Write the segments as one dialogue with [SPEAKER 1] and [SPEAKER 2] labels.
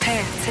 [SPEAKER 1] P3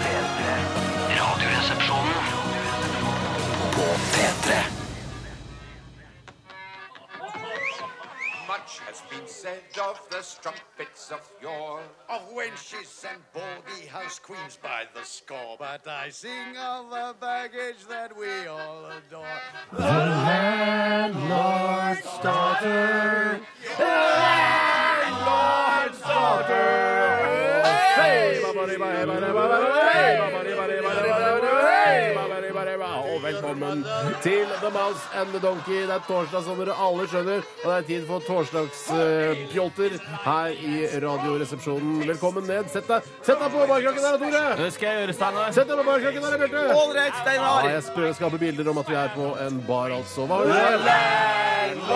[SPEAKER 2] P3. Radioresepsjonen på P3.
[SPEAKER 3] Much has been said of the strumpets of yore, of wenches and baldy house queens by the score. But I sing of the baggage that we all adore.
[SPEAKER 4] Og velkommen til The Mouse and the Donkey. Det er torsdag, som dere alle skjønner, og det er tid for torsdagspjolter her i Radioresepsjonen. Velkommen ned. Sett deg Sett deg på barkrakken der, Tore!
[SPEAKER 5] Det skal jeg gjøre, Steinar.
[SPEAKER 4] Sett deg på barkrakken der, Bjarte! Ja, jeg prøver å skape bilder om at vi er på en bar, altså. Hva har du der?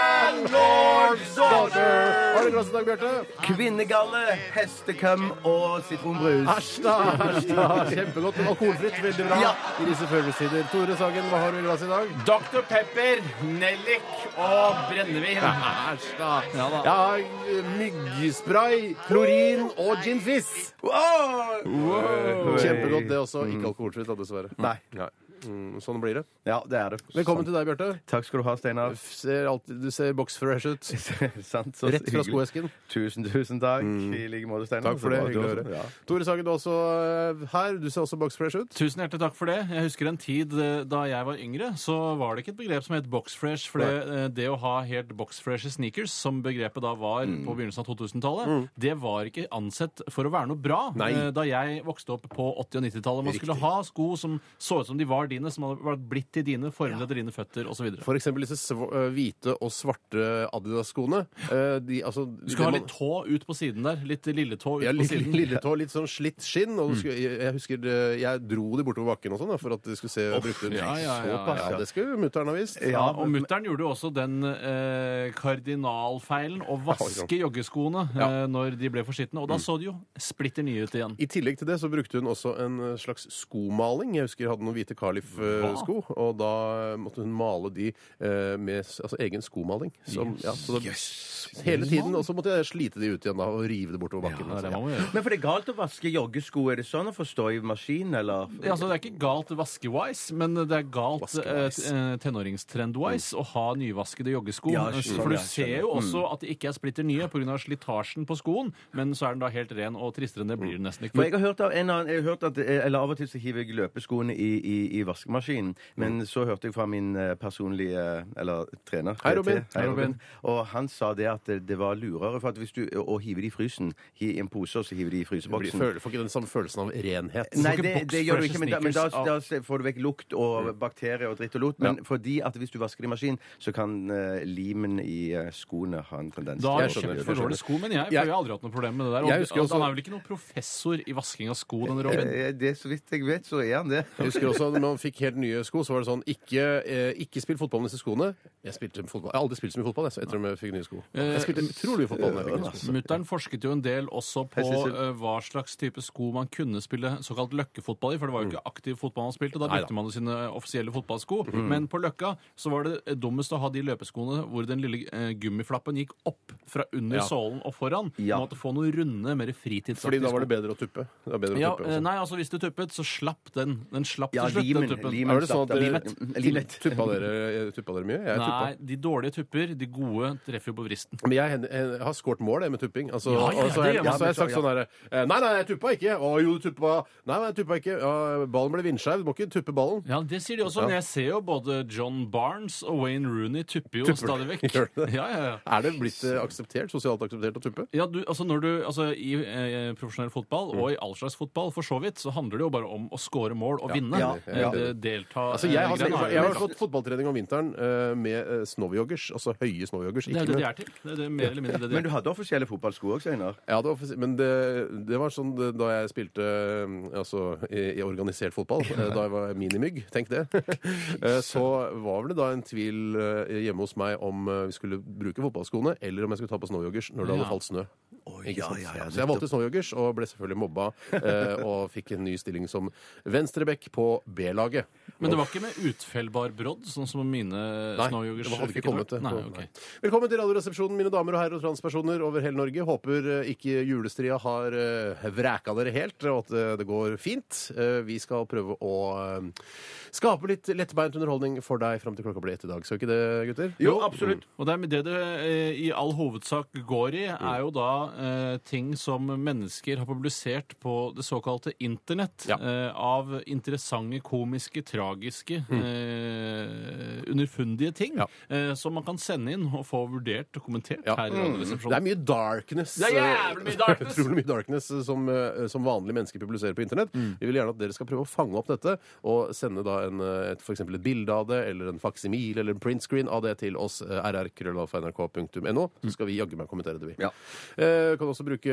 [SPEAKER 4] Landlord's daughter! Har du glass i dag, Bjarte?
[SPEAKER 6] Kvinnegalle, hestekøm og sitronbrus.
[SPEAKER 4] Æsj da, æsj da. Kjempegodt. Alkoholfritt, veldig bra
[SPEAKER 6] Ja.
[SPEAKER 4] i disse følelsestider. Tore Sagen, hva har du i glasset i dag?
[SPEAKER 5] Dr. Pepper, nellik og brennevin.
[SPEAKER 4] Æsj da.
[SPEAKER 5] Ja da.
[SPEAKER 4] Jeg har eh, myggspray, klorin og gin fizz. Eh, Kjempegodt det også. Ikke alkoholfritt, da, dessverre.
[SPEAKER 6] Nei.
[SPEAKER 4] Mm, Sånn blir det.
[SPEAKER 6] Ja, det er det. Sånn.
[SPEAKER 4] Velkommen til deg, Bjarte.
[SPEAKER 6] Takk skal du ha, Steinar.
[SPEAKER 4] Ser alltid- Du ser box fresh ut.
[SPEAKER 6] Sant, så
[SPEAKER 4] Rett fra
[SPEAKER 6] hyggelig.
[SPEAKER 4] skoesken. Mm.
[SPEAKER 6] Tusen, tusen takk. I like måte, Steinar.
[SPEAKER 4] Takk for det.
[SPEAKER 6] Så
[SPEAKER 4] Hyggelig
[SPEAKER 6] bra
[SPEAKER 4] å
[SPEAKER 6] du-
[SPEAKER 4] høre.
[SPEAKER 6] Ja.
[SPEAKER 4] Tore Sagen, du er også eh, her. Du ser også box fresh ut.
[SPEAKER 5] Tusen hjertelig takk for det. Jeg husker en tid eh, da jeg var yngre, så var det ikke et begrep som het boxfresh. For det, eh, det å ha helt boxfreshe sneakers, som begrepet da var
[SPEAKER 4] Mm.
[SPEAKER 5] på begynnelsen av 2000-tallet, det var ikke ansett for å være noe bra
[SPEAKER 4] Nei.
[SPEAKER 5] eh, da jeg vokste opp på 80- og 90-tallet. Man skulle ha sko som så ut som de var dine, som hadde vært blitt til dine, formet etter dine føtter osv.
[SPEAKER 4] For eksempel disse sv eh, hvite og svarte Adidas-skoene. Eh, de, altså,
[SPEAKER 5] Du skal ha
[SPEAKER 4] det man-
[SPEAKER 5] litt tå ut på siden der. Litt lilletå ut
[SPEAKER 4] Ja,
[SPEAKER 5] på
[SPEAKER 4] litt,
[SPEAKER 5] siden. Mm.
[SPEAKER 4] lilletå, litt sånn slitt skinn. Og du skulle, jeg, jeg husker det- jeg dro de bortover bakken og sånn da, for at de skulle se brukte ut.
[SPEAKER 5] ja, ja, ja,
[SPEAKER 4] Såpass, ja. Det skulle mutter'n ha visst.
[SPEAKER 5] Ja, og mutter'n gjorde jo også den eh, kardinalfeilen å vaske joggeskoene eh, når de ble for skitne. Og
[SPEAKER 4] Mm.
[SPEAKER 5] da så de jo splitter nye ut igjen.
[SPEAKER 4] I tillegg til det så brukte hun også en eh, slags skomaling. Jeg husker jeg hadde noen hvite Carlif-sko, og da eh, måtte hun male de eh, med s- altså, egen skomaling. Som, ja, så da, Hele tiden. Og så måtte jeg slite de ut igjen da, og rive det bortover bakken.
[SPEAKER 5] Ja, det,
[SPEAKER 4] altså.
[SPEAKER 5] må man gjøre.
[SPEAKER 6] Men for det er galt å vaske joggesko. Er det sånn å forstå i maskin, eller?
[SPEAKER 5] Ja, altså, det er ikke galt vaske-wise, men det er galt eh, t-
[SPEAKER 4] Vaske-wise. Mm.
[SPEAKER 5] eh, tenåringstrend-wise å ha nyvaskede joggesko. Eh,
[SPEAKER 6] Ja, jeg skjønner,
[SPEAKER 5] For du
[SPEAKER 6] jeg
[SPEAKER 5] ser jo også at de ikke er splitter nye pga. slitasjen på skoen, men så er den da helt ren, og tristere enn det
[SPEAKER 4] Mm.
[SPEAKER 5] blir den nesten ikke.
[SPEAKER 6] For jeg har hørt av en annen, jeg har hørt at, eh, eller Av og til så hiver jeg løpeskoene i, i, i vaskemaskinen. Men så hørte jeg fra min eh, personlige eller trener
[SPEAKER 4] Hei, Robin.
[SPEAKER 6] PT. Hei, Robin. Og han sa det at det var lurere for at hvis du, å hive de i frysen. Hi, I en pose, og så hiver de i
[SPEAKER 4] Blir,
[SPEAKER 6] fryseboksen.
[SPEAKER 4] føler, får ikke den samme følelsen av renhet.
[SPEAKER 6] Nei,
[SPEAKER 5] ikke
[SPEAKER 6] det,
[SPEAKER 5] boks
[SPEAKER 6] det gjør du
[SPEAKER 5] fresh
[SPEAKER 6] ikke, men, da, men da,
[SPEAKER 5] sneakers av- Mm.
[SPEAKER 6] da se- får du vekk lukt og bakterier og dritt og lot. Men fordi at hvis du vasker det i maskin, så kan eh, limen i eh, skoene ha en tendens
[SPEAKER 5] Da har
[SPEAKER 4] Jeg
[SPEAKER 5] jeg
[SPEAKER 4] skjønner,
[SPEAKER 5] kjempefor
[SPEAKER 4] jeg skjønner.
[SPEAKER 5] dårlig sko, men jeg, for
[SPEAKER 4] Jeg-
[SPEAKER 5] jeg har aldri hatt noe problem med det der.
[SPEAKER 4] Jeg
[SPEAKER 5] Og,
[SPEAKER 4] husker også-
[SPEAKER 5] han er vel ikke noen professor i vasking av sko, den Robin?
[SPEAKER 6] Eh, Det, så vidt jeg vet, så er han det.
[SPEAKER 4] Jeg husker også når man fikk helt nye sko, så var det sånn Ikke, eh, ikke spill fotball med disse skoene. Jeg, spilte fotball. jeg har aldri spilt så mye fotball jeg, så etter at jeg fikk nye sko.
[SPEAKER 5] Eh,
[SPEAKER 4] Jeg spilte utrolig mye fotball da jeg fikk nye sko.
[SPEAKER 5] Mutter'n forsket jo en del også på
[SPEAKER 6] Jeg synes-
[SPEAKER 5] eh, hva slags type sko man kunne spille såkalt løkkefotball i, for det var jo ikke aktiv fotball man spilte, da brukte man jo sine offisielle fotballsko. Men på Løkka så var det dummest å ha de løpeskoene hvor den lille eh, gummiflappen gikk opp fra under sålen og foran.
[SPEAKER 6] Ja.
[SPEAKER 5] Man måtte få noen runde, mer
[SPEAKER 4] Fordi
[SPEAKER 5] fritidsaktige
[SPEAKER 4] da var
[SPEAKER 5] sko.
[SPEAKER 4] det bedre å tuppe. Det var bedre å
[SPEAKER 5] Ja,
[SPEAKER 4] tuppe
[SPEAKER 5] eh,
[SPEAKER 4] også.
[SPEAKER 5] nei, altså Hvis du tuppet, så slapp den. Den slapp
[SPEAKER 6] Ja,
[SPEAKER 5] til slutt.
[SPEAKER 6] limen.
[SPEAKER 5] den tuppen.
[SPEAKER 6] limen
[SPEAKER 4] Er det sånn
[SPEAKER 6] slapp
[SPEAKER 4] at
[SPEAKER 6] av.
[SPEAKER 4] dere
[SPEAKER 6] Limet.
[SPEAKER 4] tuppa dere, tuppa dere mye? Jeg
[SPEAKER 5] Nei,
[SPEAKER 4] tuppa.
[SPEAKER 5] de dårlige tupper, de gode treffer jo på vristen.
[SPEAKER 4] Men jeg, hen- hen- har skåret mål jeg, med tupping. Altså,
[SPEAKER 5] Ja, ja,
[SPEAKER 4] og så har
[SPEAKER 5] det
[SPEAKER 4] jeg,
[SPEAKER 5] gjør man.
[SPEAKER 4] så har jeg sagt sånn herre Nei, nei, jeg tuppa ikke. Å jo, du tuppa. Nei, nei, jeg tuppa ikke. Ja, ballen ble vindskeiv. Du må ikke tuppe ballen.
[SPEAKER 5] Ja, det sier de også, men jeg ser jo både John Barnes og Wayne Rooney tupper jo stadig vekk.
[SPEAKER 4] Gjør du det?
[SPEAKER 5] Ja, ja, ja.
[SPEAKER 4] Er det blitt eh, akseptert, sosialt akseptert å tuppe?
[SPEAKER 5] Ja, du, altså når du, altså I eh, profesjonell fotball,
[SPEAKER 4] Mm.
[SPEAKER 5] og i all slags fotball for så vidt, så handler det jo bare om å score mål og vinne.
[SPEAKER 6] Ja,
[SPEAKER 5] Eh,
[SPEAKER 4] ja.
[SPEAKER 5] det- Delta
[SPEAKER 4] Altså, jeg, har,
[SPEAKER 5] eh, greiene er
[SPEAKER 4] jeg
[SPEAKER 5] jo-
[SPEAKER 4] har fått fotballtrening om vinteren eh, med eh, snowjoggers, altså høye snowjoggers.
[SPEAKER 5] Det er jo
[SPEAKER 4] Ikke
[SPEAKER 5] det de
[SPEAKER 4] med,
[SPEAKER 5] er til. Det er det, mer eller mindre det de
[SPEAKER 6] Men
[SPEAKER 5] er.
[SPEAKER 6] du hadde offisielle fotballsko òg, Steinar.
[SPEAKER 4] ja, det var, offisi- men det, det var sånn det, da jeg spilte eh, altså, i, i organisert fotball, eh, da jeg var minimygg, tenk det, Eh, så var vel det da en tvil eh, hjemme hos meg om eh, vi skulle bruke fotballskoene, eller om jeg skulle ta på snowjoggers når det
[SPEAKER 5] Ja.
[SPEAKER 4] hadde falt snø. Ikke
[SPEAKER 6] ja,
[SPEAKER 4] sant?
[SPEAKER 6] ja, ja,
[SPEAKER 4] så jeg valgte snowjoggers og ble selvfølgelig mobba, eh, og fikk en ny stilling som venstreback på B-laget.
[SPEAKER 5] Men det var ikke med utfellbar brodd, sånn som mine
[SPEAKER 4] Nei,
[SPEAKER 5] snowyoghers?
[SPEAKER 4] det hadde ikke kommet det.
[SPEAKER 5] Nei,
[SPEAKER 4] Nei.
[SPEAKER 5] ok.
[SPEAKER 4] Velkommen til Radioresepsjonen, mine damer og herrer og transpersoner over hele Norge. Håper eh, ikke julestria har eh, vreka dere helt, og at eh, det går fint. Eh, Vi skal prøve å eh, skape litt lettbeint underholdning for deg fram til klokka blir ett i dag. Skal vi ikke det, gutter?
[SPEAKER 6] Jo, absolutt.
[SPEAKER 5] Og det, er- det det eh, i all hovedsak går i, er
[SPEAKER 4] Mm.
[SPEAKER 5] jo da eh, ting som mennesker har publisert på det såkalte internett.
[SPEAKER 4] Ja.
[SPEAKER 5] Eh, av interessante, komiske, tragiske, eh, underfundige ting.
[SPEAKER 4] Mm. Ja.
[SPEAKER 5] Eh, som man kan sende inn og få vurdert og kommentert
[SPEAKER 4] Ja. Mm.
[SPEAKER 5] her i
[SPEAKER 4] Det er
[SPEAKER 5] Radioresepsjonen.
[SPEAKER 4] mye darkness. eh,
[SPEAKER 5] Det er jævlig mye darkness!
[SPEAKER 4] Utrolig mye darkness eh, som, eh, som vanlige mennesker publiserer på internett.
[SPEAKER 5] Mm.
[SPEAKER 4] Vi vil gjerne at dere skal prøve å fange opp dette og sende da en, eh, et, for eksempel et bilde av det, eller en faksimil eller en printscreen av det til oss, eh, rrkrøllalfa.nrk.no, så skal vi jaggu meg kommentere det, vi.
[SPEAKER 6] Ja.
[SPEAKER 4] Eh, kan også bruke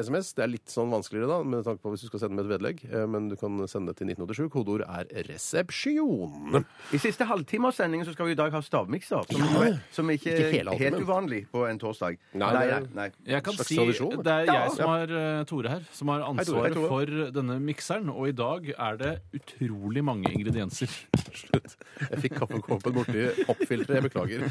[SPEAKER 4] SMS. Det er litt sånn vanskeligere da, med tanke på hvis du skal sende med et vedlegg, eh, men du kan sende det til 1987. Kodeord er 'resepsjon'.
[SPEAKER 6] I siste halvtime av sendingen så skal vi i dag ha stavmikser. Som, som ikke
[SPEAKER 4] Ikke
[SPEAKER 6] er
[SPEAKER 4] hele
[SPEAKER 6] helt,
[SPEAKER 4] halvtimen.
[SPEAKER 6] uvanlig på en torsdag.
[SPEAKER 4] Nei,
[SPEAKER 6] nei,
[SPEAKER 4] det-
[SPEAKER 6] nei, nei.
[SPEAKER 5] Jeg kan
[SPEAKER 4] Slags
[SPEAKER 5] si
[SPEAKER 4] tradisjon, det.
[SPEAKER 5] Det er
[SPEAKER 6] Ja.
[SPEAKER 5] jeg som har eh, Tore her, som har
[SPEAKER 4] Hei, Tore. Hei,
[SPEAKER 5] ansvaret
[SPEAKER 4] Tore.
[SPEAKER 5] for denne mikseren. Og i dag er det utrolig mange ingredienser.
[SPEAKER 4] Slutt. Jeg fikk kaffekåpen borti oppfilteret. Jeg beklager.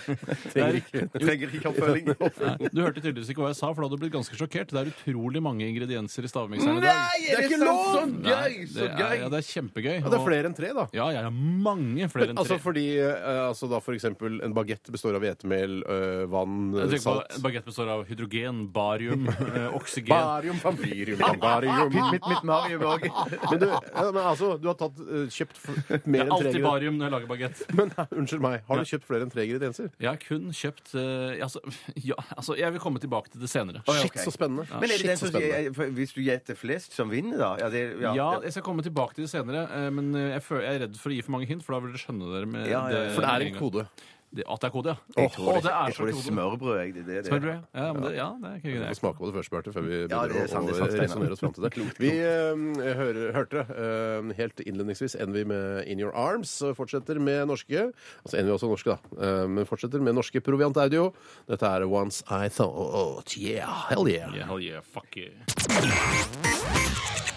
[SPEAKER 4] Trenger ikke
[SPEAKER 6] Trenger ikke oppfølging.
[SPEAKER 5] Nei, Du hørte tydeligvis ikke hva jeg sa, for da hadde du blitt ganske sjokkert. Det er utrolig mange ingredienser i stavmikseren i dag.
[SPEAKER 6] det er ikke lov! Så gøy!
[SPEAKER 5] det,
[SPEAKER 6] Så
[SPEAKER 5] er, ja,
[SPEAKER 6] gøy!
[SPEAKER 5] det er kjempegøy.
[SPEAKER 4] Ja, det er flere enn tre, da.
[SPEAKER 5] Ja, ja, ja, mange flere enn tre.
[SPEAKER 4] Altså fordi eh, altså da for eksempel en bagett består av hvetemel, eh, vann,
[SPEAKER 5] Jeg tenker på,
[SPEAKER 4] salt
[SPEAKER 5] en Bagett består av hydrogen, barium, eh, oksygen.
[SPEAKER 4] Barium, vampyrium, barium
[SPEAKER 6] Mitt, mitt, mitt Mario Borg.
[SPEAKER 4] Men du, ja, men altså, du har tatt, eh, kjøpt f- mer enn tre
[SPEAKER 5] Alltid
[SPEAKER 4] ingredienser.
[SPEAKER 5] barium når jeg lager bagett.
[SPEAKER 4] Men eh, unnskyld meg, har du kjøpt flere enn tre ingredienser?
[SPEAKER 5] Jeg har kun kjøpt eh, altså, ja, altså, jeg vil komme tilbake til det senere.
[SPEAKER 4] Shit,
[SPEAKER 6] ok.
[SPEAKER 4] så spennende.
[SPEAKER 6] Men er det
[SPEAKER 4] Shit,
[SPEAKER 6] den
[SPEAKER 4] så
[SPEAKER 6] som
[SPEAKER 4] spennende.
[SPEAKER 6] sier for Hvis du gjetter flest, som vinner, da? Ja, det, ja,
[SPEAKER 5] Ja, jeg skal komme tilbake til det senere, eh, men eh, jeg, føler, jeg er redd for å gi for mange hint, for da vil dere skjønne dere med
[SPEAKER 6] Ja, ja, ja.
[SPEAKER 4] For det er
[SPEAKER 5] med
[SPEAKER 4] en
[SPEAKER 5] gang.
[SPEAKER 4] kode.
[SPEAKER 5] Det- At det er kode, ja.
[SPEAKER 6] Jeg tror
[SPEAKER 5] Å,
[SPEAKER 6] det,
[SPEAKER 5] det er
[SPEAKER 6] jeg tror
[SPEAKER 5] så
[SPEAKER 6] det er
[SPEAKER 5] kode.
[SPEAKER 6] smørbrød. jeg. Det, det, det.
[SPEAKER 5] Smørbrød, ja. Ja, men det, ja, det er ikke
[SPEAKER 4] Vi
[SPEAKER 5] greit.
[SPEAKER 4] får smake på det først, Bjarte, før vi
[SPEAKER 6] Ja,
[SPEAKER 4] begynner
[SPEAKER 6] det er sant, det er
[SPEAKER 4] å
[SPEAKER 6] sant,
[SPEAKER 4] å
[SPEAKER 6] Steinar.
[SPEAKER 4] resonnere oss fram til det. Vi eh, hører, hørte eh, helt innledningsvis Envy med In Your Arms. og Fortsetter med norske Altså Envy er også norske, da. eh, men fortsetter med norske Proviant Audio. Dette er Once I Thought Yeah, hell yeah.
[SPEAKER 5] Yeah, hell yeah, fuck yeah.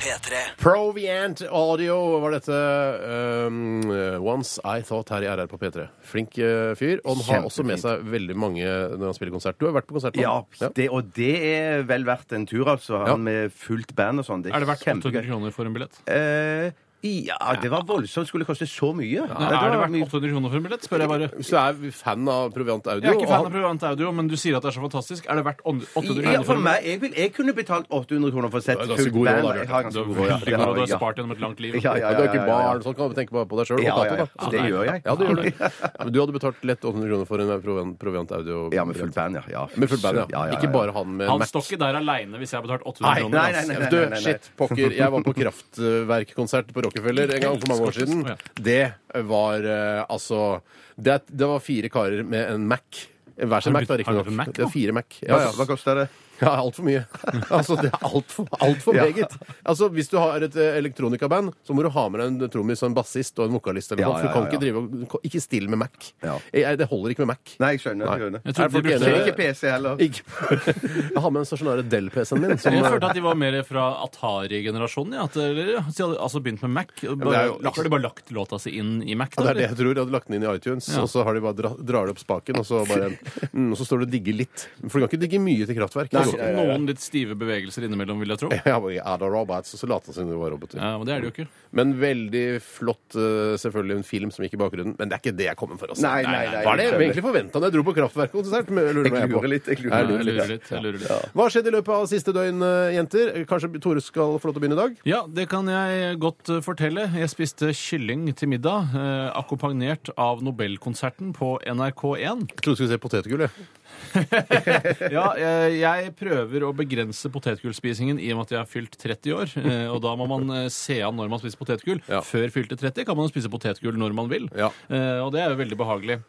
[SPEAKER 2] P3.
[SPEAKER 4] Proviant Audio var dette eh, Once I Thought her i RR på P3. Flink eh, fyr. Og han har også med seg veldig mange når han spiller konsert. Du har vært på konsert? med
[SPEAKER 6] Ja,
[SPEAKER 4] han.
[SPEAKER 6] det, og det er vel verdt en tur, altså. Han
[SPEAKER 4] Ja.
[SPEAKER 6] med fullt band og sånn. Det er,
[SPEAKER 5] Er det verdt
[SPEAKER 6] kjempegøy.
[SPEAKER 5] 800 kroner for en billett?
[SPEAKER 6] Eh, ja, det var voldsomt. Skulle koste så mye.
[SPEAKER 5] Nei,
[SPEAKER 6] det
[SPEAKER 5] er det verdt
[SPEAKER 6] var mye-
[SPEAKER 5] 800 kroner for en billett, spør jeg bare.
[SPEAKER 4] Hvis du er fan av Proviant Audio
[SPEAKER 5] Jeg er ikke
[SPEAKER 4] og
[SPEAKER 5] fan
[SPEAKER 4] han-
[SPEAKER 5] av Proviant Audio, men du sier at det er så fantastisk. Er det verdt 800
[SPEAKER 6] Ja,
[SPEAKER 5] kroner
[SPEAKER 6] for
[SPEAKER 5] for en billett?
[SPEAKER 6] meg, jeg, vil, jeg kunne betalt 800 kroner for å sette
[SPEAKER 4] Du har ganske
[SPEAKER 6] fullt
[SPEAKER 4] god råd,
[SPEAKER 6] band.
[SPEAKER 4] da,
[SPEAKER 6] Jeg har
[SPEAKER 5] Du
[SPEAKER 6] ganske
[SPEAKER 5] har
[SPEAKER 6] god råd, ja.
[SPEAKER 5] veldig
[SPEAKER 6] Det
[SPEAKER 5] god
[SPEAKER 6] har
[SPEAKER 5] råd, du har
[SPEAKER 6] jeg,
[SPEAKER 5] spart gjennom et langt liv.
[SPEAKER 6] Ja, ja,
[SPEAKER 4] Ja, du er
[SPEAKER 6] ja,
[SPEAKER 4] ikke
[SPEAKER 6] ja, ja.
[SPEAKER 4] barn, sånn kan du tenke på på deg sjøl.
[SPEAKER 6] Ja, ja, ja. Så det gjør jeg.
[SPEAKER 4] Ja, det gjør du. Ja, men du hadde betalt lett 800 kroner for en proviant, proviant audio.
[SPEAKER 6] Ja, med fullt band, ja. ja.
[SPEAKER 4] Med full band, ja.
[SPEAKER 6] Ja, ja, ja.
[SPEAKER 4] Ikke bare han med
[SPEAKER 5] Han
[SPEAKER 4] Mac.
[SPEAKER 5] står ikke der aleine hvis jeg har betalt 800
[SPEAKER 4] Nei,
[SPEAKER 5] kroner.
[SPEAKER 4] nei, nei,
[SPEAKER 5] altså.
[SPEAKER 4] nei,
[SPEAKER 6] nei,
[SPEAKER 4] Du,
[SPEAKER 6] nei, nei.
[SPEAKER 4] shit, pokker. Jeg var på kraftverkkonsert på Rockefeller en gang for mange år siden. Det var eh, altså Det, det var fire karer med en Mac. Hver sin
[SPEAKER 5] Har
[SPEAKER 4] Mac,
[SPEAKER 5] du
[SPEAKER 4] da,
[SPEAKER 5] blitt- har du blitt
[SPEAKER 4] riktignok.
[SPEAKER 5] Mac
[SPEAKER 4] Det er
[SPEAKER 5] nå?
[SPEAKER 4] fire Mac.
[SPEAKER 6] Hva,
[SPEAKER 4] Ja, ja.
[SPEAKER 6] hva koster det?
[SPEAKER 4] Ja, altfor mye. Altså, det er altfor alt for
[SPEAKER 6] Ja.
[SPEAKER 4] meget. Altså, Hvis du har et eh, elektronikaband, så må du ha med deg en trommis og en bassist og en vokalist. Eller
[SPEAKER 6] Ja,
[SPEAKER 4] noe, for
[SPEAKER 6] ja,
[SPEAKER 4] du kan
[SPEAKER 6] ja,
[SPEAKER 4] ikke drive og Ikke still med Mac.
[SPEAKER 6] Ja.
[SPEAKER 4] Jeg, det holder ikke med Mac.
[SPEAKER 6] Nei, jeg skjønner. Jeg, skjønner.
[SPEAKER 5] Jeg
[SPEAKER 4] Er
[SPEAKER 5] trodde de
[SPEAKER 4] folk
[SPEAKER 5] brukte-
[SPEAKER 6] jeg
[SPEAKER 4] enige?
[SPEAKER 6] er ikke PC heller.
[SPEAKER 4] Ikke. Jeg har med den stasjonære Del-PC-en min. Som, eh,
[SPEAKER 5] Jeg følte at de var mer fra Atari-generasjonen. Ja. at- eller, ja, så de hadde Altså begynt med Mac. og
[SPEAKER 4] det er
[SPEAKER 5] Bare,
[SPEAKER 4] jo-
[SPEAKER 5] lagt- har de bare lagt låta si inn i Mac? Da,
[SPEAKER 4] Ja, det er det
[SPEAKER 5] eller?
[SPEAKER 4] jeg tror. De hadde lagt den inn i iTunes, og så har de bare dra, drar de opp spaken, og så bare mm, Og så står det og digger litt. For du kan ikke digge mye til kraftverk. Altså.
[SPEAKER 5] Så Altså, Noen litt stive bevegelser innimellom, vil jeg tro.
[SPEAKER 4] ja, bare, "Er det robots, og så later det som de var roboter.
[SPEAKER 5] Ja, men det er det jo ikke.
[SPEAKER 4] Men veldig flott, eh, selvfølgelig, en film som gikk i bakgrunnen. Men det er ikke det jeg kommer for. Altså.
[SPEAKER 6] Nei, nei,
[SPEAKER 4] Hva
[SPEAKER 6] nei,
[SPEAKER 4] er det
[SPEAKER 6] jeg
[SPEAKER 4] jeg
[SPEAKER 6] skjønner.
[SPEAKER 4] egentlig forventa da jeg dro på Kraftverkkonsert? Men lurer
[SPEAKER 6] Jeg
[SPEAKER 4] jeg på.
[SPEAKER 6] lurer litt. Jeg
[SPEAKER 4] Jeg
[SPEAKER 6] lurer
[SPEAKER 5] Ja, jeg
[SPEAKER 6] litt.
[SPEAKER 5] lurer litt. Jeg lurer litt.
[SPEAKER 4] Hva har skjedd i løpet av siste døgn, eh, jenter? Kanskje Tore skal få lov til å begynne i dag?
[SPEAKER 5] Ja, det kan jeg godt eh, fortelle. Jeg spiste kylling til middag, eh, akkompagnert av Nobelkonserten på NRK1.
[SPEAKER 4] Jeg trodde du skulle se potetgull. jeg.
[SPEAKER 5] Ja, jeg, jeg prøver å begrense potetgullspisingen i og med at jeg har fylt 30 år. eh, Og da må man eh, se an når man spiser potetgull.
[SPEAKER 4] Ja.
[SPEAKER 5] Før fylte 30 kan man jo spise potetgull når man vil.
[SPEAKER 4] Ja.
[SPEAKER 5] Eh, Og det er jo veldig behagelig.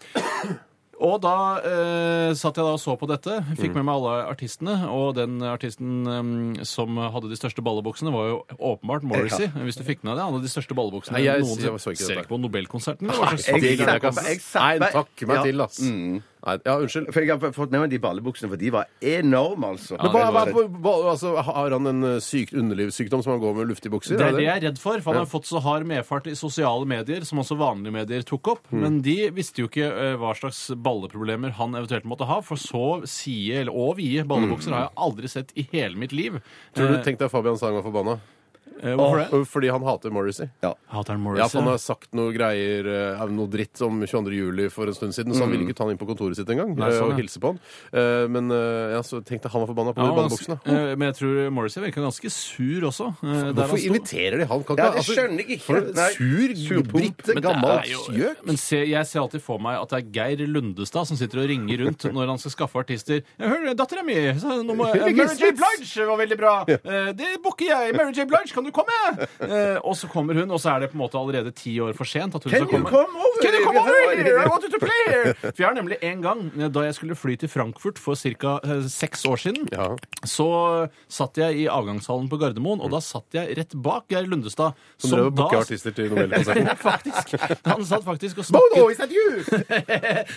[SPEAKER 5] Og da eh, satt jeg da og så på dette, fikk
[SPEAKER 4] Mm.
[SPEAKER 5] med meg alle artistene, og den artisten eh, som hadde de største balleboksene, var jo åpenbart Morrissey. Hvis du fikk med deg det, han hadde de største balleboksene
[SPEAKER 4] Nei, jeg-
[SPEAKER 5] noensinne.
[SPEAKER 4] jeg så ikke
[SPEAKER 5] ser
[SPEAKER 4] dette.
[SPEAKER 5] ikke på Nobelkonserten. eller hva slags
[SPEAKER 4] Det
[SPEAKER 6] Jeg
[SPEAKER 4] gidder jeg
[SPEAKER 6] snakker
[SPEAKER 4] ikke,
[SPEAKER 6] på- jeg
[SPEAKER 4] ass.
[SPEAKER 6] snakker-
[SPEAKER 4] Nei, takk meg
[SPEAKER 6] Ja.
[SPEAKER 4] til, ass. Nei, Mm. ja, unnskyld.
[SPEAKER 6] For jeg har fått nevnt de ballebuksene, for de var enorme, altså.
[SPEAKER 4] Men
[SPEAKER 5] det
[SPEAKER 4] hva, hva,
[SPEAKER 5] var
[SPEAKER 4] hva, hva- altså, har han en eh, sykt underlivssykdom som han går med luftige bukser?
[SPEAKER 5] Det er det jeg er redd for, for han har fått så hard medfart i sosiale medier, som også vanlige medier tok opp.
[SPEAKER 4] Mm.
[SPEAKER 5] Men de visste jo ikke eh, hva slags balleproblemer han eventuelt måtte ha, for så sie eller og
[SPEAKER 4] Mm.
[SPEAKER 5] vide ballebukser har jeg aldri sett i hele mitt liv.
[SPEAKER 4] Tror du tenk deg Fabian Stang var forbanna?
[SPEAKER 5] Eh, hvorfor det?
[SPEAKER 4] Fordi han hater Morrissey.
[SPEAKER 5] Hater han
[SPEAKER 4] Ja, for
[SPEAKER 5] Morrissey?
[SPEAKER 4] han har sagt noe greier, eh, noe dritt om 22. juli for en stund siden, så han ville ikke ta han inn på kontoret sitt engang
[SPEAKER 5] Mm. Nei,
[SPEAKER 4] eh,
[SPEAKER 5] sånn,
[SPEAKER 4] og
[SPEAKER 5] ja.
[SPEAKER 4] hilse på han. Eh, Men eh, ja, så tenkte jeg han var forbanna på
[SPEAKER 5] Ja,
[SPEAKER 4] de
[SPEAKER 5] han-
[SPEAKER 4] ballebuksene.
[SPEAKER 5] eh, men jeg tror Morrissey virka ganske sur også. eh, der han
[SPEAKER 4] Hvorfor
[SPEAKER 5] sto.
[SPEAKER 4] inviterer de han? Kan
[SPEAKER 6] Ja,
[SPEAKER 4] være-
[SPEAKER 6] det skjønner jeg ikke.
[SPEAKER 4] for en
[SPEAKER 6] Nei.
[SPEAKER 4] Sur,
[SPEAKER 6] Surpomp.
[SPEAKER 4] britte,
[SPEAKER 5] Men det
[SPEAKER 4] gammel
[SPEAKER 5] er jo-
[SPEAKER 4] gjøk.
[SPEAKER 5] Men se, jeg ser alltid for meg at det er Geir Lundestad som sitter og ringer rundt når han skal skaffe artister. Jeg hører dattera mi! så nå må- eh, Mary J. Blige var veldig bra! Eh, Det booker jeg! Mary J. Blige, kan du komme? Eh, Og så kommer hun, og så er det på en måte allerede ti år for sent at hun skal
[SPEAKER 6] Can you
[SPEAKER 5] komme.
[SPEAKER 6] come over?
[SPEAKER 5] Can you come over here? I want you to play here! For jeg har nemlig en gang, eh, da jeg skulle fly til Frankfurt for ca. seks år siden,
[SPEAKER 4] Ja.
[SPEAKER 5] så satt jeg i avgangshallen på Gardermoen, og da satt jeg rett bak Geir Lundestad.
[SPEAKER 4] Som drev og
[SPEAKER 5] da-
[SPEAKER 4] booka artister til Nobelkonserten.
[SPEAKER 5] ja, faktisk. Han satt faktisk og
[SPEAKER 4] Bono,
[SPEAKER 5] snakket
[SPEAKER 4] is that you?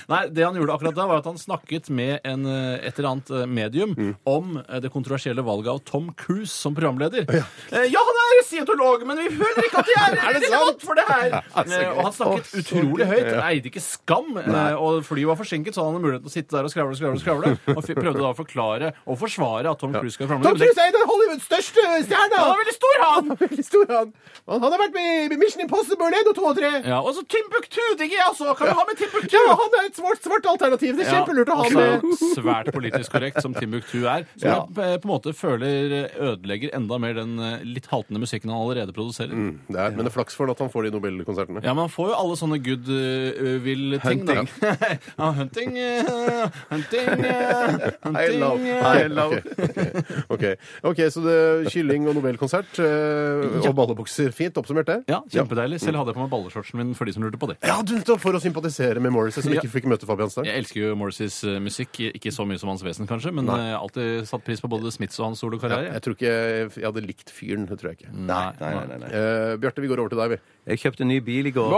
[SPEAKER 5] Nei, det han gjorde akkurat da, var at han snakket med en, eh, et eller annet eh, medium
[SPEAKER 4] Mm.
[SPEAKER 5] om eh, det kontroversielle valget av Tom Cruise som programleder. Eh, Ja, han er scientolog, men vi føler ikke at de er, relevant for det her!
[SPEAKER 4] altså,
[SPEAKER 5] Eh, og han snakket utrolig høyt. Han eide ikke skam. eh, Og flyet var forsinket, så han hadde mulighet til å sitte der og skravle og skravle. Og skravle, og f- prøvde da å forklare og forsvare at Tom Cruise skal være
[SPEAKER 4] Tom
[SPEAKER 5] programleder.
[SPEAKER 4] Cruise er en av Hollywoods største stjerner!
[SPEAKER 5] Han er veldig stor, han!
[SPEAKER 4] Veldig stor han. Han han har vært med i Mission Impossible 1 og 2 og 3.
[SPEAKER 5] Ja, og så Timbuktu digger jeg også! Kan vi ha med Timbuktu?
[SPEAKER 4] Ja, han er et svart, svart alternativ. Det er kjempelurt å ha
[SPEAKER 5] altså,
[SPEAKER 4] med.
[SPEAKER 5] Svært politisk korrekt, som Timbuktu er. Som jeg eh, på en måte føler eh, ødelegger enda mer den eh, litt haltende musikken han allerede produserer.
[SPEAKER 4] Det er, men det er flaks for han at han får de Nobelkonsertene.
[SPEAKER 5] Ja, men han får jo alle sånne eh, goodwill-ting. da.
[SPEAKER 6] Hunting.
[SPEAKER 5] ja, hunting, eh, hunting, eh,
[SPEAKER 6] I love,
[SPEAKER 5] hunting eh.
[SPEAKER 6] I love.
[SPEAKER 4] Ok, ok, så det er kylling og Nobelkonsert eh, og ballebukser. Fint oppsummert, det.
[SPEAKER 5] Ja, kjempedeilig. Selv hadde jeg på meg balleshortsen min for de som lurte på det.
[SPEAKER 4] Ja, du, nettopp, For å sympatisere med Morrissey, som ikke fikk møte Fabian Stang.
[SPEAKER 5] Jeg elsker jo Morrisseys eh, musikk. Ikke så mye som hans vesen, kanskje, men jeg har alltid satt pris på både Smiths og hans solokarriere.
[SPEAKER 4] Jeg tror ikke jeg hadde likt fyren. Det tror jeg ikke.
[SPEAKER 5] Nei,
[SPEAKER 6] Nei, nei, nei, nei.
[SPEAKER 4] Eh, Bjarte, vi går over til deg, vi.
[SPEAKER 6] Jeg kjøpte en ny bil i går.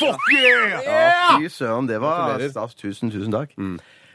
[SPEAKER 6] Ja, fy søren, det var
[SPEAKER 4] Gratulerer.
[SPEAKER 6] stas. Tusen, tusen takk.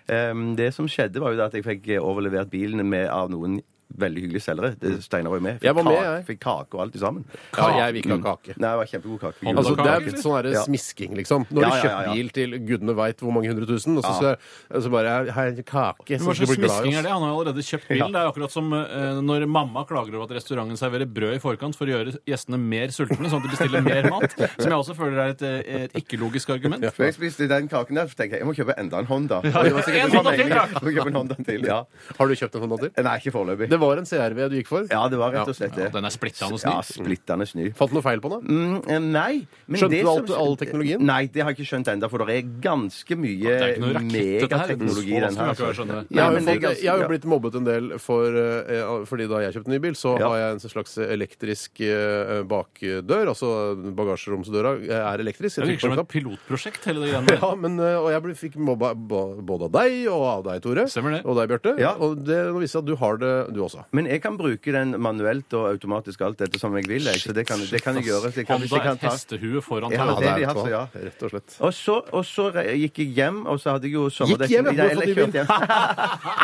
[SPEAKER 6] Ehm, det som skjedde, var jo det at jeg fikk eh, overlevert bilen med, av noen veldig hyggelige selgere. Det- Steinar var jo med. Fikk
[SPEAKER 4] Jeg var med,
[SPEAKER 6] kake-
[SPEAKER 4] jeg.
[SPEAKER 6] Fikk kake og alt i sammen.
[SPEAKER 4] Ja, jeg vil ikke ha kake.
[SPEAKER 6] Nei, det var kjempegod kake.
[SPEAKER 5] Altså,
[SPEAKER 4] Altså, det er
[SPEAKER 5] Kake,
[SPEAKER 4] litt sånn her
[SPEAKER 6] Ja.
[SPEAKER 4] smisking, liksom. Når du
[SPEAKER 6] Ja, ja, ja,
[SPEAKER 4] kjøper
[SPEAKER 6] ja.
[SPEAKER 4] bil til gudene veit hvor mange hundre tusen, og så, skal- så bare Hei, kake.
[SPEAKER 5] Hva
[SPEAKER 4] Så skal
[SPEAKER 5] slags
[SPEAKER 4] du bli glad i
[SPEAKER 5] smisking er
[SPEAKER 4] oss.
[SPEAKER 5] det? Han har jo allerede kjøpt bilen. Det er jo akkurat som eh, når mamma klager over at restauranten serverer brød i forkant for å gjøre gjestene mer sultne, sånn at de bestiller mer mat. Som jeg også føler er et, eh, et ikke-logisk argument.
[SPEAKER 6] For jeg spiste den kaken der, så tenkte jeg jeg må kjøpe enda en Honda. Og det var
[SPEAKER 5] En
[SPEAKER 6] sikkert det som
[SPEAKER 5] Honda til,
[SPEAKER 6] meningen.
[SPEAKER 5] da.
[SPEAKER 6] Jeg må kjøpe en Honda til, ja.
[SPEAKER 4] Har du kjøpt en sånn til?
[SPEAKER 6] Nei, ikke foreløpig.
[SPEAKER 4] Det var en CRV du gikk for.
[SPEAKER 6] Ja, det var rett og slett
[SPEAKER 5] Ja,
[SPEAKER 6] det.
[SPEAKER 5] den er splitta og
[SPEAKER 6] Ja,
[SPEAKER 5] snill.
[SPEAKER 6] splittende sny.
[SPEAKER 4] Fant du noe feil på den?
[SPEAKER 6] Mm, eh, Nei. Men
[SPEAKER 4] Skjønte
[SPEAKER 6] det
[SPEAKER 4] du
[SPEAKER 6] som-
[SPEAKER 4] alt- all teknologien?
[SPEAKER 6] Nei, det har jeg ikke skjønt ennå, for det er ganske
[SPEAKER 5] Det er ikke noe
[SPEAKER 6] mye
[SPEAKER 5] rakett, dette her.
[SPEAKER 6] megateknologi
[SPEAKER 5] Så
[SPEAKER 6] i
[SPEAKER 5] vanskelig
[SPEAKER 6] den her.
[SPEAKER 5] kan ikke være sånn, eh. å skjønne.
[SPEAKER 4] Jeg
[SPEAKER 6] Ja,
[SPEAKER 4] har, jo
[SPEAKER 6] men det er
[SPEAKER 4] fått, jeg har jo
[SPEAKER 6] ganske-
[SPEAKER 4] blitt mobbet en del for, eh, eh, fordi da jeg kjøpte ny bil, så
[SPEAKER 6] Ja.
[SPEAKER 4] har jeg en sånn slags elektrisk eh, bakdør. Altså bagasjeromsdøra eh, er
[SPEAKER 5] Det
[SPEAKER 4] elektrisk. Jeg
[SPEAKER 5] virker
[SPEAKER 4] trykker
[SPEAKER 5] som
[SPEAKER 4] på en
[SPEAKER 5] et
[SPEAKER 4] knapp.
[SPEAKER 5] pilotprosjekt, hele det greiene der.
[SPEAKER 4] Ja, men, eh, og jeg ble, fikk mobba ba- både av deg og av deg, Tore.
[SPEAKER 5] Stemmer det.
[SPEAKER 4] Og deg, Bjarte.
[SPEAKER 6] Ja.
[SPEAKER 4] Og det nå viser jeg at du har det, du også.
[SPEAKER 6] Men jeg kan bruke den manuelt og automatisk alt etter som jeg vil. Jeg. Så det kan, det kan jeg gjøre. Så jeg kan, hvis
[SPEAKER 5] Honda
[SPEAKER 6] jeg kan
[SPEAKER 5] et
[SPEAKER 6] ta...
[SPEAKER 5] hestehue foran
[SPEAKER 6] Ja,
[SPEAKER 5] Toyota.
[SPEAKER 6] det er de altså, ja.
[SPEAKER 4] Rett og slett.
[SPEAKER 6] Og så, og så re- gikk jeg hjem, og så hadde jeg jo sommerdekk
[SPEAKER 4] hjem, ja,
[SPEAKER 6] Nei,
[SPEAKER 4] hvorfor
[SPEAKER 6] eller
[SPEAKER 4] du vil?
[SPEAKER 6] kjørte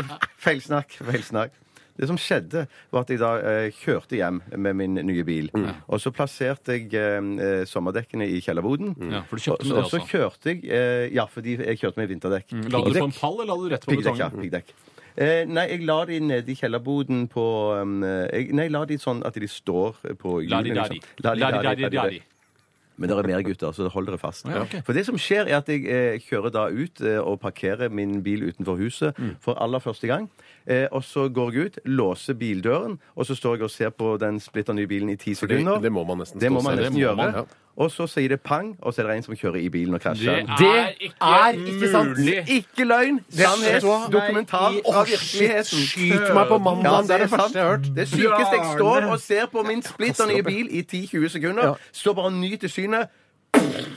[SPEAKER 6] hjem. Feilsnakk. Feilsnakk. Det som skjedde, var at jeg da eh, kjørte hjem med min nye bil.
[SPEAKER 5] Mm.
[SPEAKER 6] Og så plasserte jeg eh, eh, sommerdekkene i kjellerboden.
[SPEAKER 5] Mm. Ja, for du kjøpte
[SPEAKER 6] Og
[SPEAKER 5] med
[SPEAKER 6] så-
[SPEAKER 5] det,
[SPEAKER 6] og
[SPEAKER 5] altså.
[SPEAKER 6] så
[SPEAKER 5] Mm.
[SPEAKER 6] kjørte jeg eh, Ja, fordi jeg kjørte med vinterdekk.
[SPEAKER 5] La du på en pall, eller la du rett på
[SPEAKER 6] Piggdekk, ja.
[SPEAKER 5] betongen?
[SPEAKER 6] Piggdekk. Eh, nei, jeg la de nede i kjellerboden på um, eh, jeg, Nei, jeg la de sånn at de står på hjulene.
[SPEAKER 5] Lari-dari.
[SPEAKER 6] liksom. La de dari, la de dari.
[SPEAKER 5] Lari-dari-dari.
[SPEAKER 6] Men det er mer gutter, så hold dere fast.
[SPEAKER 5] Ja, ok.
[SPEAKER 6] For det som skjer, er at jeg eh, kjører da ut eh, og parkerer min bil utenfor huset
[SPEAKER 4] Mm.
[SPEAKER 6] for aller første gang. Eh, og så går jeg ut, låser bildøren, og så står jeg og ser på den splitter nye bilen i ti
[SPEAKER 4] Det,
[SPEAKER 6] sekunder.
[SPEAKER 4] det må man nesten
[SPEAKER 6] Det må
[SPEAKER 4] stå
[SPEAKER 6] man
[SPEAKER 4] seg. Det
[SPEAKER 6] nesten
[SPEAKER 4] må
[SPEAKER 6] gjøre.
[SPEAKER 4] man, ja.
[SPEAKER 6] Og så sier det pang, og så er det en som kjører i bilen og
[SPEAKER 5] Det
[SPEAKER 6] krasjer.
[SPEAKER 5] er ikke mulig.
[SPEAKER 6] Ikke løgn! Sannhet! Dokumentar fra virkeligheten.
[SPEAKER 4] Skyt meg på mandag! Det er det første jeg har hørt.
[SPEAKER 6] Det sykeste jeg står og ser på min splitter nye bil i 10-20 sekunder. Står bare og nyter synet.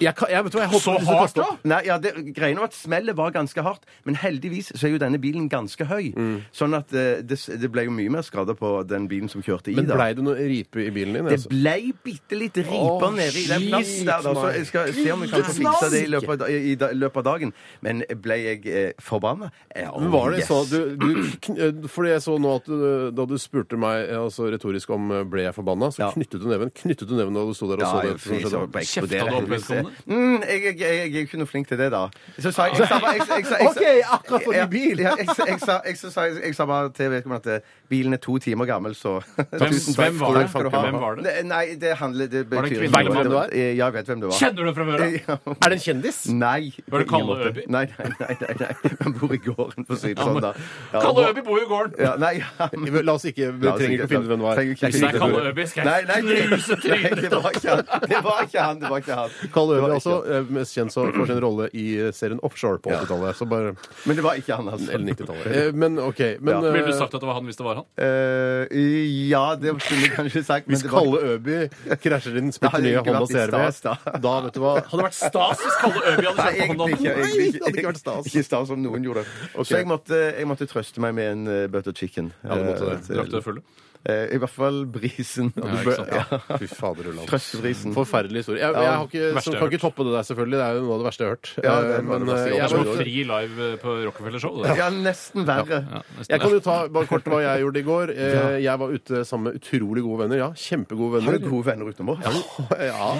[SPEAKER 4] Jeg, kan, jeg vet du hva, jeg håper
[SPEAKER 5] Så
[SPEAKER 4] disse
[SPEAKER 5] hardt,
[SPEAKER 4] kaster
[SPEAKER 5] da?
[SPEAKER 4] opp.
[SPEAKER 6] Nei, ja, det, Greia var at smellet var ganske hardt, men heldigvis så er jo denne bilen ganske høy. Sånn at eh, det, s- det ble jo mye mer skader på den bilen som kjørte i.
[SPEAKER 4] Men
[SPEAKER 6] da.
[SPEAKER 4] blei det noe ripe i bilen din?
[SPEAKER 6] Det
[SPEAKER 4] altså?
[SPEAKER 6] blei bitte litt riper
[SPEAKER 4] Åh,
[SPEAKER 6] nede i den plassen der, da, så jeg skal se om vi kan få fiksa det i løpet av, da- i, da- i løpet av dagen. Men ble jeg eh, forbanna? Ja,
[SPEAKER 4] Men var det
[SPEAKER 6] yes.
[SPEAKER 4] sånn at du, du kn- eh, Fordi jeg så nå at du, da du spurte meg eh, altså retorisk om eh, ble jeg forbanna, så
[SPEAKER 6] Ja.
[SPEAKER 4] knyttet du neven. Knyttet du neven da du sto der og
[SPEAKER 6] Ja,
[SPEAKER 4] så det?
[SPEAKER 6] jeg,
[SPEAKER 4] som
[SPEAKER 6] jeg,
[SPEAKER 4] skjedde?
[SPEAKER 6] jeg,
[SPEAKER 5] Kjefta du opp vedkommende?
[SPEAKER 6] Mm, jeg, jeg, jeg, jeg er ikke noe flink til det, da. Så sa jeg, jeg, sa bare- jeg, jeg, jeg, jeg
[SPEAKER 4] Ok, akkurat som i
[SPEAKER 6] Ja,
[SPEAKER 4] bil.
[SPEAKER 6] Ja, jeg, jeg, jeg, sa- jeg, så sa- jeg, jeg sa bare til vedkommende at eh, bilen er to timer gammel, så Tusen takk.
[SPEAKER 5] hvem var det?
[SPEAKER 6] Takk skal du ha.
[SPEAKER 5] Hvem var det?
[SPEAKER 6] Ne- Nei, det handler det betyr
[SPEAKER 5] det en
[SPEAKER 6] ikke
[SPEAKER 5] kvinne?
[SPEAKER 6] noe.
[SPEAKER 4] Vet du hvem det var?
[SPEAKER 6] Ja, jeg vet hvem det var.
[SPEAKER 5] Kjenner du det fra før av?
[SPEAKER 6] Ja.
[SPEAKER 4] Er det en kjendis?
[SPEAKER 6] Nei.
[SPEAKER 5] Var det
[SPEAKER 6] på ingen
[SPEAKER 5] Kalle
[SPEAKER 6] måte.
[SPEAKER 5] Øby?
[SPEAKER 6] Nei, nei, nei. nei, nei. Han bor i gården, for å si det sånn, da. Ja,
[SPEAKER 5] Kalle Øby bor jo i gården!
[SPEAKER 6] Ja, nei, ja, men-
[SPEAKER 4] La oss ikke, vi
[SPEAKER 6] La oss
[SPEAKER 4] trenger
[SPEAKER 6] ikke-
[SPEAKER 4] ikke å finne ut hvem det
[SPEAKER 6] trenger ikke
[SPEAKER 4] var.
[SPEAKER 5] Hvis det er Kalle Øby, skal
[SPEAKER 6] Nei,
[SPEAKER 5] jeg
[SPEAKER 6] nei,
[SPEAKER 5] knuse
[SPEAKER 6] nei,
[SPEAKER 5] trynet
[SPEAKER 6] det var ikke han. Det var ikke han. Det var ikke han.
[SPEAKER 4] Karl
[SPEAKER 6] Det
[SPEAKER 4] Øvrig,
[SPEAKER 6] var
[SPEAKER 4] altså,
[SPEAKER 6] ikke han.
[SPEAKER 4] eh, mest kjent så for sin rolle i eh, serien Offshore på 80-tallet. Så bare
[SPEAKER 6] Men det var ikke han, altså.
[SPEAKER 4] Eller 90-tallet. Eh, Men OK. Men
[SPEAKER 6] Ja.
[SPEAKER 4] eh,
[SPEAKER 5] Ville du sagt at det var han hvis det var han?
[SPEAKER 6] Eh, ja, det skulle jeg kanskje sagt. men
[SPEAKER 4] hvis
[SPEAKER 6] det var-
[SPEAKER 4] Kalle Øby krasjer inn
[SPEAKER 6] Da hadde
[SPEAKER 4] splitter nye
[SPEAKER 6] det ikke
[SPEAKER 4] Honda
[SPEAKER 6] vært i
[SPEAKER 4] CRV,
[SPEAKER 6] stas, da.
[SPEAKER 4] da vet du hva
[SPEAKER 5] Hadde det vært stas hvis Kalle Øby hadde
[SPEAKER 6] Nei,
[SPEAKER 5] kjørt på
[SPEAKER 6] egentlig
[SPEAKER 5] hånda?
[SPEAKER 6] ikke.
[SPEAKER 4] Nei,
[SPEAKER 6] Egentlig,
[SPEAKER 4] det hadde ikke vært stas.
[SPEAKER 6] Ikke stas om noen gjorde det.
[SPEAKER 4] Ok.
[SPEAKER 6] Så jeg måtte, jeg måtte trøste meg med en eh, butter chicken.
[SPEAKER 4] Ja, du måtte det.
[SPEAKER 6] Eh,
[SPEAKER 5] Drakk du deg full?
[SPEAKER 6] eh, I hvert fall brisen.
[SPEAKER 5] ikke sant.
[SPEAKER 6] Ja.
[SPEAKER 4] Fy fader, Ulland.
[SPEAKER 6] Trøstebrisen.
[SPEAKER 4] Forferdelig historie. Jeg, jeg har ikke,
[SPEAKER 5] Verste
[SPEAKER 4] som
[SPEAKER 5] jeg
[SPEAKER 4] kan ikke toppe det der, selvfølgelig. Det er jo noe av det verste jeg har hørt.
[SPEAKER 6] Ja,
[SPEAKER 4] Eh,
[SPEAKER 6] det var det
[SPEAKER 4] men, eh,
[SPEAKER 6] verste jeg
[SPEAKER 4] jeg,
[SPEAKER 5] Det
[SPEAKER 6] har
[SPEAKER 5] var
[SPEAKER 6] hørt.
[SPEAKER 4] må-
[SPEAKER 5] jo fri live på Rockefeller Show. det.
[SPEAKER 6] Ja, nesten verre.
[SPEAKER 5] Ja, nesten.
[SPEAKER 4] jeg kan jo ta bare kort hva jeg gjorde i går. Eh, Jeg var ute sammen med utrolig gode venner. Ja, kjempegode
[SPEAKER 6] Har
[SPEAKER 4] venner.
[SPEAKER 6] du gode venner utenom oss?
[SPEAKER 4] Ja.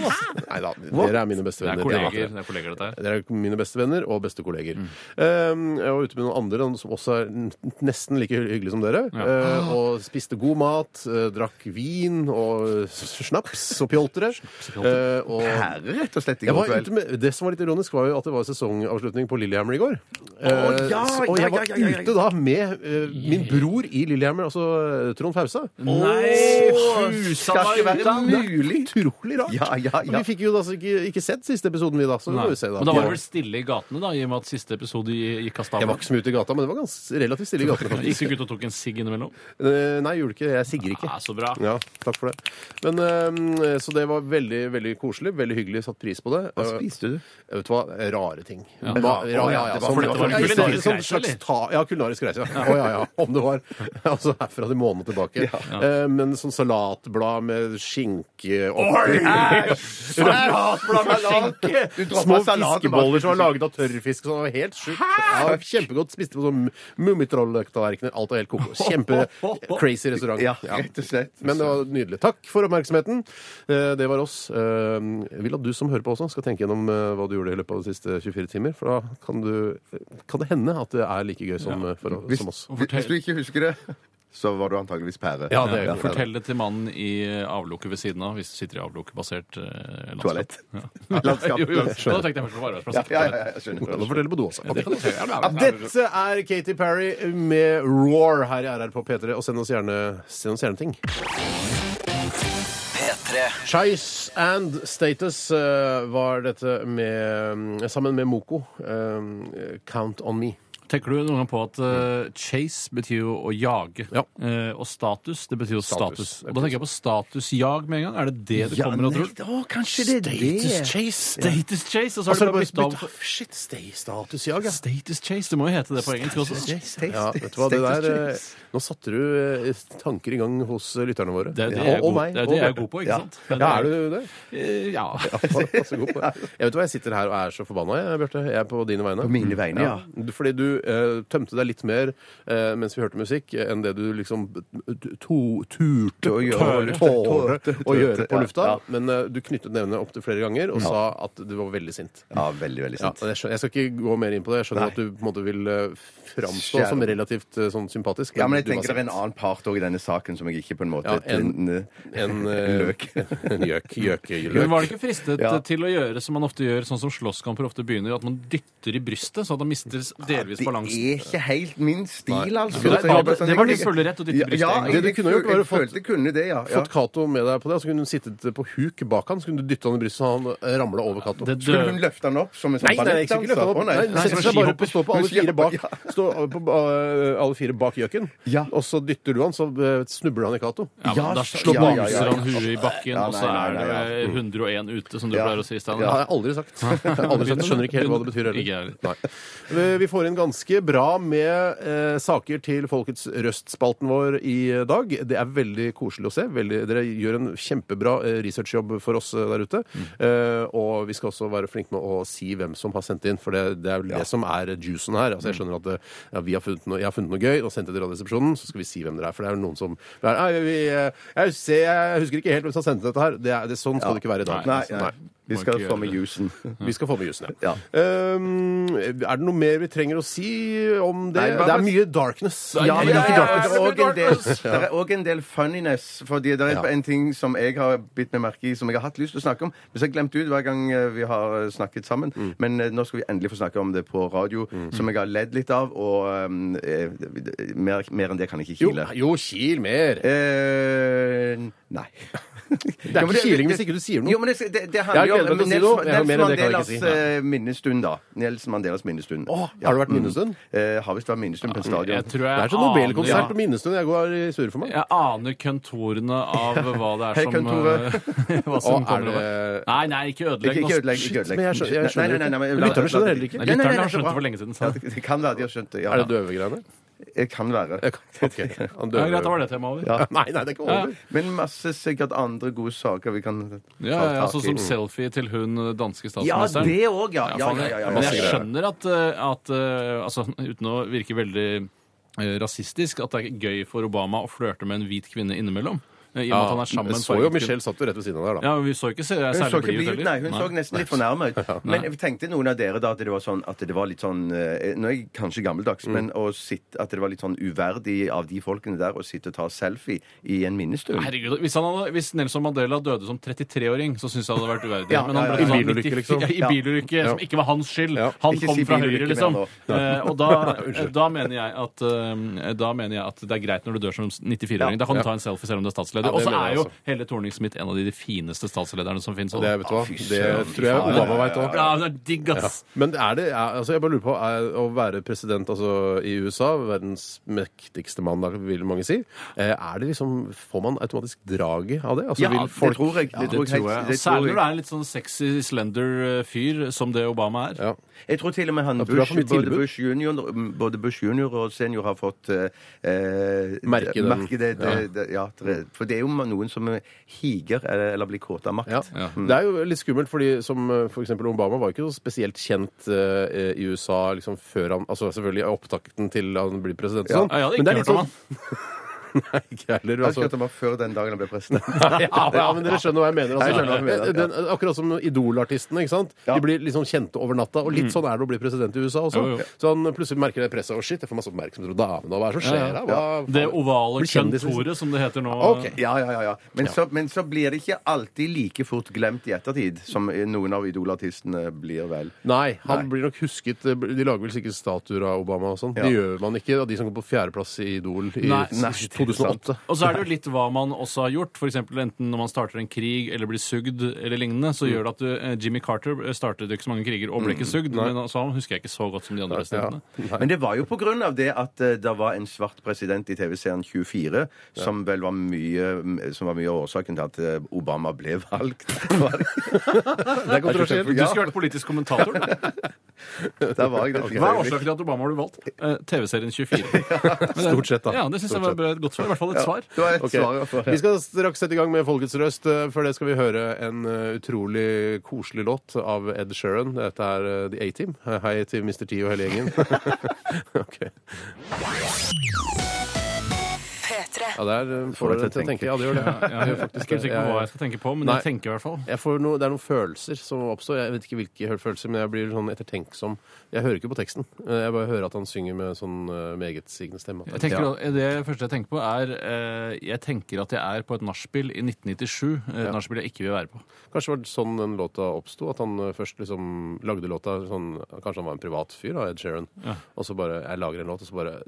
[SPEAKER 4] Nei da, dere er mine beste
[SPEAKER 5] Det er
[SPEAKER 4] venner.
[SPEAKER 5] kolleger, det er kolleger dette her.
[SPEAKER 4] Dere er mine beste venner og beste kolleger. Eh, jeg var ute med noen andre som også er n- nesten like hyggelige som dere. eh, og spiste god mat, eh, drakk vin og s- snaps og pjoltere. Eh, og
[SPEAKER 6] Herre, rett og slett, i
[SPEAKER 4] jeg
[SPEAKER 6] går
[SPEAKER 4] var
[SPEAKER 6] kveld.
[SPEAKER 4] ute med, det som var litt ironisk, var jo at det var sesongavslutning på Lillehammer i går.
[SPEAKER 6] Å, ja,
[SPEAKER 4] Eh, så- og jeg
[SPEAKER 6] ja,
[SPEAKER 4] var
[SPEAKER 6] ja, ja, ja, ja.
[SPEAKER 4] ute da med eh, min bror i Lillehammer, altså eh, Trond Fausa.
[SPEAKER 5] Nei,
[SPEAKER 6] Skal ikke være mulig!
[SPEAKER 4] Utrolig rart.
[SPEAKER 6] Ja, ja,
[SPEAKER 4] Og
[SPEAKER 6] ja.
[SPEAKER 4] Vi fikk jo da altså ikke, ikke sett siste episoden, vi da. Så vi må jo se, da.
[SPEAKER 5] Men da var det vel stille i gatene, da, i og med at siste episode gikk av
[SPEAKER 4] Jeg
[SPEAKER 5] stabelen?
[SPEAKER 4] var ikke så mye ute i gata, men det var ganske relativt stille i gatene. faktisk.
[SPEAKER 5] Gikk du ikke ut og tok en sigg innimellom?
[SPEAKER 4] Eh, Nei, jeg gjorde ikke det. Jeg sigger ikke.
[SPEAKER 5] Ja, så bra.
[SPEAKER 4] Ja, takk for det. Men, eh, så det var veldig veldig koselig. Veldig hyggelig. Satt pris på det.
[SPEAKER 6] Hva spiste du?
[SPEAKER 4] Eh, Vet du hva? Rare ting. Ja,
[SPEAKER 6] Å, ja, det var-
[SPEAKER 4] sånn-
[SPEAKER 5] for dette var
[SPEAKER 4] ja,
[SPEAKER 5] en
[SPEAKER 4] sånn-
[SPEAKER 5] kulinarisk
[SPEAKER 4] sånn
[SPEAKER 5] reise, eller?
[SPEAKER 4] slags ta- Ja, kulinarisk reise. Ja. Å, ja, ja. Om det var altså herfra til måneden tilbake. Eh, Men sånn salatblad med skinke oppi Salatblad med skinke!
[SPEAKER 6] Du dropper
[SPEAKER 4] Små
[SPEAKER 6] salat, du bare
[SPEAKER 4] fiskeboller som
[SPEAKER 6] spiser
[SPEAKER 4] var laget av tørrfisk. Sånn, det var helt sjukt. Ja, kjempegodt. Spiste på sånn Mummitroll-tallerkener. Alt var helt koko. Kjempe-crazy restaurant.
[SPEAKER 6] Ja, eh, rett og slett.
[SPEAKER 4] Men det var nydelig. Takk for oppmerksomheten. Eh, Det var oss. Eh, Jeg vil at du som hører på også, skal tenke gjennom eh, hva du gjorde i løpet av de siste 24 timer. For da kan, du, kan det hende at det er like gøy som, eh, for,
[SPEAKER 6] Hvis,
[SPEAKER 4] som oss.
[SPEAKER 6] hvis du ikke husker det, så var du antageligvis pære.
[SPEAKER 4] Ja, det er
[SPEAKER 5] Ja,
[SPEAKER 4] jo-
[SPEAKER 5] Fortell det til mannen i avlukket ved siden av, hvis du sitter i avlukkebasert eh, landskap.
[SPEAKER 6] Toalett.
[SPEAKER 5] Ja.
[SPEAKER 6] Landskap.
[SPEAKER 5] jo, jo, da tenkte jeg først på
[SPEAKER 6] Ja,
[SPEAKER 5] arbeidsplassen.
[SPEAKER 6] ja, ja, jeg skjønner.
[SPEAKER 4] Kan du fortelle på do også?
[SPEAKER 5] Det kan du si. Ja,
[SPEAKER 4] Ja,
[SPEAKER 5] ja, ja.
[SPEAKER 4] Dette er Katy Perry med Roar her i RR på P3. Og send oss gjerne, send oss gjerne ting.
[SPEAKER 2] P3.
[SPEAKER 4] Chice and Status eh, var dette med, mm, sammen med Moko. eh, Count on me.
[SPEAKER 5] Tenker du noen gang på at eh, chase betyr jo å jage,
[SPEAKER 4] Ja.
[SPEAKER 5] Eh, og status det betyr jo status.
[SPEAKER 4] Status.
[SPEAKER 5] Og da tenker jeg på statusjag med en gang. Er det det det kommer og tror?
[SPEAKER 6] å, kanskje det er
[SPEAKER 4] Status
[SPEAKER 6] det.
[SPEAKER 4] Chase. Det-
[SPEAKER 5] Status chase! Og så
[SPEAKER 4] Og så
[SPEAKER 5] har
[SPEAKER 4] er
[SPEAKER 5] du
[SPEAKER 4] det
[SPEAKER 5] bare bytta
[SPEAKER 4] bare bytta
[SPEAKER 5] om.
[SPEAKER 4] av. Shit, stay status, ja. ja.
[SPEAKER 5] Status chase, det må jo hete det på engelsk også.
[SPEAKER 4] Ja, vet du hva, det der eh, Nå satte du eh, tanker i gang hos eh, lytterne våre.
[SPEAKER 5] Det er det
[SPEAKER 4] Og-
[SPEAKER 5] jeg er
[SPEAKER 4] og
[SPEAKER 5] god-
[SPEAKER 4] meg,
[SPEAKER 5] det er
[SPEAKER 4] og
[SPEAKER 5] det jeg er
[SPEAKER 4] Bjarte.
[SPEAKER 5] god på,
[SPEAKER 4] Ja.
[SPEAKER 5] ikke sant? Det er det
[SPEAKER 4] Ja,
[SPEAKER 5] jeg-
[SPEAKER 4] er du det?
[SPEAKER 5] Eh, Ja.
[SPEAKER 4] Passe god på det. Jeg vet hva, jeg sitter her og er så forbanna, jeg, Bjarte. Jeg er på dine vegne.
[SPEAKER 6] På mine vegne, ja.
[SPEAKER 4] Fordi du eh, tømte deg litt mer eh, mens vi hørte musikk, enn det du liksom to, turte å
[SPEAKER 6] gjøre.
[SPEAKER 4] gjøre, tåre
[SPEAKER 6] Tårte, tårte,
[SPEAKER 4] å gjøre
[SPEAKER 6] ja,
[SPEAKER 4] på lufta.
[SPEAKER 6] ja.
[SPEAKER 4] Men eh, du knyttet nevene opp til flere ganger og sa at du var veldig sint.
[SPEAKER 6] Ja, veldig, veldig
[SPEAKER 4] Ja,
[SPEAKER 6] sant.
[SPEAKER 4] og jeg, skjønner, jeg skal ikke gå mer inn på det. Jeg skjønner
[SPEAKER 6] Nei.
[SPEAKER 4] at du på en måte vil eh, framstå
[SPEAKER 6] Skjære.
[SPEAKER 4] som relativt eh, sånn sympatisk.
[SPEAKER 6] Ja, men jeg
[SPEAKER 4] du var
[SPEAKER 6] tenker det er en
[SPEAKER 4] sint.
[SPEAKER 6] annen part òg i denne saken som jeg ikke på en måte
[SPEAKER 4] Ja, en-
[SPEAKER 6] en,
[SPEAKER 4] en, eh,
[SPEAKER 6] løk.
[SPEAKER 4] En gjøk.
[SPEAKER 5] Men
[SPEAKER 4] Gjøkeløk.
[SPEAKER 5] var det ikke fristet
[SPEAKER 6] Ja.
[SPEAKER 5] eh, til å gjøre som man ofte gjør, sånn som slåsskamper ofte begynner, at man dytter i brystet, så at man mister s- delvis
[SPEAKER 6] de-
[SPEAKER 5] balansen.
[SPEAKER 6] er ikke helt min stil, altså.
[SPEAKER 5] Det- det-
[SPEAKER 6] Så jeg sånn-
[SPEAKER 5] det var
[SPEAKER 6] jeg-
[SPEAKER 5] din følgerett å dytte
[SPEAKER 6] Ja,
[SPEAKER 5] brystet
[SPEAKER 6] Ja,
[SPEAKER 5] inn.
[SPEAKER 6] jeg,
[SPEAKER 4] Det du kunne gjort, var å
[SPEAKER 6] jeg
[SPEAKER 4] fått-
[SPEAKER 6] følte jeg kunne det, ja. ja.
[SPEAKER 4] Fått Cato med deg på det, og så kunne hun sittet på huk bak han, så kunne du dytta han i brystet, så han ramla over Cato.
[SPEAKER 5] Det
[SPEAKER 6] Skulle hun
[SPEAKER 5] dø-
[SPEAKER 6] løfte han opp som en
[SPEAKER 4] Nei, nei,
[SPEAKER 6] sånn
[SPEAKER 4] nei, ikke
[SPEAKER 6] ballettdanser?
[SPEAKER 4] løfte han
[SPEAKER 6] Å,
[SPEAKER 4] opp. Nei,
[SPEAKER 5] nei,
[SPEAKER 4] setter seg
[SPEAKER 5] nei,
[SPEAKER 4] bare på, stå på alle
[SPEAKER 6] skihopp.
[SPEAKER 4] fire bak
[SPEAKER 6] Ja.
[SPEAKER 4] Stå på eh, alle fire bak gjøken,
[SPEAKER 6] Ja.
[SPEAKER 4] og så dytter du han, så eh, snubler han i Cato.
[SPEAKER 5] Ja,
[SPEAKER 6] Ja,
[SPEAKER 5] men da
[SPEAKER 6] så-
[SPEAKER 5] slår
[SPEAKER 6] ja,
[SPEAKER 5] ja,
[SPEAKER 6] ja, ja, ja.
[SPEAKER 5] han huet i bakken,
[SPEAKER 6] Ja,
[SPEAKER 5] og
[SPEAKER 6] nei,
[SPEAKER 5] så
[SPEAKER 6] nei,
[SPEAKER 5] er
[SPEAKER 6] nei,
[SPEAKER 5] det 101 ute, som du pleier å si, Stein.
[SPEAKER 4] Det har jeg aldri sagt. Jeg har aldri sagt. Jeg skjønner ikke helt hva det betyr
[SPEAKER 5] Ikke jeg
[SPEAKER 4] heller. Nei. Vi- Vi får inn ganske bra med eh, saker til Folkets Røst-spalten vår i dag. Det er veldig koselig å se. Veldig, dere gjør en kjempebra eh, researchjobb for oss eh, der ute. Eh, og vi skal også være flinke med å si hvem som har sendt inn, for det, det er vel det som er juicen her. Altså, jeg skjønner at eh, ja, vi har funnet noe, jeg har funnet noe gøy og sendt det til Radioresepsjonen, så skal vi si hvem dere er. For det er jo noen som det er, «Nei, vi, eh, jeg, husker, jeg husker ikke helt hvem som sendte dette her. Det er, det, sånn skal det ikke være i dag.
[SPEAKER 6] Nei,
[SPEAKER 4] Altså,
[SPEAKER 6] nei. Vi
[SPEAKER 5] Må
[SPEAKER 6] skal
[SPEAKER 5] ikke
[SPEAKER 6] få
[SPEAKER 5] gjøre
[SPEAKER 6] med
[SPEAKER 5] det.
[SPEAKER 6] jusen.
[SPEAKER 4] Mm. vi skal få med jusen, ja.
[SPEAKER 6] Ja.
[SPEAKER 4] Um, er det noe mer vi trenger å si om det?
[SPEAKER 6] Nei, bare-
[SPEAKER 4] det er mye darkness.
[SPEAKER 6] Ja, men det er
[SPEAKER 5] ja, ja,
[SPEAKER 6] det er
[SPEAKER 5] ja.
[SPEAKER 6] også en del- det er òg en del funniness. Fordi det er en ting som jeg har bitt meg merke i, som jeg har hatt lyst til å snakke om, men så har jeg glemt ut hver gang eh, vi har eh, snakket sammen.
[SPEAKER 4] Mm.
[SPEAKER 6] Men eh, nå skal vi endelig få snakke om det på radio, som jeg har ledd litt av, og eh, eh, mer, mer enn det kan jeg ikke
[SPEAKER 4] Jo,
[SPEAKER 6] kile.
[SPEAKER 4] jo, kil mer.
[SPEAKER 6] Eh, nei.
[SPEAKER 4] Det er ikke kiling hvis ikke du sier
[SPEAKER 6] Jo,
[SPEAKER 4] noe.
[SPEAKER 6] men det, det, det
[SPEAKER 4] Jeg
[SPEAKER 6] handler
[SPEAKER 4] har
[SPEAKER 6] jo
[SPEAKER 4] gledet meg til å
[SPEAKER 6] om
[SPEAKER 4] si noe.
[SPEAKER 6] Nels,
[SPEAKER 4] Jeg har mer enn det kan jeg
[SPEAKER 6] Nels
[SPEAKER 4] ikke
[SPEAKER 6] Mandelas
[SPEAKER 4] si.
[SPEAKER 6] eh, minnestund, da. Nels Mandelas minnestund.
[SPEAKER 4] Å, har det vært minnestund?
[SPEAKER 6] Mm. Eh, har visst vært minnestund på en stadion.
[SPEAKER 5] Jeg tror
[SPEAKER 4] Det
[SPEAKER 5] jeg
[SPEAKER 4] er sånn Nobelkonsert
[SPEAKER 5] aner-
[SPEAKER 4] på minnestund jeg går i surre for meg.
[SPEAKER 5] Jeg aner kontorene av hva det er
[SPEAKER 6] Hei,
[SPEAKER 5] som, eh,
[SPEAKER 6] kontoret.
[SPEAKER 5] hva
[SPEAKER 4] Å,
[SPEAKER 5] som
[SPEAKER 4] er
[SPEAKER 5] kommer over.
[SPEAKER 4] det-
[SPEAKER 5] Nei, nei, ikke ødelegg.
[SPEAKER 6] Ikke, ikke
[SPEAKER 5] nå.
[SPEAKER 6] ødelegg. Ikke
[SPEAKER 4] Shit,
[SPEAKER 6] ødelegg.
[SPEAKER 4] men jeg skjønner- jeg skjønner ikke.
[SPEAKER 6] men-
[SPEAKER 4] Men lytterne skjønner heller ikke.
[SPEAKER 5] Nei,
[SPEAKER 6] Nei, nei,
[SPEAKER 5] lytterne
[SPEAKER 6] nei,
[SPEAKER 5] har skjønt
[SPEAKER 6] det
[SPEAKER 5] det for lenge siden.
[SPEAKER 6] Ja,
[SPEAKER 5] Så.
[SPEAKER 6] det- det kan være de har skjønt det. Ja,
[SPEAKER 4] Er det døvegreiene?
[SPEAKER 6] Det kan være.
[SPEAKER 4] Jeg kan- ok, han
[SPEAKER 5] Ja,
[SPEAKER 4] døver.
[SPEAKER 5] greit, da var det temaet over.
[SPEAKER 4] Ja, Nei, nei, det er ikke over.
[SPEAKER 6] Men masse sikkert andre gode saker vi kan
[SPEAKER 5] Ja, ja, ja,
[SPEAKER 4] altså
[SPEAKER 5] sånn som selfie til hun danske
[SPEAKER 6] Ja,
[SPEAKER 5] statsministeren.
[SPEAKER 6] det òg, ja. Ja, ja, ja, ja,
[SPEAKER 5] Men
[SPEAKER 6] ja.
[SPEAKER 5] jeg
[SPEAKER 4] greier.
[SPEAKER 5] skjønner at, eh, at eh, altså, Uten å virke veldig eh, rasistisk, at det er gøy for Obama å flørte med en hvit kvinne innimellom. eh, I og med at han er sammen med
[SPEAKER 4] jeg
[SPEAKER 5] en
[SPEAKER 4] så jo
[SPEAKER 5] farget
[SPEAKER 4] Michelle
[SPEAKER 5] kvinne.
[SPEAKER 4] satt jo rett ved siden av der, da.
[SPEAKER 5] Ja, men vi så ikke se-
[SPEAKER 6] Hun så
[SPEAKER 5] særlig
[SPEAKER 6] ikke
[SPEAKER 5] blid ut
[SPEAKER 6] blid ut, nei.
[SPEAKER 5] heller.
[SPEAKER 6] Hun
[SPEAKER 5] Nei.
[SPEAKER 6] så nesten litt fornærma ut. Men jeg tenkte noen av dere da at det var sånn at det var litt sånn eh, Nå er jeg kanskje
[SPEAKER 4] Mm.
[SPEAKER 6] gammeldags, men å sitte, at det var litt sånn uverdig av de folkene der å sitte og ta selfie i en minnestund.
[SPEAKER 5] Herregud, hvis, han hadde, hvis Nelson Mandela døde som 33-åring, så syns jeg det hadde vært uverdig.
[SPEAKER 6] Ja,
[SPEAKER 5] Men han ble
[SPEAKER 6] ja, ja.
[SPEAKER 5] sånn
[SPEAKER 4] I bilulykke,
[SPEAKER 5] 94
[SPEAKER 4] liksom.
[SPEAKER 5] Ja, I
[SPEAKER 6] Ja.
[SPEAKER 5] bilulykke, som ikke var hans skyld.
[SPEAKER 4] Ja.
[SPEAKER 5] Han
[SPEAKER 6] Ikke
[SPEAKER 5] kom
[SPEAKER 6] si
[SPEAKER 5] fra
[SPEAKER 6] bilulykke
[SPEAKER 5] høyre,
[SPEAKER 6] mer
[SPEAKER 5] liksom.
[SPEAKER 6] nå.
[SPEAKER 5] Eh, og da, da, mener jeg at, eh, da mener jeg at det er greit når du dør som 94-åring. Da kan du ta en selfie selv om du er statsleder.
[SPEAKER 4] Ja, det
[SPEAKER 5] og så
[SPEAKER 4] mener jeg
[SPEAKER 5] er jo
[SPEAKER 4] også.
[SPEAKER 5] Helle Thorning-Smith en av de fineste statslederne som fins.
[SPEAKER 4] Det, vet du hva?
[SPEAKER 6] fy søren,
[SPEAKER 4] det tror jeg
[SPEAKER 6] fy faen.
[SPEAKER 4] Obama veit òg.
[SPEAKER 5] Ja, det er digg, ass!
[SPEAKER 4] Men er det er, altså Jeg bare lurer på er, Å være president altså, i USA, verdens mektigste mann, da, vil mange si, eh, er det liksom Får man automatisk draget av det? Altså,
[SPEAKER 6] Ja,
[SPEAKER 4] vil
[SPEAKER 6] det tror jeg. Det tror jeg helt- det tror
[SPEAKER 5] Særlig når
[SPEAKER 6] jeg.
[SPEAKER 5] du er en litt sånn sexy, slender eh, fyr, som det Obama er.
[SPEAKER 4] Ja.
[SPEAKER 6] Jeg tror til og med han
[SPEAKER 4] du har for
[SPEAKER 6] Bush,
[SPEAKER 4] mye
[SPEAKER 6] både,
[SPEAKER 4] tilbud.
[SPEAKER 6] Bush junior, mm, både Bush junior og senior har fått eh, eh,
[SPEAKER 4] Merke den.
[SPEAKER 6] merke det, det, det, ja, det. For det er jo noen som higer eller, eller blir kåte av makt.
[SPEAKER 4] Ja.
[SPEAKER 6] Mm.
[SPEAKER 4] Det er jo litt skummelt, fordi som eh, for eksempel Obama var ikke så spesielt kjent eh, i USA liksom før han Altså selvfølgelig i opptakten til han blir president og sånn.
[SPEAKER 5] Ja, jeg hadde
[SPEAKER 4] Men det
[SPEAKER 5] ikke
[SPEAKER 4] er litt
[SPEAKER 5] hørt om han.
[SPEAKER 4] sånn- Nei, ikke heller.
[SPEAKER 6] Jeg husker
[SPEAKER 4] Altså.
[SPEAKER 6] at det var før den dagen han ble president.
[SPEAKER 4] Ja, ja, men dere skjønner hva jeg mener. altså.
[SPEAKER 6] Jeg skjønner hva du mener, ja.
[SPEAKER 4] Den, akkurat som Idol-artistene. ikke sant? De blir liksom kjente over natta. Og
[SPEAKER 6] Mm.
[SPEAKER 4] litt sånn er det å bli president i USA også.
[SPEAKER 5] Jo, jo.
[SPEAKER 4] Så han plutselig merker det presset. Å, shit, jeg får masse oppmerksomhet fra damene. og Hva er det som skjer? da? Hva,
[SPEAKER 5] Det ovale
[SPEAKER 4] Blir kjendis, liksom.
[SPEAKER 5] kontoret, som det heter nå.
[SPEAKER 4] Ok.
[SPEAKER 6] Ja, ja, ja, ja. Men, Så, men så blir det ikke alltid like fort glemt i ettertid som noen av idolartistene blir vel.
[SPEAKER 4] Nei, han
[SPEAKER 6] Nei.
[SPEAKER 4] blir nok husket De lager vel sikkert statuer av Obama og sånn.
[SPEAKER 6] Ja.
[SPEAKER 4] Det gjør man ikke av de som går på fjerdeplass i Idol i
[SPEAKER 5] Nei,
[SPEAKER 6] nei,
[SPEAKER 4] 2008.
[SPEAKER 5] Og så er det jo litt hva man også har gjort. For eksempel, enten når man starter en krig eller blir sugd eller lignende, så gjør det at du, eh, Jimmy Carter startet jo ikke så mange kriger og ble ikke sugd. Men altså, han husker jeg ikke så godt som de andre presidentene.
[SPEAKER 6] Men det var jo på grunn av det at eh, det var en svart president i TV-serien 24, som vel var mye Som var mye av årsaken til at eh, Obama ble valgt. Var det
[SPEAKER 4] Det er kontroversielt.
[SPEAKER 5] Du skulle vært politisk kommentator. du.
[SPEAKER 6] Der var jeg det.
[SPEAKER 5] Hva er årsaken til at Obama ble valgt? Eh, TV-serien 24. Men det-
[SPEAKER 4] Stort sett, da.
[SPEAKER 5] Ja, det syns jeg
[SPEAKER 4] Stort
[SPEAKER 5] var et godt svar. I hvert fall et svar.
[SPEAKER 6] Det var et
[SPEAKER 4] Ok.
[SPEAKER 6] svar. i hvert fall.
[SPEAKER 4] Vi skal straks sette i gang med Folkets røst. Eh, Før det skal vi høre en eh, utrolig koselig låt av Ed Sheeran. Dette er eh, The A-Team. Eh, Hei til Mr. T og hele gjengen. Ok.
[SPEAKER 1] P3. P3.
[SPEAKER 4] Ja, der eh, får dere til å tenke. Ja, det gjør det.
[SPEAKER 5] Ja, jeg er
[SPEAKER 4] Faktisk,
[SPEAKER 5] faktisk ikke helt sikker på
[SPEAKER 4] jeg-
[SPEAKER 5] hva jeg skal tenke på, men
[SPEAKER 4] Nei.
[SPEAKER 5] jeg tenker i hvert fall.
[SPEAKER 4] Jeg får noe, det er noen følelser som oppstår. Jeg vet ikke hvilke hø- følelser, men jeg blir sånn ettertenksom. Jeg hører ikke på teksten. Eh, Jeg bare hører at han synger med sånn eh, megetsigende stemme.
[SPEAKER 5] Jeg tenker, Det første jeg tenker på, er eh, Jeg tenker at jeg er på et nachspiel i 1997. Et nachspiel jeg ikke vil være på.
[SPEAKER 4] Kanskje det var sånn den låta oppsto, at han eh, først liksom lagde låta sånn Kanskje han var en privat fyr, da, Ed Sheeran, og så bare Jeg lager en låt, og så bare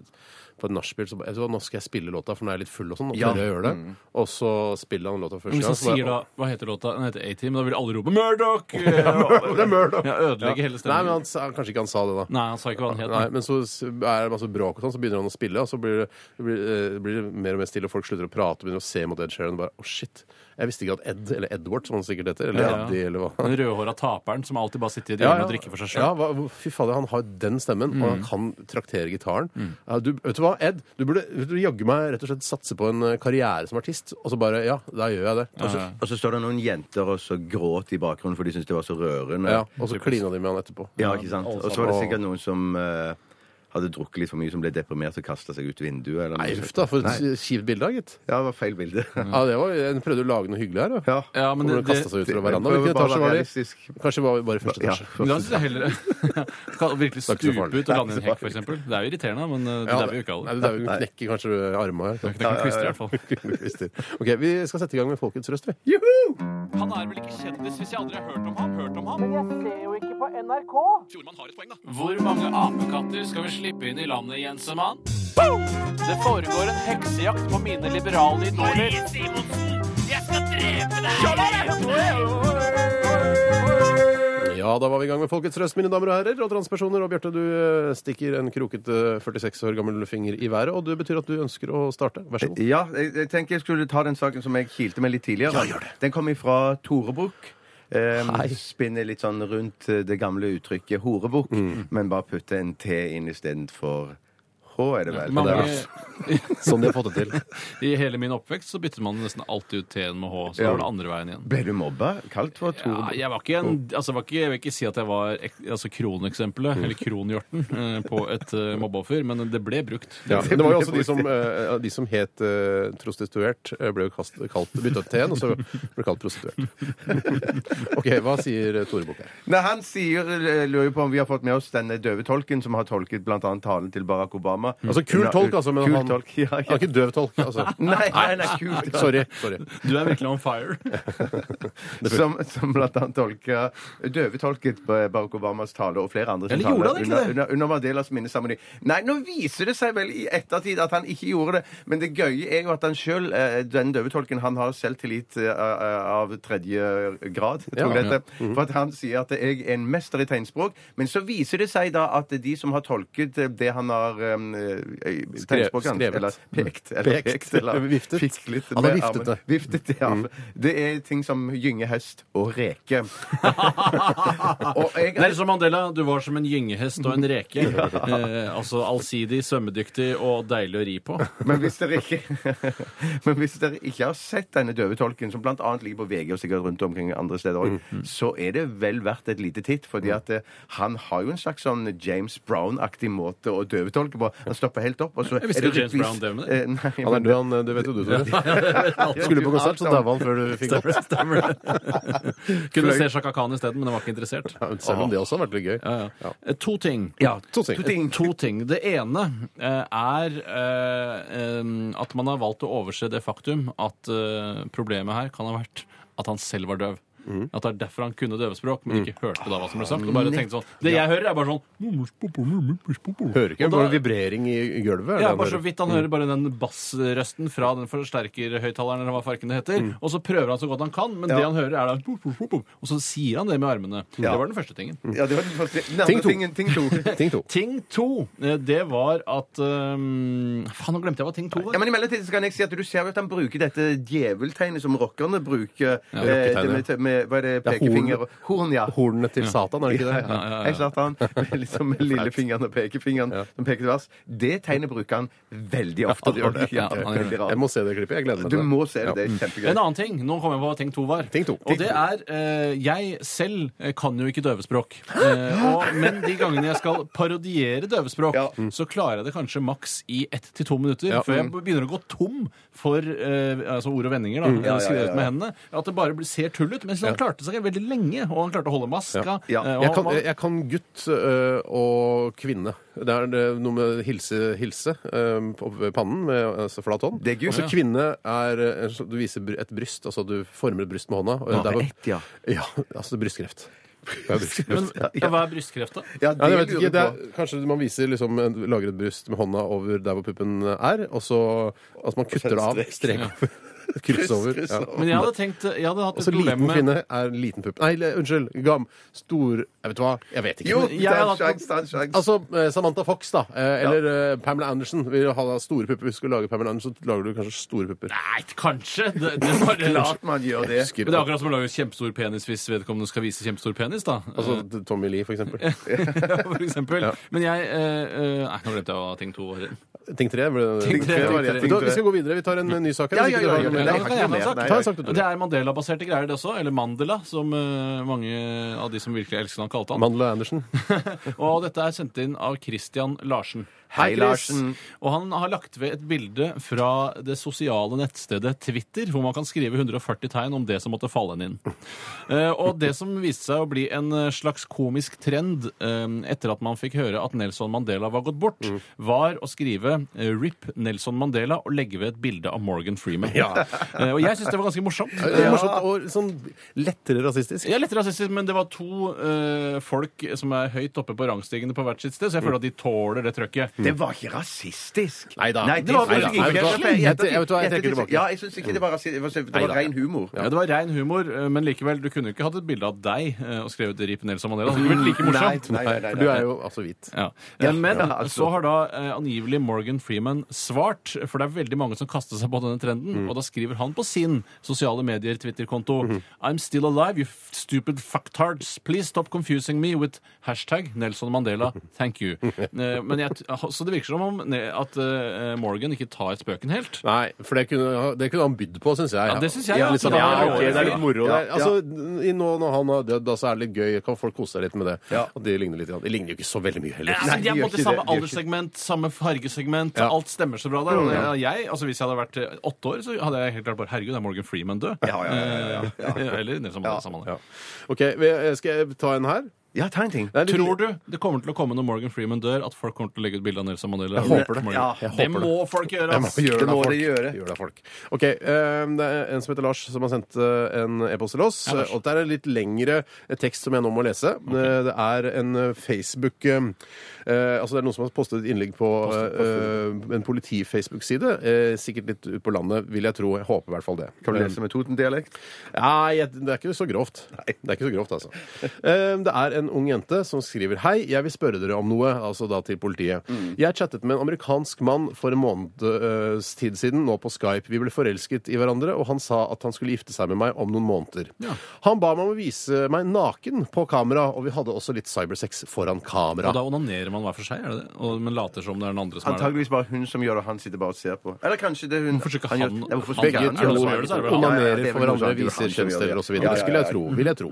[SPEAKER 4] på et nachspiel så bare så Nå skal jeg spille låta, for nå er jeg litt full og sånn, og så
[SPEAKER 6] Ja.
[SPEAKER 4] tør jeg gjøre det. Og så spiller han låta
[SPEAKER 5] Men
[SPEAKER 4] første
[SPEAKER 5] Mm. hvis
[SPEAKER 4] gang.
[SPEAKER 5] han
[SPEAKER 4] så bare,
[SPEAKER 5] sier da Hva heter låta? Den heter A-Team. Da vil alle rope 'Murdoch!'
[SPEAKER 4] Det er mørkt, da.
[SPEAKER 5] Ja, ødelegger hele
[SPEAKER 4] Nei,
[SPEAKER 5] stemningen.
[SPEAKER 4] men han, sa- kanskje ikke han sa det, da.
[SPEAKER 5] Nei, han sa ikke hva den het.
[SPEAKER 4] Nei, men så s- er det masse bråk, og sånn, så begynner han å spille, og så blir det, det blir, eh, blir det mer og mer stille, og folk slutter å prate og begynner å se mot Ed Sheeran og bare Å, shit. Jeg visste ikke at Ed, eller Edward, som han sikkert heter, eller
[SPEAKER 5] Ja, ja.
[SPEAKER 4] Eddie, eller hva.
[SPEAKER 5] Den rødhåra taperen som alltid bare sitter i et
[SPEAKER 4] Ja,
[SPEAKER 5] hjørne
[SPEAKER 4] ja.
[SPEAKER 5] og drikker for seg
[SPEAKER 4] Ja,
[SPEAKER 5] sjøl.
[SPEAKER 4] hva, hvor- fy fader, han har den stemmen, og han kan traktere gitaren. Ja, du, vet du hva, Ed? Du burde, vet du, jaggu meg rett og slett satse på en eh, karriere som artist, og så bare Ja, da gjør jeg det.
[SPEAKER 6] Og så, og så står det noen jenter og så gråter i bakgrunnen, for de syns det var så rørende.
[SPEAKER 4] Ja, og så klina de med han etterpå.
[SPEAKER 6] Ja, ikke sant? Og så var det sikkert noen som eh, hadde drukket litt for mye, som ble deprimert og kasta seg ut vinduet. Eller
[SPEAKER 4] Nei,
[SPEAKER 6] noe
[SPEAKER 4] huff
[SPEAKER 6] sånt.
[SPEAKER 4] da, for et
[SPEAKER 6] Nei.
[SPEAKER 4] kjipt bilde, da, gitt.
[SPEAKER 6] Ja, det var feil bilde.
[SPEAKER 4] Ja, det var, jeg prøvde å lage noe hyggelig her, da.
[SPEAKER 6] Ja.
[SPEAKER 5] Ja, men
[SPEAKER 4] Kommer
[SPEAKER 5] det,
[SPEAKER 4] og
[SPEAKER 5] det,
[SPEAKER 4] kaster seg ut fra
[SPEAKER 6] det-
[SPEAKER 4] verandaen.
[SPEAKER 6] prøver
[SPEAKER 4] Hvilken
[SPEAKER 6] bare
[SPEAKER 4] etasje
[SPEAKER 6] å være
[SPEAKER 4] var det?
[SPEAKER 6] realistisk.
[SPEAKER 4] Kanskje var vi bare i første
[SPEAKER 6] Ja,
[SPEAKER 4] etasje.
[SPEAKER 5] men da syns jeg heller Kan virkelig
[SPEAKER 4] Det er ikke så
[SPEAKER 5] stupe
[SPEAKER 4] farlig.
[SPEAKER 5] ut og lande i en hekk, f.eks. Det er jo irriterende, men eh, det
[SPEAKER 4] Ja,
[SPEAKER 5] der vil jo ikke
[SPEAKER 4] nei,
[SPEAKER 5] alle.
[SPEAKER 4] det er jo knekker kanskje armene
[SPEAKER 5] Det kan klistre, i hvert fall.
[SPEAKER 4] her. ok, Vi skal sette i gang med Folkets røst. vi.
[SPEAKER 5] Han er vel ikke kjendis hvis jeg aldri har hørt om ham? Hørt om ham? Men jeg ser jo ikke på NRK. Fjordmann har et poeng, da. Hvor mange apekatter skal vi slippe inn i landet, Jensemann? Det foregår en heksejakt på mine liberale idoler.
[SPEAKER 4] Ja, Da var vi i gang med Folkets røst, mine damer og herrer og transpersoner. Og Bjarte, du eh, stikker en krokete 46 år gammel finger i været, og det betyr at du ønsker å starte. Vær så god.
[SPEAKER 6] Ja, jeg, jeg tenker jeg skulle ta den saken som jeg kilte med litt tidligere.
[SPEAKER 4] Ja, gjør det.
[SPEAKER 6] Den kom ifra Torebukk. Um,
[SPEAKER 4] Hei.
[SPEAKER 6] spinner litt sånn rundt eh, det gamle uttrykket horebukk,
[SPEAKER 4] Mm.
[SPEAKER 6] men bare putte en T inn istedenfor H, er det vel?
[SPEAKER 5] Mange,
[SPEAKER 4] Som de har fått det til.
[SPEAKER 5] I hele min oppvekst så bytter man nesten alltid ut T-en med H. Så
[SPEAKER 6] Ja.
[SPEAKER 5] går det andre veien igjen.
[SPEAKER 6] Ble du mobba? Kalt for
[SPEAKER 5] Ja,
[SPEAKER 6] Torebukk?
[SPEAKER 5] jeg var ikke en altså, var ikke, Jeg vil ikke si at jeg var ek- altså,
[SPEAKER 4] Mm.
[SPEAKER 5] kroneksempelet, eller kronhjorten, eh, på et eh, mobbeoffer, men det ble brukt.
[SPEAKER 4] Ja, men det var jo også de som, eh, de som het eh, prostituert, eh, ble jo kast, kalt, bytta ut T-en, og så ble det kalt prostituert. OK, hva sier eh, Tore Bukk her?
[SPEAKER 6] Nei, han sier, eh, lurer på om vi har fått med oss denne døve tolken som har tolket bl.a. talen til Barack Obama.
[SPEAKER 4] Altså kul tolk, altså. Men
[SPEAKER 6] kul
[SPEAKER 4] han,
[SPEAKER 6] tolk, ja,
[SPEAKER 4] han
[SPEAKER 6] ja.
[SPEAKER 4] er ikke døv tolk, altså.
[SPEAKER 6] Nei, nei, nei, kul tolk.
[SPEAKER 4] Sorry. sorry.
[SPEAKER 5] Du er virkelig on fire.
[SPEAKER 6] Som, som blant annet tolka døvetolket Barack Obamas tale og flere andre sin
[SPEAKER 5] Eller
[SPEAKER 6] tale
[SPEAKER 5] gjorde han ikke
[SPEAKER 6] under,
[SPEAKER 5] det?
[SPEAKER 6] under, under Mandelas minneseremoni. Nei, nå viser det seg vel i ettertid at han ikke gjorde det, men det gøye er jo at han sjøl, den døvetolken, han har selvtillit eh, av tredje grad, tror jeg
[SPEAKER 4] Ja, Mhm.
[SPEAKER 6] det heter. For at han sier at jeg er en mester i tegnspråk, men så viser det seg da at de som har tolket eh, det han har um, tegnspråket hans,
[SPEAKER 4] skrevet. Mm.
[SPEAKER 6] eller pekt, eller,
[SPEAKER 4] Pekt,
[SPEAKER 6] pekt, eller
[SPEAKER 4] eller viftet.
[SPEAKER 6] fiklet
[SPEAKER 4] Han har
[SPEAKER 6] med
[SPEAKER 4] viftet
[SPEAKER 6] armen.
[SPEAKER 4] det.
[SPEAKER 6] Viftet, ja. Det er ting som gynge, hest og reke. og jeg,
[SPEAKER 5] Nelson Mandela, du var som en gyngehest og en reke. eh, altså allsidig, svømmedyktig og deilig å ri på.
[SPEAKER 6] men, hvis dere ikke, men hvis dere ikke har sett denne døvetolken, som bl.a. ligger på VG og sikkert rundt omkring andre steder òg, så er det vel verdt et lite titt. fordi at eh, han har jo en slags sånn James Brown-aktig måte å døvetolke på. Han stopper helt opp, og så
[SPEAKER 5] Jeg visste
[SPEAKER 6] er
[SPEAKER 5] ikke James
[SPEAKER 6] rytmisk-
[SPEAKER 5] Brown døv med det.
[SPEAKER 6] Eh, nei,
[SPEAKER 4] Han er
[SPEAKER 6] men-
[SPEAKER 4] død, han, eh, det vet jo du, Tore. Skulle på konsert, så daua han før du fikk gått.
[SPEAKER 5] Stemmer det. Kunne se Shaka Khan isteden, men jeg var ikke interessert.
[SPEAKER 4] Selv om det også har vært litt gøy.
[SPEAKER 5] Ja, ja. Eh, To ting.
[SPEAKER 6] Ja,
[SPEAKER 4] To ting.
[SPEAKER 6] ting.
[SPEAKER 5] To ting. Det ene eh, er eh, em, at man har valgt å overse det faktum at eh, problemet her kan ha vært at han selv var døv.
[SPEAKER 4] Mm.
[SPEAKER 5] At det er derfor han kunne døvespråk, men ikke hørte da hva som ble sagt. Og bare tenkte sånn, Det jeg hører, er bare sånn
[SPEAKER 4] Hører ikke
[SPEAKER 5] Og da-
[SPEAKER 4] bare vibrering i i gulvet. er
[SPEAKER 5] ja,
[SPEAKER 4] det han Mm.
[SPEAKER 5] bare så
[SPEAKER 4] hører.
[SPEAKER 5] vidt han hører bare den bassrøsten fra den forsterkerhøyttaleren, eller hva farken det heter.
[SPEAKER 4] Mm.
[SPEAKER 5] Og så prøver han så godt han kan, men det han hører, er da pop, pop, pop, pop. Og så sier han det med armene. Det var den første tingen.
[SPEAKER 4] Mm.
[SPEAKER 6] Ja, det var den første. Den
[SPEAKER 4] Ting
[SPEAKER 6] andre
[SPEAKER 4] to.
[SPEAKER 6] tingen, ting to.
[SPEAKER 4] Ting to.
[SPEAKER 5] Ting to, eh, det var at um, Faen, nå glemte jeg hva ting to var.
[SPEAKER 6] Ja, men i mellomtiden så kan jeg si at Du ser jo at han bruker dette djeveltegnet som rockerne bruker. eh,
[SPEAKER 4] rocketegnet.
[SPEAKER 6] det med, med det, hva er det
[SPEAKER 4] Det er
[SPEAKER 6] pekefinger og Horn, ja.
[SPEAKER 4] Hornene til Satan, er det ikke det?
[SPEAKER 6] Ja, ja, ja. Jeg satt han med liksom med lillefingeren og pekefingeren som peker til vers. Det tegnet bruker han veldig ofte.
[SPEAKER 4] han gjør det.
[SPEAKER 6] Ja,
[SPEAKER 5] Ja, han gjør
[SPEAKER 6] veldig
[SPEAKER 4] Jeg
[SPEAKER 6] rart.
[SPEAKER 4] må se det klippet. Jeg gleder meg
[SPEAKER 6] Du
[SPEAKER 4] til det.
[SPEAKER 6] må se det. Det
[SPEAKER 4] Ja.
[SPEAKER 6] er
[SPEAKER 5] En
[SPEAKER 6] kjempegøy.
[SPEAKER 5] annen ting. Nå kommer jeg på hva ting to var.
[SPEAKER 4] Ting to.
[SPEAKER 5] Og det er eh, Jeg selv eh, kan jo ikke døvespråk. Eh, og, men de gangene jeg skal parodiere døvespråk,
[SPEAKER 6] Ja.
[SPEAKER 5] så klarer jeg det kanskje maks i ett til to minutter
[SPEAKER 4] Mm. Ja. Mm.
[SPEAKER 5] før jeg begynner å gå tom for eh, altså ord og vendinger da,
[SPEAKER 4] Mm.
[SPEAKER 6] Ja, ja, ja,
[SPEAKER 5] skrevet
[SPEAKER 6] ja.
[SPEAKER 5] med hendene. At det bare blir, ser tull ut. Mens han klarte seg veldig lenge, og han klarte å holde maska.
[SPEAKER 6] Ja.
[SPEAKER 5] eh, og
[SPEAKER 4] Jeg kan,
[SPEAKER 5] han-
[SPEAKER 4] jeg- jeg kan gutt ø, og kvinne. Det er det- noe med hilse, hilse ø, på pannen med altså, flat hånd.
[SPEAKER 6] Det er gutt.
[SPEAKER 4] Og så
[SPEAKER 6] Ja.
[SPEAKER 4] kvinne er ø, så Du viser br- et bryst, altså du former et bryst med hånda. og der hvor-
[SPEAKER 6] ett, ja.
[SPEAKER 4] ja. Altså brystkreft. Det er brystkreft.
[SPEAKER 5] men ja, hva er brystkreft, da?
[SPEAKER 6] Ja,
[SPEAKER 4] Ja,
[SPEAKER 6] det
[SPEAKER 4] jeg vet
[SPEAKER 6] lurer
[SPEAKER 4] ikke,
[SPEAKER 6] jeg
[SPEAKER 4] det
[SPEAKER 6] på.
[SPEAKER 4] er, kanskje man viser liksom, en- lager et bryst med hånda over der hvor puppen er, og så altså, man kutter det av.
[SPEAKER 6] strek.
[SPEAKER 4] Strek. Kryss over.
[SPEAKER 6] Kryss
[SPEAKER 4] Ja.
[SPEAKER 6] over.
[SPEAKER 5] Men jeg hadde tenkt Jeg hadde hatt
[SPEAKER 4] Og
[SPEAKER 5] et
[SPEAKER 4] så
[SPEAKER 5] problem
[SPEAKER 4] Altså liten
[SPEAKER 5] med
[SPEAKER 4] kvinne er liten pupp. Nei, le- unnskyld. Gam. Stor Jeg vet hva. Jeg vet ikke.
[SPEAKER 6] Jo,
[SPEAKER 5] Jeg har hatt-
[SPEAKER 6] Stein, Stein, Stein.
[SPEAKER 4] Altså, eh, Samantha Fox, da. eh, Eller eh, Pamela Anderson. Vil ha store pupper. Hvis du skulle lage Pamela Anderson, så lager du kanskje store pupper.
[SPEAKER 5] Nei, kanskje. Det, det er bare,
[SPEAKER 6] Klart man gjør det.
[SPEAKER 4] Husker
[SPEAKER 5] Men det er akkurat som å lage kjempestor penis hvis vedkommende skal vise kjempestor penis, da.
[SPEAKER 4] Altså t- Tommy Lee, for eksempel.
[SPEAKER 5] ja, for eksempel. Men jeg eh, eh, Nei, nå glemte jeg hva ting to var.
[SPEAKER 4] Tenk tre. ble det-
[SPEAKER 5] Tenk tre,
[SPEAKER 4] Vet du hva,
[SPEAKER 6] tenk tre.
[SPEAKER 4] Vi skal gå videre. Vi tar en eh, ny sak. her,
[SPEAKER 6] Ja,
[SPEAKER 4] hvis
[SPEAKER 6] ja,
[SPEAKER 4] ikke det var
[SPEAKER 6] ja,
[SPEAKER 4] noe
[SPEAKER 6] ja,
[SPEAKER 4] mer.
[SPEAKER 6] ja.
[SPEAKER 5] det kan jeg ta en sak.
[SPEAKER 6] Nei,
[SPEAKER 4] Ta en sak, du,
[SPEAKER 5] Det
[SPEAKER 4] Tore.
[SPEAKER 5] er Mandela-baserte greier, det også. Eller Mandela, som eh, mange av de som virkelig elsket han, kalte han.
[SPEAKER 4] Mandela Andersen.
[SPEAKER 5] Og dette er sendt inn av Christian Larsen.
[SPEAKER 6] Hei,
[SPEAKER 4] Chris.
[SPEAKER 6] Larsen.
[SPEAKER 5] Og han har lagt ved et bilde fra det sosiale nettstedet Twitter, hvor man kan skrive 140 tegn om det som måtte falle en inn. Eh, og det som viste seg å bli en eh, slags komisk trend eh, etter at man fikk høre at Nelson Mandela var gått bort, var å skrive eh, 'Rip Nelson Mandela' og legge ved et bilde av Morgan Freeman. Eh, og jeg syns det var ganske morsomt.
[SPEAKER 4] Det er morsomt og sånn lettere rasistisk.
[SPEAKER 5] Ja, litt rasistisk, men det var to eh, folk som er høyt oppe på rangstigene på hvert sitt sted, så jeg føler at de tåler det trøkket.
[SPEAKER 6] Det var ikke rasistisk.
[SPEAKER 4] Neida.
[SPEAKER 6] Nei, det var
[SPEAKER 4] Neida.
[SPEAKER 6] faktisk
[SPEAKER 4] Nei, vet
[SPEAKER 6] ikke
[SPEAKER 4] du hva? Jeg-
[SPEAKER 6] rasistisk.
[SPEAKER 4] jeg- vet du hva, jeg trekker tilbake.
[SPEAKER 6] Ja, jeg syns ikke det var rasistisk. Det var
[SPEAKER 4] Neida.
[SPEAKER 6] ren humor.
[SPEAKER 5] Ja, Det var rein humor, eh, men likevel, du kunne jo ikke hatt et bilde av deg eh, og skrevet 'Rip Nelson Mandela'. Det ville vært like morsomt.
[SPEAKER 6] Mm. Nei, nei, nei,
[SPEAKER 4] For
[SPEAKER 6] nei.
[SPEAKER 4] du er jo altså hvit.
[SPEAKER 5] Ja. Eh, Men
[SPEAKER 6] ja, altså.
[SPEAKER 5] så har da eh, angivelig Morgan Freeman svart, for det er veldig mange som kaster seg på denne trenden,
[SPEAKER 6] Mm.
[SPEAKER 5] og da skriver han på sin sosiale medier Twitter-konto
[SPEAKER 6] Mm-hmm.
[SPEAKER 5] I'm still alive, you f- stupid fucktards. Please stop confusing me with hashtag Nelson Mandela. Thank you. Eh, Men jeg, t- så det virker som om ne- at eh, Morgan ikke tar spøken helt.
[SPEAKER 4] Nei, for det kunne, det kunne han bydd på, syns jeg.
[SPEAKER 5] Ja, det synes jeg, ja.
[SPEAKER 4] litt sånn,
[SPEAKER 5] Ja,
[SPEAKER 4] ja, ok, det er
[SPEAKER 5] ja.
[SPEAKER 4] litt moro. det.
[SPEAKER 6] Ja, ja.
[SPEAKER 4] Altså, i nå når han har dødd, da, så er det litt gøy. Kan folk kose seg litt med det?
[SPEAKER 6] Ja.
[SPEAKER 4] Og de ligner litt. grann. De ligner jo ikke så veldig mye heller.
[SPEAKER 5] Nei,
[SPEAKER 6] Nei,
[SPEAKER 5] altså, de er på
[SPEAKER 6] de
[SPEAKER 5] en
[SPEAKER 6] gjør
[SPEAKER 5] måte samme
[SPEAKER 6] ikke det, de gjør ikke
[SPEAKER 5] alderssegment, samme fargesegment.
[SPEAKER 4] Ja.
[SPEAKER 5] Alt stemmer så bra der. Og det, jeg, altså Hvis jeg hadde vært eh, åtte år, så hadde jeg helt klart bare Herregud, er Morgan Freeman død?
[SPEAKER 6] Ja, ja, ja, ja, ja.
[SPEAKER 5] Eh, Eller Nelson Mandela. samme det.
[SPEAKER 4] Ja. OK, vi- skal jeg ta en her?
[SPEAKER 6] Ja, ta en ting.
[SPEAKER 4] Det er litt-
[SPEAKER 5] Tror du det kommer til å komme når Morgan Freeman dør, at folk kommer til å legge ut bilde av Nelson Mandela?
[SPEAKER 4] Jeg håper det.
[SPEAKER 5] Morgan.
[SPEAKER 6] Ja,
[SPEAKER 4] jeg
[SPEAKER 5] det
[SPEAKER 4] håper
[SPEAKER 5] må folk gjøre.
[SPEAKER 4] Jeg må
[SPEAKER 5] ass.
[SPEAKER 4] gjøre
[SPEAKER 6] Det må
[SPEAKER 4] av
[SPEAKER 6] de
[SPEAKER 4] folk.
[SPEAKER 6] gjøre.
[SPEAKER 4] Gjør det av folk. OK. ehm, det er en som heter Lars, som har sendt eh, en e-post til oss.
[SPEAKER 5] Lars.
[SPEAKER 4] og det er en litt lengre tekst som jeg nå må lese. Eh, Det er en eh, Facebook eh, eh, Altså, det er noen som har postet et innlegg på eh, en politi-Facebook-side. eh, sikkert litt ute på landet, vil jeg tro. Jeg håper i hvert fall det.
[SPEAKER 6] Kan du
[SPEAKER 4] Eh,
[SPEAKER 6] lese med Toten-dialekt?
[SPEAKER 4] Nei, jeg, det er ikke så grovt. Det er ikke så grovt, altså. Eh, Det er en ung jente som skriver Hei, jeg vil spørre dere om noe, altså da til politiet. Jeg chattet med en amerikansk mann for en måneds tid siden, nå på Skype. Vi ble forelsket i hverandre, og han sa at han skulle gifte seg med meg om noen måneder. Han ba meg om å vise meg naken på kamera, og vi hadde også litt cybersex foran kamera.
[SPEAKER 5] Og da onanerer man hver for seg, er det det? Og, men later som det er den andre som er det.
[SPEAKER 6] Antageligvis bare hun som gjør det, han sitter bare og ser på. Eller kanskje det er hun
[SPEAKER 5] Hvorfor skal
[SPEAKER 6] gjør-
[SPEAKER 5] han-
[SPEAKER 6] Ja, hvorfor skal
[SPEAKER 4] Begge
[SPEAKER 5] Er
[SPEAKER 6] han-
[SPEAKER 5] det
[SPEAKER 4] to
[SPEAKER 5] noen som gjør det, så er det vel han.
[SPEAKER 6] Ja, ja, ja,
[SPEAKER 4] onanerer
[SPEAKER 6] det er
[SPEAKER 4] for
[SPEAKER 6] vel noen
[SPEAKER 4] hverandre,
[SPEAKER 6] som gjør
[SPEAKER 4] viser
[SPEAKER 6] det, han som gjør det.
[SPEAKER 4] kjønnsdeler osv.
[SPEAKER 6] Ja, Mhm. ja,
[SPEAKER 4] Det skulle jeg
[SPEAKER 6] ja.
[SPEAKER 4] tro. Vil jeg tro.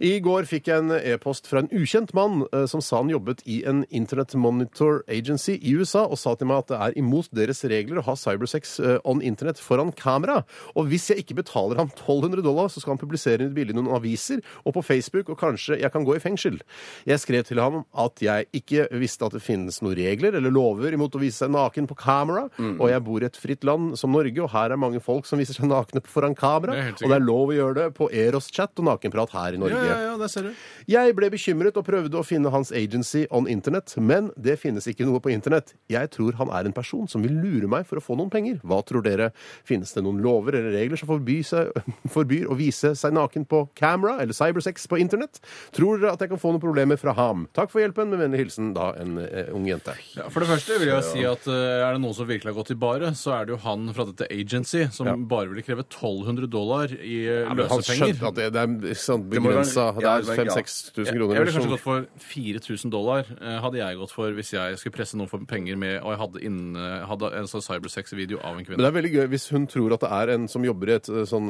[SPEAKER 4] I går fikk jeg en e-post fra en ukjent mann eh, som sa han jobbet i en Internet Monitor Agency i USA, og sa til meg at det er imot deres regler å ha cybersex eh, on internett foran kamera. Og hvis jeg ikke betaler ham 1200 dollar, så skal han publisere et bilde i noen aviser og på Facebook, og kanskje jeg kan gå i fengsel. Jeg skrev til ham at jeg ikke visste at det finnes noen regler eller lover imot å vise seg naken på kamera,
[SPEAKER 5] Mm.
[SPEAKER 4] og jeg bor i et fritt land som Norge, og her er mange folk som viser seg nakne foran kamera,
[SPEAKER 5] Det er helt
[SPEAKER 4] og det er lov å gjøre det på Eros-chat og nakenprat her i Norge.
[SPEAKER 5] der ser du.
[SPEAKER 4] Jeg Jeg ble bekymret og prøvde å finne hans agency on internett, men det finnes ikke noe på internett. Jeg tror han er en person som vil lure meg for å få noen penger. Hva tror dere? Finnes det noen lover eller regler som forbyr, seg, forbyr å vise seg naken på camera eller cybersex på internett? Tror dere at jeg kan få noen problemer fra ham? Takk for hjelpen. Med vennlig hilsen da en eh, ung jente.
[SPEAKER 5] Ja, for det første vil jeg si at eh, er det noen som virkelig har gått i bare, så er det jo han fra dette agency som bare ville kreve 1200 dollar i eh,
[SPEAKER 4] Ja, men han skjønte
[SPEAKER 5] løsepenger.
[SPEAKER 4] at det, det er sånn
[SPEAKER 6] må være-
[SPEAKER 4] begrensa. Det
[SPEAKER 6] ja, det
[SPEAKER 4] er 5000
[SPEAKER 6] var- ja.
[SPEAKER 4] 6000
[SPEAKER 5] Jeg
[SPEAKER 4] kroner.
[SPEAKER 5] ville kanskje
[SPEAKER 4] som-
[SPEAKER 5] gått for 4000 dollar eh, hadde jeg gått for hvis jeg skulle presse noen for penger med og jeg hadde, inne, hadde en sånn cybersex-video av en
[SPEAKER 4] Men
[SPEAKER 5] kvinne.
[SPEAKER 4] det er veldig gøy hvis hun tror at det er en som jobber i et eh, sånn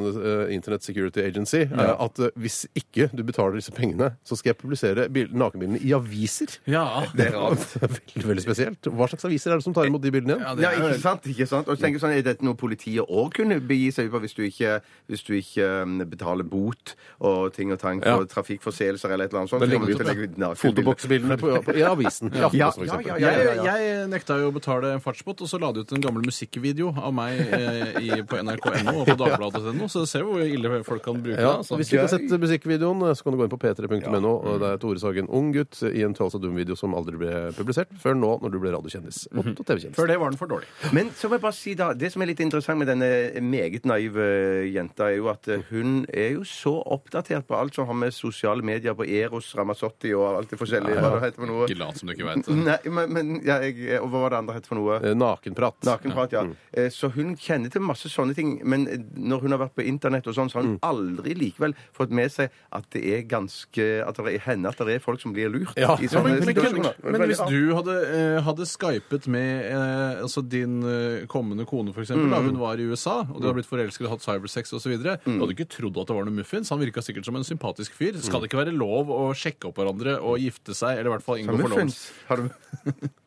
[SPEAKER 4] eh, Internet Security Agency, eh, at eh, hvis ikke du betaler disse pengene, så skal jeg publisere bil- nakenbildene i aviser.
[SPEAKER 5] Ja,
[SPEAKER 4] Det er veldig, veldig spesielt. Hva slags aviser er det som tar imot de bildene igjen?
[SPEAKER 5] ja, det
[SPEAKER 6] Ja, ikke sant? ikke sant? Og tenk sånn, Er dette noe politiet òg kunne begi seg ut på hvis du ikke, hvis du ikke um, betaler bot og ting og tang for
[SPEAKER 4] Ja.
[SPEAKER 6] trafikkforseelser eller et eller annet sånt?
[SPEAKER 4] Da
[SPEAKER 6] så
[SPEAKER 4] legger
[SPEAKER 6] kommer
[SPEAKER 4] vi
[SPEAKER 6] du til å legge ut
[SPEAKER 4] ut
[SPEAKER 6] nakenbilder.
[SPEAKER 4] fotoboksbildene på- på- i avisen. I
[SPEAKER 6] Ja,
[SPEAKER 4] Aftenposten, for
[SPEAKER 6] ja,
[SPEAKER 4] eksempel.
[SPEAKER 6] ja, ja, ja,
[SPEAKER 5] Jeg,
[SPEAKER 6] ja.
[SPEAKER 5] jeg nekta jo å betale en fartsbot, og så la de ut en gammel musikkvideo av meg eh, i, på nrk.no og på dagbladet.no, så ser vi hvor ille folk kan bruke det.
[SPEAKER 4] Ja,
[SPEAKER 5] Altså.
[SPEAKER 4] hvis du ikke har sett eh, musikkvideoen, så kan du gå inn på p3.no. og Det er Tore Sagen, ung gutt, i en Tals og dum-video som aldri ble publisert før nå, når du ble radiokjendis. Og TV-kjendis.
[SPEAKER 5] Før det var den for dårlig.
[SPEAKER 6] Men så må jeg bare si da, det som er litt interessant med denne meget naive jenta, er jo at eh, hun er jo så oppdatert på alt som har med sosiale medier på Eros, Ramazzotti og alt det forskjellige. Hva det heter for noe?
[SPEAKER 5] Ikke lat som du ikke veit det.
[SPEAKER 6] Nei, men, men ja, jeg, eh, og hva var det andre het for noe?
[SPEAKER 4] Eh, Nakenprat.
[SPEAKER 5] Mm.
[SPEAKER 6] Nakenprat, ja. Eh, Så hun kjenner til masse sånne ting. Men eh, når hun har vært på internett, og sånn, så har
[SPEAKER 5] Mm.
[SPEAKER 6] hun aldri likevel fått med seg at det er ganske At det er- hender at det er folk som blir lurt.
[SPEAKER 4] Ja.
[SPEAKER 6] i
[SPEAKER 5] Ja,
[SPEAKER 6] sånne
[SPEAKER 5] men, men,
[SPEAKER 6] situasjoner.
[SPEAKER 5] men, hvis du hadde, eh, hadde skypet med eh, altså din eh, kommende kone, f.eks., da hun var i USA, og du har blitt forelsket og hatt cybersex osv., videre du hadde ikke trodd at det var noe muffins. Han virka sikkert som en sympatisk fyr. Skal det ikke være lov å sjekke opp hverandre og gifte seg, eller i hvert fall
[SPEAKER 6] Ja,
[SPEAKER 5] inngå
[SPEAKER 6] Muffins.
[SPEAKER 5] forlovelse?
[SPEAKER 6] Har du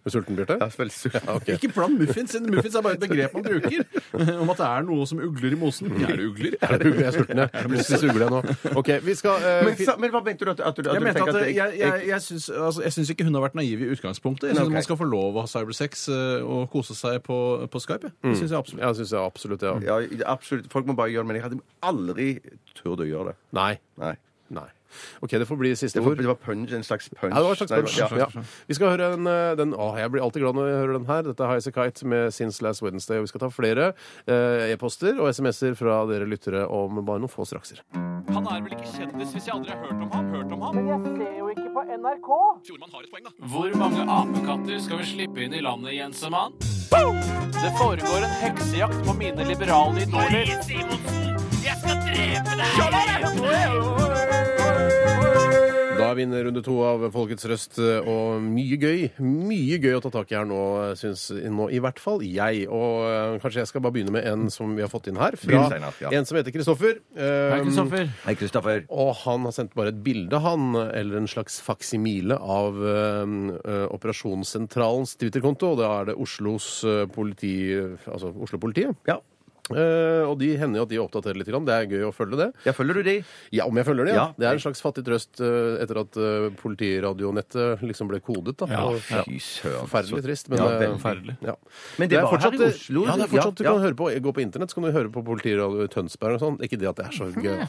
[SPEAKER 4] Er du sulten, Bjarte?
[SPEAKER 6] Ja, vel, så-
[SPEAKER 5] Ikke bland muffins. siden Muffins er bare et begrep man bruker eh, om at det er noe som ugler i mosen. Er det ugler?
[SPEAKER 4] Er du jeg er sulten, jeg. Plutselig så ugler jeg nå. OK, vi skal eh,
[SPEAKER 6] Men,
[SPEAKER 4] fi-
[SPEAKER 6] sa- men hva mente du at, at, du- at
[SPEAKER 5] Jeg,
[SPEAKER 6] du
[SPEAKER 5] mente
[SPEAKER 6] tenker
[SPEAKER 5] at eh,
[SPEAKER 6] at
[SPEAKER 5] jeg, jeg, jeg, syns, altså, jeg syns ikke hun har vært naiv i utgangspunktet. Jeg syns
[SPEAKER 6] Nei, ok.
[SPEAKER 5] man skal få lov å ha cybersex eh, og kose seg på, på Skype. jeg. Det syns jeg absolutt.
[SPEAKER 4] Ja, syns jeg absolutt. Ja.
[SPEAKER 6] ja, absolutt. Folk må bare gjøre det, men jeg hadde aldri turt å gjøre det.
[SPEAKER 4] Nei.
[SPEAKER 6] Nei.
[SPEAKER 4] Nei. OK, det får bli siste
[SPEAKER 6] Det var,
[SPEAKER 4] ord.
[SPEAKER 6] det var punch, en slags punch.
[SPEAKER 4] Ja, det var en slags
[SPEAKER 6] Nei,
[SPEAKER 4] punch.
[SPEAKER 6] ja.
[SPEAKER 4] Ja. Vi skal høre en, eh, den Å, jeg blir alltid glad når jeg hører den her. Dette er Highasakite Kite med Since Last Wednesday. Og vi skal ta flere eh, e-poster og SMS-er fra dere lyttere om bare noen få strakser.
[SPEAKER 1] Han er vel ikke kjendis hvis jeg aldri har hørt om ham? Hørt om ham? Hvor mange apekatter skal vi slippe inn i landet, Jensemann? Det foregår en heksejakt på mine liberale idoler.
[SPEAKER 4] Da er vi inne i runde to av Folkets røst, eh, og mye gøy. Mye gøy å ta tak i her nå, syns nå i hvert fall jeg. Og eh, kanskje jeg skal bare begynne med en som vi har fått inn her. Fra
[SPEAKER 6] Begynn, Steinar, ja.
[SPEAKER 4] en som heter Kristoffer.
[SPEAKER 5] Hei,
[SPEAKER 4] Eh,
[SPEAKER 5] Kristoffer.
[SPEAKER 6] Hei, Kristoffer.
[SPEAKER 4] Og han har sendt bare et bilde, han, eller en slags faksimile, av eh, eh, operasjonssentralens Twitter-konto. og Da er det Oslos eh, politi... Altså Oslo-politiet.
[SPEAKER 6] Ja.
[SPEAKER 4] Eh, og de hender jo at de oppdaterer litt. grann. Det er gøy å følge det.
[SPEAKER 6] ja, følger du de?
[SPEAKER 4] Ja, om jeg følger det, ja.
[SPEAKER 6] Ja.
[SPEAKER 4] Det er en slags fattig trøst eh, etter at eh, politiradionettet liksom ble kodet, da. Og-
[SPEAKER 6] Fy søren.
[SPEAKER 4] Forferdelig trist, men
[SPEAKER 6] Ja,
[SPEAKER 4] eh,
[SPEAKER 6] veldig.
[SPEAKER 5] Forferdelig.
[SPEAKER 4] Ja.
[SPEAKER 6] Men det
[SPEAKER 4] er
[SPEAKER 6] var her i
[SPEAKER 4] Ja, det
[SPEAKER 6] Oslo,
[SPEAKER 4] er
[SPEAKER 6] ja,
[SPEAKER 4] fortsatt, du
[SPEAKER 6] ja.
[SPEAKER 4] kan høre på, gå på internett, så kan du høre på politiradio i Tønsberg og sånn. Ikke det at det er så gøy.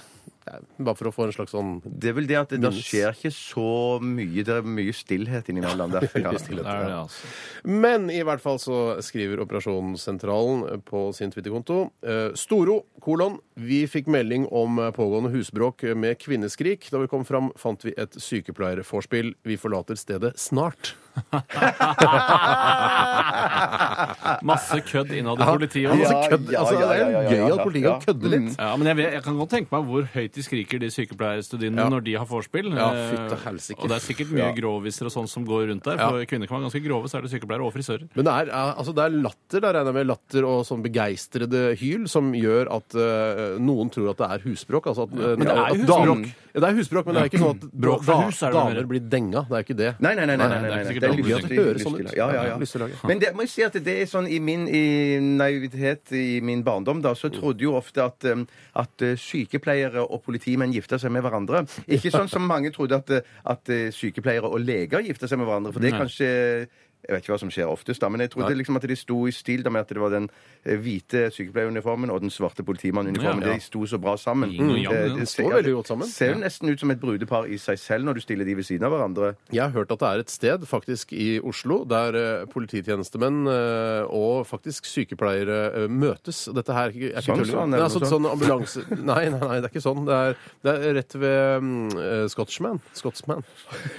[SPEAKER 4] Det er Bare for å få en slags sånn
[SPEAKER 6] Det er vel det at det, da skjer ikke så mye. Det er mye stillhet innimellom der. Ja.
[SPEAKER 4] veldig stillhet.
[SPEAKER 5] Det er det,
[SPEAKER 4] Ja.
[SPEAKER 5] altså.
[SPEAKER 4] Men i hvert fall så skriver Operasjonssentralen på sin Twitter-konto eh, Storo, kolon, vi fikk melding om eh, pågående husbråk med kvinneskrik. Da vi kom fram, fant vi et sykepleierforspill. Vi forlater stedet snart.
[SPEAKER 5] Masse kødd innad i politiet.
[SPEAKER 4] Ja,
[SPEAKER 5] også.
[SPEAKER 4] altså, kødd,
[SPEAKER 6] ja,
[SPEAKER 4] altså,
[SPEAKER 6] ja,
[SPEAKER 4] det er
[SPEAKER 6] ja,
[SPEAKER 4] jo
[SPEAKER 6] ja,
[SPEAKER 4] gøy
[SPEAKER 6] ja,
[SPEAKER 4] at
[SPEAKER 6] ja.
[SPEAKER 4] politiet kan
[SPEAKER 6] Ja.
[SPEAKER 4] kødde litt.
[SPEAKER 5] Ja, men jeg, vet, jeg kan godt tenke meg hvor høyt de skriker, de sykepleierstudiene,
[SPEAKER 4] Ja.
[SPEAKER 5] når de har vorspiel.
[SPEAKER 4] Ja,
[SPEAKER 5] Eh,
[SPEAKER 4] fytte helsike.
[SPEAKER 5] og det er sikkert mye groviser og sånn som går rundt der. For kvinner kan være ganske grove, så er det sykepleiere og frisører.
[SPEAKER 4] Men det er, eh, altså, det er latter da regner jeg med latter og sånn begeistrede hyl som gjør at eh, noen tror at det er husbråk. Altså at, eh,
[SPEAKER 5] Men det er jo
[SPEAKER 4] at dam-
[SPEAKER 5] husbråk.
[SPEAKER 4] Ja, det er husbråk, men det er ikke sånn at
[SPEAKER 5] Bråk fra
[SPEAKER 4] da-
[SPEAKER 5] hus er det mer.
[SPEAKER 4] damer blir denga. Det er ikke det.
[SPEAKER 6] Nei, nei, nei. nei, nei,
[SPEAKER 5] Nei,
[SPEAKER 6] nei,
[SPEAKER 5] det er
[SPEAKER 6] nei,
[SPEAKER 5] sikkert
[SPEAKER 6] Det er
[SPEAKER 5] aldri
[SPEAKER 4] gøy at det
[SPEAKER 6] lystig-
[SPEAKER 4] høres sånn ut.
[SPEAKER 6] lystig- Ja, ja, ja.
[SPEAKER 4] Lyst til å lage.
[SPEAKER 6] Men det må jeg si at det er sånn i min i naivitet, i min barndom, da,
[SPEAKER 5] Mm.
[SPEAKER 6] så trodde jo ofte at, um, at uh, sykepleiere og politimenn gifta seg med hverandre. Ikke sånn som mange trodde at, uh, at uh, sykepleiere og leger gifta seg med hverandre, for det er kanskje Jeg vet ikke hva som skjer oftest, da, men jeg trodde liksom at de sto i stil da med at det var den eh, hvite sykepleieruniformen og den svarte politimannuniformen.
[SPEAKER 5] Ja, ja.
[SPEAKER 6] De sto så bra sammen.
[SPEAKER 5] Yin og yang,
[SPEAKER 6] Eh,
[SPEAKER 5] den
[SPEAKER 6] det
[SPEAKER 4] står
[SPEAKER 6] ser- ja,
[SPEAKER 4] veldig godt sammen.
[SPEAKER 6] Det ser jo nesten ut som et brudepar i seg selv når du stiller de ved siden av hverandre.
[SPEAKER 4] Jeg har hørt at det er et sted faktisk i Oslo der eh, polititjenestemenn eh, og faktisk sykepleiere eh, møtes. Dette her er ikke
[SPEAKER 6] Sånn,
[SPEAKER 4] tulling.
[SPEAKER 6] sånn,
[SPEAKER 4] Det er
[SPEAKER 6] eller
[SPEAKER 4] sånn,
[SPEAKER 6] noe
[SPEAKER 4] sånn ambulanse... Nei, nei, nei, det er ikke sånn. Det er, det er rett ved mm, eh, Scotsman. Scotsman.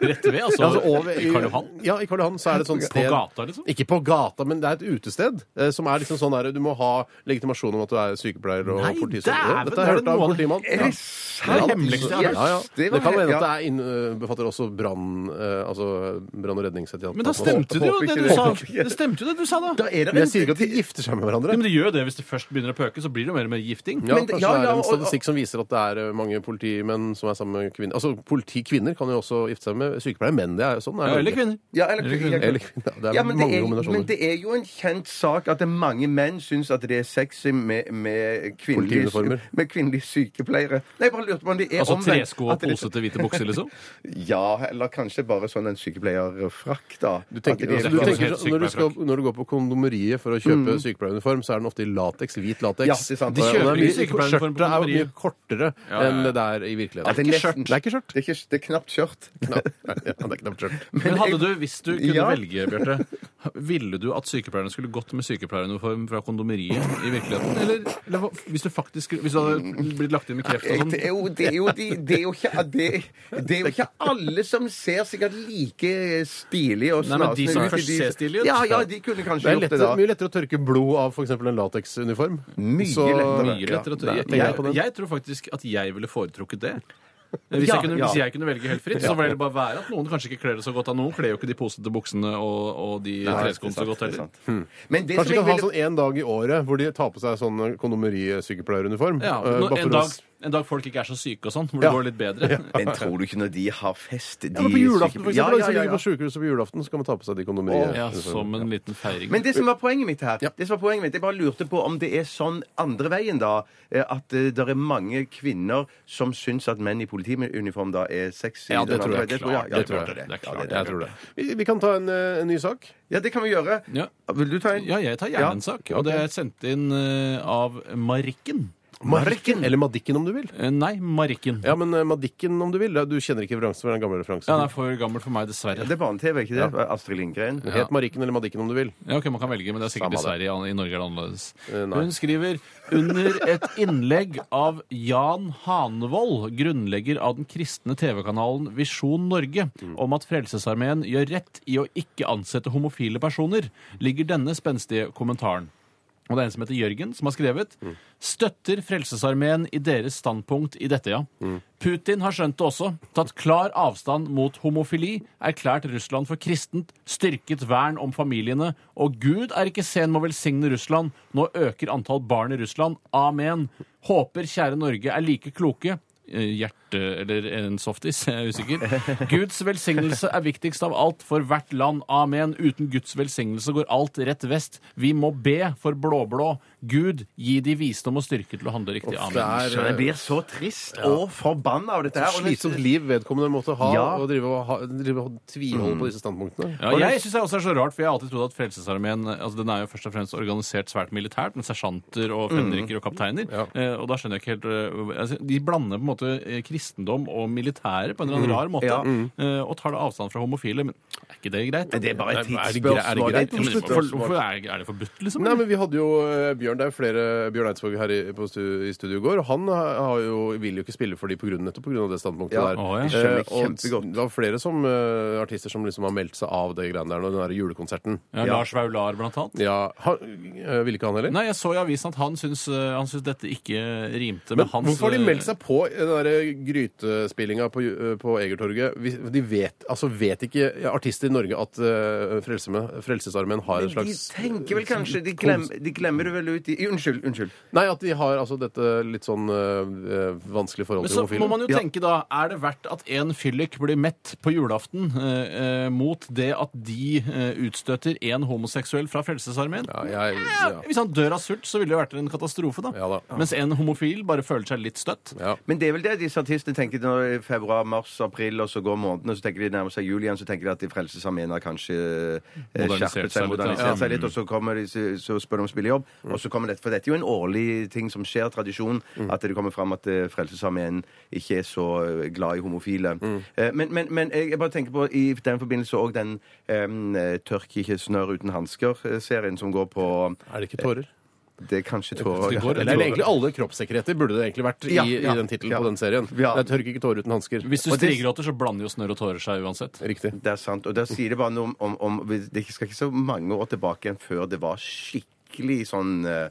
[SPEAKER 5] Rett ved, altså.
[SPEAKER 4] Ja, altså, over-
[SPEAKER 5] I Karl Johan.
[SPEAKER 4] Ja, i Karl Johan så er det et sånt
[SPEAKER 5] På
[SPEAKER 4] sted.
[SPEAKER 5] gata, liksom?
[SPEAKER 4] Ikke på gata, men det er et utested eh, som er liksom sånn der Du må ha legitimasjon om at du er sykepleier og
[SPEAKER 5] Nei,
[SPEAKER 4] politisøker.
[SPEAKER 5] dæven,
[SPEAKER 4] Dette
[SPEAKER 5] er
[SPEAKER 4] har jeg
[SPEAKER 5] det
[SPEAKER 4] hørt av
[SPEAKER 5] noe
[SPEAKER 4] en
[SPEAKER 5] av det-
[SPEAKER 4] politimann.
[SPEAKER 6] Er
[SPEAKER 4] Ja.
[SPEAKER 6] det sant?
[SPEAKER 5] det hemmeligste jeg har
[SPEAKER 4] Ja,
[SPEAKER 5] hørt.
[SPEAKER 4] ja.
[SPEAKER 6] Det
[SPEAKER 4] Det,
[SPEAKER 6] var
[SPEAKER 4] kan
[SPEAKER 6] helt-
[SPEAKER 4] hende
[SPEAKER 6] ja.
[SPEAKER 4] at det er inn, øh, befatter også brann øh, altså brann- og redningsetaten.
[SPEAKER 5] Men da stemte det jo
[SPEAKER 6] Håper
[SPEAKER 5] det
[SPEAKER 6] ikke
[SPEAKER 5] du
[SPEAKER 6] det.
[SPEAKER 5] sa.
[SPEAKER 6] Håper ikke det.
[SPEAKER 5] Det stemte jo det du sa, da.
[SPEAKER 6] Da er det
[SPEAKER 4] Men
[SPEAKER 6] en
[SPEAKER 4] jeg sier ikke at de gifter seg med
[SPEAKER 5] Ja,
[SPEAKER 4] hverandre.
[SPEAKER 5] men det gjør jo det. Hvis det først begynner å pøke, så blir det jo mer og mer gifting.
[SPEAKER 4] Ja,
[SPEAKER 6] men det-
[SPEAKER 4] kanskje
[SPEAKER 6] ja,
[SPEAKER 4] det
[SPEAKER 6] ja,
[SPEAKER 4] er en sånn
[SPEAKER 6] og-
[SPEAKER 4] statistikk som viser at det er øh, mange politimenn som er sammen med kvinner. Altså, Politikvinner kan jo også gifte seg med sykepleiere, men det er jo sånn. Er
[SPEAKER 5] Ja,
[SPEAKER 4] det.
[SPEAKER 5] eller kvinner.
[SPEAKER 6] Ja, eller,
[SPEAKER 4] Eller kvinner. Det er
[SPEAKER 6] Ja, men,
[SPEAKER 4] mange
[SPEAKER 6] det er,
[SPEAKER 4] kombinasjoner.
[SPEAKER 6] men det er jo en kjent sak at det er mange menn syns at det er sexy med, med, kvinnelige,
[SPEAKER 4] Politiuniformer.
[SPEAKER 6] sy- med kvinnelige sykepleiere. Nei, jeg bare lurte på om det er
[SPEAKER 5] Altså
[SPEAKER 6] omvendt,
[SPEAKER 5] tresko og
[SPEAKER 6] at det er-
[SPEAKER 5] posete hvite bukser, liksom.
[SPEAKER 6] Ja, eller kanskje bare sånn en sykepleierfrakk, da.
[SPEAKER 4] Du tenker,
[SPEAKER 6] At det
[SPEAKER 4] altså,
[SPEAKER 6] er- Mm.
[SPEAKER 4] du
[SPEAKER 5] kan
[SPEAKER 4] tenker,
[SPEAKER 5] helt
[SPEAKER 4] sånn- når, du skal, når du går på kondomeriet for å kjøpe sykepleieruniform, så er den ofte i latex, hvit latex.
[SPEAKER 6] Ja, det er sant.
[SPEAKER 4] Og
[SPEAKER 6] De
[SPEAKER 4] den er
[SPEAKER 5] kjøper ikke
[SPEAKER 4] mye-
[SPEAKER 5] sykepleieruniform på
[SPEAKER 4] skjørtet er jo
[SPEAKER 5] kondomeriet.
[SPEAKER 4] mye kortere
[SPEAKER 5] Ja, ja, ja.
[SPEAKER 4] enn det der i virkeligheten.
[SPEAKER 6] at det er nesten-
[SPEAKER 4] Det er ikke skjørt.
[SPEAKER 6] Det er, ikke, det er knapt skjørt.
[SPEAKER 4] Ja, det er knapt skjørt.
[SPEAKER 5] Men hadde du, hvis du kunne
[SPEAKER 6] Ja.
[SPEAKER 5] velge, Bjarte, ville du at sykepleierne skulle gått med sykepleieruniform fra kondomeriet i virkeligheten? Eller, eller hva- hvis du faktisk skulle- Hvis du hadde blitt lagt inn med kreft og
[SPEAKER 6] Jeg-
[SPEAKER 5] sånn?
[SPEAKER 6] Det er, jo, det, er jo, de- det, er jo ikke, det, det er jo ikke alle som ser sikkert like stilige og
[SPEAKER 5] Nei, men de
[SPEAKER 6] snasende
[SPEAKER 5] som
[SPEAKER 6] ut i
[SPEAKER 5] først
[SPEAKER 6] de-
[SPEAKER 5] ser stilige ut.
[SPEAKER 6] Ja, ja, de kunne
[SPEAKER 4] Det
[SPEAKER 6] kanskje
[SPEAKER 4] er
[SPEAKER 6] gjort det
[SPEAKER 4] lettere,
[SPEAKER 6] da.
[SPEAKER 4] mye lettere å tørke blod av f.eks. en lateksuniform.
[SPEAKER 6] Mye
[SPEAKER 4] Så-
[SPEAKER 6] lettere.
[SPEAKER 5] Mye lettere.
[SPEAKER 4] Ja,
[SPEAKER 5] Jeg,
[SPEAKER 4] det er- jeg er på
[SPEAKER 5] jeg,
[SPEAKER 4] den.
[SPEAKER 5] jeg tror faktisk at jeg ville foretrukket det. Eh, Hvis,
[SPEAKER 6] Ja,
[SPEAKER 5] jeg kunne,
[SPEAKER 6] ja.
[SPEAKER 5] hvis jeg kunne velge helt fritt, så ville det bare være at noen kanskje ikke kler det så godt. av Noen kler jo ikke de posete buksene og, og de treskoene så godt heller.
[SPEAKER 6] Hmm. Men det
[SPEAKER 4] Kanskje
[SPEAKER 6] som
[SPEAKER 4] vi
[SPEAKER 6] jeg
[SPEAKER 4] kan ha
[SPEAKER 6] ville-
[SPEAKER 4] sånn en dag i året hvor de tar på seg sånn kondomerisykepleieruniform.
[SPEAKER 5] Ja,
[SPEAKER 4] eh,
[SPEAKER 5] nå-
[SPEAKER 4] bare for
[SPEAKER 5] en,
[SPEAKER 4] å-
[SPEAKER 5] dag, en dag folk ikke er så syke og sånn, hvor det
[SPEAKER 4] Ja.
[SPEAKER 5] går litt bedre.
[SPEAKER 6] Men tror du ikke når de har fest de
[SPEAKER 4] Ja, men på julaften, for
[SPEAKER 6] sykepleiere-
[SPEAKER 4] eksempel.
[SPEAKER 6] Ja, ja,
[SPEAKER 5] sånn
[SPEAKER 4] Hvis de
[SPEAKER 6] ja,
[SPEAKER 4] ligger
[SPEAKER 6] ja.
[SPEAKER 4] på sykehuset på julaften, så kan man ta på seg de
[SPEAKER 5] Ja,
[SPEAKER 4] kondomeriet.
[SPEAKER 5] som en liten feiring.
[SPEAKER 6] Men det som var poenget mitt her,
[SPEAKER 4] Ja.
[SPEAKER 6] det som var poenget mitt, jeg bare lurte på om det er sånn andre veien, da. eh, At det er mange kvinner som syns at menn i politiuniform da er sexy.
[SPEAKER 5] Ja, det
[SPEAKER 6] Den
[SPEAKER 5] tror
[SPEAKER 6] andre
[SPEAKER 5] jeg.
[SPEAKER 6] veien. Det tror jeg. Ja,
[SPEAKER 5] Det tror jeg.
[SPEAKER 6] det.
[SPEAKER 5] Det er
[SPEAKER 6] Ja,
[SPEAKER 5] klart.
[SPEAKER 4] Jeg tror det. Vi, vi kan ta en, eh, en ny sak.
[SPEAKER 6] Ja, det kan vi gjøre.
[SPEAKER 5] Ja.
[SPEAKER 6] Vil du ta en?
[SPEAKER 5] Ja, jeg tar gjerne en sak. Og det er sendt inn eh, av Marikken.
[SPEAKER 4] Marken. Eller Madikken, om du vil.
[SPEAKER 5] Eh, Nei, Marikken.
[SPEAKER 4] Ja, men eh, Madikken, om du vil. Du kjenner ikke referansen for den gamle referansen.
[SPEAKER 5] Ja, den er for gammel for meg, dessverre.
[SPEAKER 6] Det er barne-TV, ikke det? Astrid Lindgren.
[SPEAKER 4] Het Marikken eller Madikken, om du vil.
[SPEAKER 5] Ja, ok, Man kan velge, men det er sikkert
[SPEAKER 4] Samme
[SPEAKER 5] i
[SPEAKER 4] Eh,
[SPEAKER 5] Sverige. I Norge er det annerledes.
[SPEAKER 4] nei.
[SPEAKER 5] Hun skriver under et innlegg av Jan Hanevold, grunnlegger av den kristne TV-kanalen Visjon Norge, om at Frelsesarmeen gjør rett i å ikke ansette homofile personer, ligger denne spenstige kommentaren. Og det er en som heter Jørgen, som har skrevet Støtter Frelsesarmeen i deres standpunkt i dette, ja. Putin har skjønt det også. Tatt klar avstand mot homofili. Erklært Russland for kristent. Styrket vern om familiene. Og Gud er ikke sen med å velsigne Russland. Nå øker antall barn i Russland. Amen. Håper kjære Norge er like kloke. Eh, Hjerte eller en softis, jeg er usikker. Guds velsignelse er viktigst av alt for hvert land. Amen. Uten Guds velsignelse går alt rett vest. Vi må be for blå-blå. Gud, gi de visdom og styrke til å handle riktig.
[SPEAKER 4] Det
[SPEAKER 5] Amen.
[SPEAKER 4] er, eh,
[SPEAKER 6] Jeg blir så trist og forbanna av dette her. og det-
[SPEAKER 4] slitsomt liv vedkommende måtte ha,
[SPEAKER 6] Ja.
[SPEAKER 4] og drive og, ha, drive og tviholde på disse standpunktene.
[SPEAKER 5] Ja, jeg syns det også er så rart, for jeg har alltid trodd at Frelsesarmeen altså den er jo først og fremst organisert svært militært, med sersjanter og fenriker og kapteiner. Eh, og da skjønner jeg ikke helt eh, altså, De blander på en måte eh, kristendom og militære på en eller annen rar måte,
[SPEAKER 6] Ja.
[SPEAKER 5] eh, og tar da avstand fra homofile. Men er ikke det greit?
[SPEAKER 6] Men det er bare et
[SPEAKER 5] Er det
[SPEAKER 6] tidsspørsmål.
[SPEAKER 5] greit? Er det
[SPEAKER 6] Det er et
[SPEAKER 5] greit? Ja, men
[SPEAKER 6] tidsspørsmål.
[SPEAKER 5] for, hvorfor er, er det forbudt, liksom?
[SPEAKER 4] Nei, men Vi hadde jo eh, Bjørn det er jo flere Bjørn Eidsvåg her i, på stu, i studio i går. og Han har har jo, vil jo ikke spille for de på grunn, nettopp pga. det standpunktet
[SPEAKER 6] Ja,
[SPEAKER 4] der.
[SPEAKER 5] å, jeg
[SPEAKER 6] skjønner
[SPEAKER 4] Eh, og
[SPEAKER 6] kjempegodt.
[SPEAKER 4] det var flere som, eh, artister som liksom har meldt seg av det greiene der nå, den der julekonserten.
[SPEAKER 5] ja, Lars Vaular, blant annet.
[SPEAKER 4] Ja, han, eh, Ville ikke han heller?
[SPEAKER 5] Nei, jeg så i avisen at han syns, eh, han syns dette ikke rimte med
[SPEAKER 4] Men
[SPEAKER 5] hans
[SPEAKER 4] hvorfor har de meldt
[SPEAKER 5] eh,
[SPEAKER 4] seg på eh, den der grytespillinga på, ju- eh, på Egertorget? Hvis- De vet, altså vet ikke artister i Norge at eh, Frelsesarmeen Frelsesarmeen har en
[SPEAKER 6] De
[SPEAKER 4] slags
[SPEAKER 6] tenker vel kanskje De, glem, de glemmer det vel ut i Unnskyld. unnskyld.
[SPEAKER 4] Nei, at de har altså dette litt sånn eh, eh, vanskelige forholdet
[SPEAKER 5] Men
[SPEAKER 4] til
[SPEAKER 5] så må
[SPEAKER 4] homofile.
[SPEAKER 5] man jo tenke da, er det verdt at en fyllik blir mett på julaften eh, eh, mot det at de eh, utstøter en homoseksuell fra Frelsesarmeen?
[SPEAKER 4] Ja, jeg,
[SPEAKER 5] Ja,
[SPEAKER 4] ja.
[SPEAKER 5] Hvis han dør av sult, så ville det vært en katastrofe, da.
[SPEAKER 4] Ja da.
[SPEAKER 5] Mens en homofil bare føler seg litt støtt.
[SPEAKER 4] Ja.
[SPEAKER 6] Men det er er vel det disse artistene tenker når i februar, mars, april, og så går månedene, så tenker de nærmer seg jul igjen, så tenker de at de Frelsesarmeen har kanskje eh,
[SPEAKER 5] Modernisert seg
[SPEAKER 6] skjerpet seg,
[SPEAKER 5] litt,
[SPEAKER 6] modernisert
[SPEAKER 5] ja.
[SPEAKER 6] seg litt, og så, kommer de, så så spør de om spillejobb, og så kommer dette. For dette er jo en årlig ting som skjer, tradisjon, at det kommer fram at eh, Frelsesarmeen ikke er så eh, glad i homofile. Eh, Men, men, men jeg jeg bare tenker på i den forbindelse òg den em, eh, Tørk ikke snørr uten hansker-serien som går på eh,
[SPEAKER 4] Er det ikke tårer?
[SPEAKER 6] Det er kanskje tårer.
[SPEAKER 4] Det er vel egentlig alle kroppssekreter burde det egentlig vært i,
[SPEAKER 6] Ja, ja,
[SPEAKER 4] i den tittelen
[SPEAKER 6] ja.
[SPEAKER 4] på den serien.
[SPEAKER 6] Ja.
[SPEAKER 4] Jeg tørker ikke tårer uten hansker.
[SPEAKER 5] Hvis du
[SPEAKER 6] Og det-
[SPEAKER 5] strigråter, så blander jo snørr og tårer seg uansett.
[SPEAKER 4] Riktig.
[SPEAKER 6] Det er sant. Og der sier det bare noe om, om, om Det skal ikke så mange år tilbake enn før det var skikkelig sånn eh,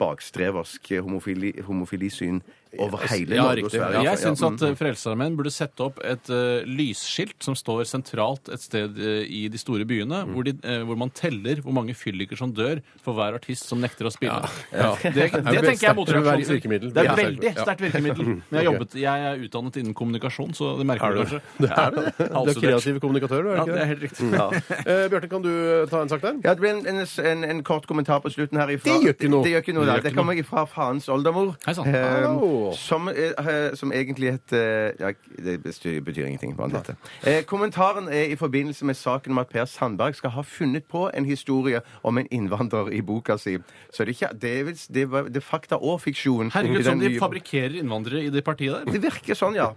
[SPEAKER 6] bakstreversk eh, homofili, homofilisyn over hele
[SPEAKER 4] Ja,
[SPEAKER 6] Norge og
[SPEAKER 4] riktig.
[SPEAKER 6] Sverige.
[SPEAKER 4] Ja,
[SPEAKER 5] Jeg syns at
[SPEAKER 6] mm.
[SPEAKER 5] eh, Frelsesarmeen burde sette opp et eh, lysskilt som står sentralt et sted eh, i de store byene, hvor, de, eh, hvor man teller hvor mange fylliker som dør for hver artist som nekter å spille.
[SPEAKER 4] Ja.
[SPEAKER 5] Det, det,
[SPEAKER 4] veldig
[SPEAKER 5] tenker jeg er
[SPEAKER 4] sterkt
[SPEAKER 5] motreaksjon. til.
[SPEAKER 4] virkemiddel.
[SPEAKER 5] Det er
[SPEAKER 4] Ja.
[SPEAKER 5] veldig
[SPEAKER 4] Ja.
[SPEAKER 5] sterkt virkemiddel. Men jeg, har jobbet, jeg er utdannet innen kommunikasjon, så det merker du kanskje.
[SPEAKER 4] Det er det. Du er
[SPEAKER 5] Halvstudert.
[SPEAKER 4] kreativ kommunikatør, du, er
[SPEAKER 5] Ja,
[SPEAKER 4] ikke
[SPEAKER 5] det er
[SPEAKER 4] det?
[SPEAKER 5] helt riktig.
[SPEAKER 4] Eh, Bjarte, kan du eh, ta en sak der?
[SPEAKER 6] Ja, det ble en, en, en, en kort kommentar på slutten her ifra.
[SPEAKER 4] Det gjør ikke noe.
[SPEAKER 6] Det gjør ikke noe,
[SPEAKER 4] Det
[SPEAKER 6] da.
[SPEAKER 4] gjør
[SPEAKER 6] Det
[SPEAKER 4] ikke
[SPEAKER 6] kommer ifra faens oldemor.
[SPEAKER 5] Hei sann.
[SPEAKER 6] eh,
[SPEAKER 4] Hallo.
[SPEAKER 6] som, eh, eh, som egentlig het eh, ja, Det bestyr, betyr ingenting. Hva han heter. Eh, kommentaren er i forbindelse med saken om at Per Sandberg skal ha funnet på en historie om en innvandrer i boka si. Så det er, ikke, det er, vel, det er, det er fakta og fiksjon. i
[SPEAKER 5] Herregud,
[SPEAKER 6] den
[SPEAKER 5] som de
[SPEAKER 6] nye-
[SPEAKER 5] fabrikkerer innvandrere i det partiet der.
[SPEAKER 6] Det virker sånn, ja.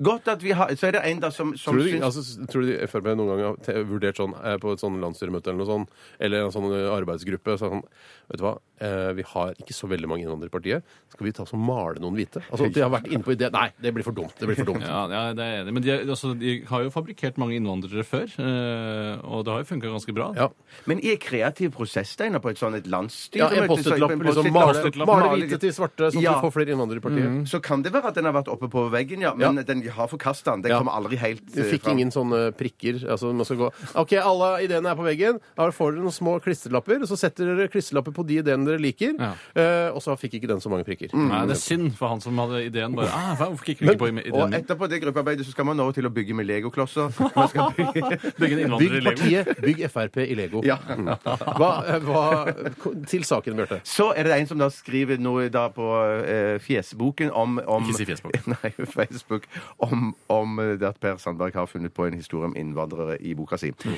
[SPEAKER 6] Godt at vi har Så er det en da som, som
[SPEAKER 4] Tror du,
[SPEAKER 6] syns-
[SPEAKER 4] altså, s- tror du Frp noen gang har te- vurdert sånn eh, på et sånn landsstyremøte eller noe sånt, eller en sånn eh, arbeidsgruppe så er det sånn, Vet du hva, eh, vi har ikke så veldig mange innvandrere i partiet. Skal vi ta oss og male noen hvite? Altså, at de har vært inne på ideen Nei, det blir for dumt. Det blir for dumt.
[SPEAKER 5] Ja, ja, det er jeg enig. i. Men de, er- altså, de har jo fabrikkert mange innvandrere før, eh, og det har jo funka ganske bra.
[SPEAKER 4] Ja.
[SPEAKER 6] Men i en kreativ prosess, Steinar, på et sånt et
[SPEAKER 4] Ja,
[SPEAKER 6] landsstyremøte
[SPEAKER 4] en
[SPEAKER 6] så-
[SPEAKER 4] post-it-lapp.
[SPEAKER 6] på en
[SPEAKER 4] Liksom,
[SPEAKER 6] post-it-lapp,
[SPEAKER 4] male, male hvite til svarte, sånn at
[SPEAKER 6] Ja. Mm.
[SPEAKER 4] vi får flere innvandrere i partiet.
[SPEAKER 6] så kan det være at den har vært oppe på veggen, ja. Men
[SPEAKER 4] Ja.
[SPEAKER 6] den har forkasta den. Den
[SPEAKER 4] Ja.
[SPEAKER 6] kommer aldri helt
[SPEAKER 4] Du
[SPEAKER 6] eh,
[SPEAKER 4] fikk
[SPEAKER 6] fram.
[SPEAKER 4] ingen sånne prikker. Altså, man skal gå OK, alle ideene er på veggen. Da får dere noen små klistrelapper. Så setter dere klistrelapper på de ideene dere liker.
[SPEAKER 5] Ja.
[SPEAKER 4] Eh, og så fikk ikke den så mange prikker.
[SPEAKER 6] Mm.
[SPEAKER 5] Nei, det er synd for han som hadde ideen. bare, ah, Hvorfor gikk vi
[SPEAKER 4] Men-
[SPEAKER 5] ikke på i- ideen
[SPEAKER 6] Og
[SPEAKER 5] min?
[SPEAKER 6] etterpå det gruppearbeidet så skal man over til å bygge med legoklosser. Man skal bygge...
[SPEAKER 5] Bygge en innvandrer i
[SPEAKER 4] Bygg
[SPEAKER 5] Lego.
[SPEAKER 4] partiet, bygg Frp i Lego.
[SPEAKER 6] Ja.
[SPEAKER 4] Mm. Hva, hva, til saken, Bjarte.
[SPEAKER 6] Så er det en som da skriver noe da på eh, fjesboken om, om
[SPEAKER 5] Ikke si fjesboken.
[SPEAKER 6] Nei, Facebook. Om, om eh, det at Per Sandberg har funnet på en historie om innvandrere i boka si.
[SPEAKER 5] Mm.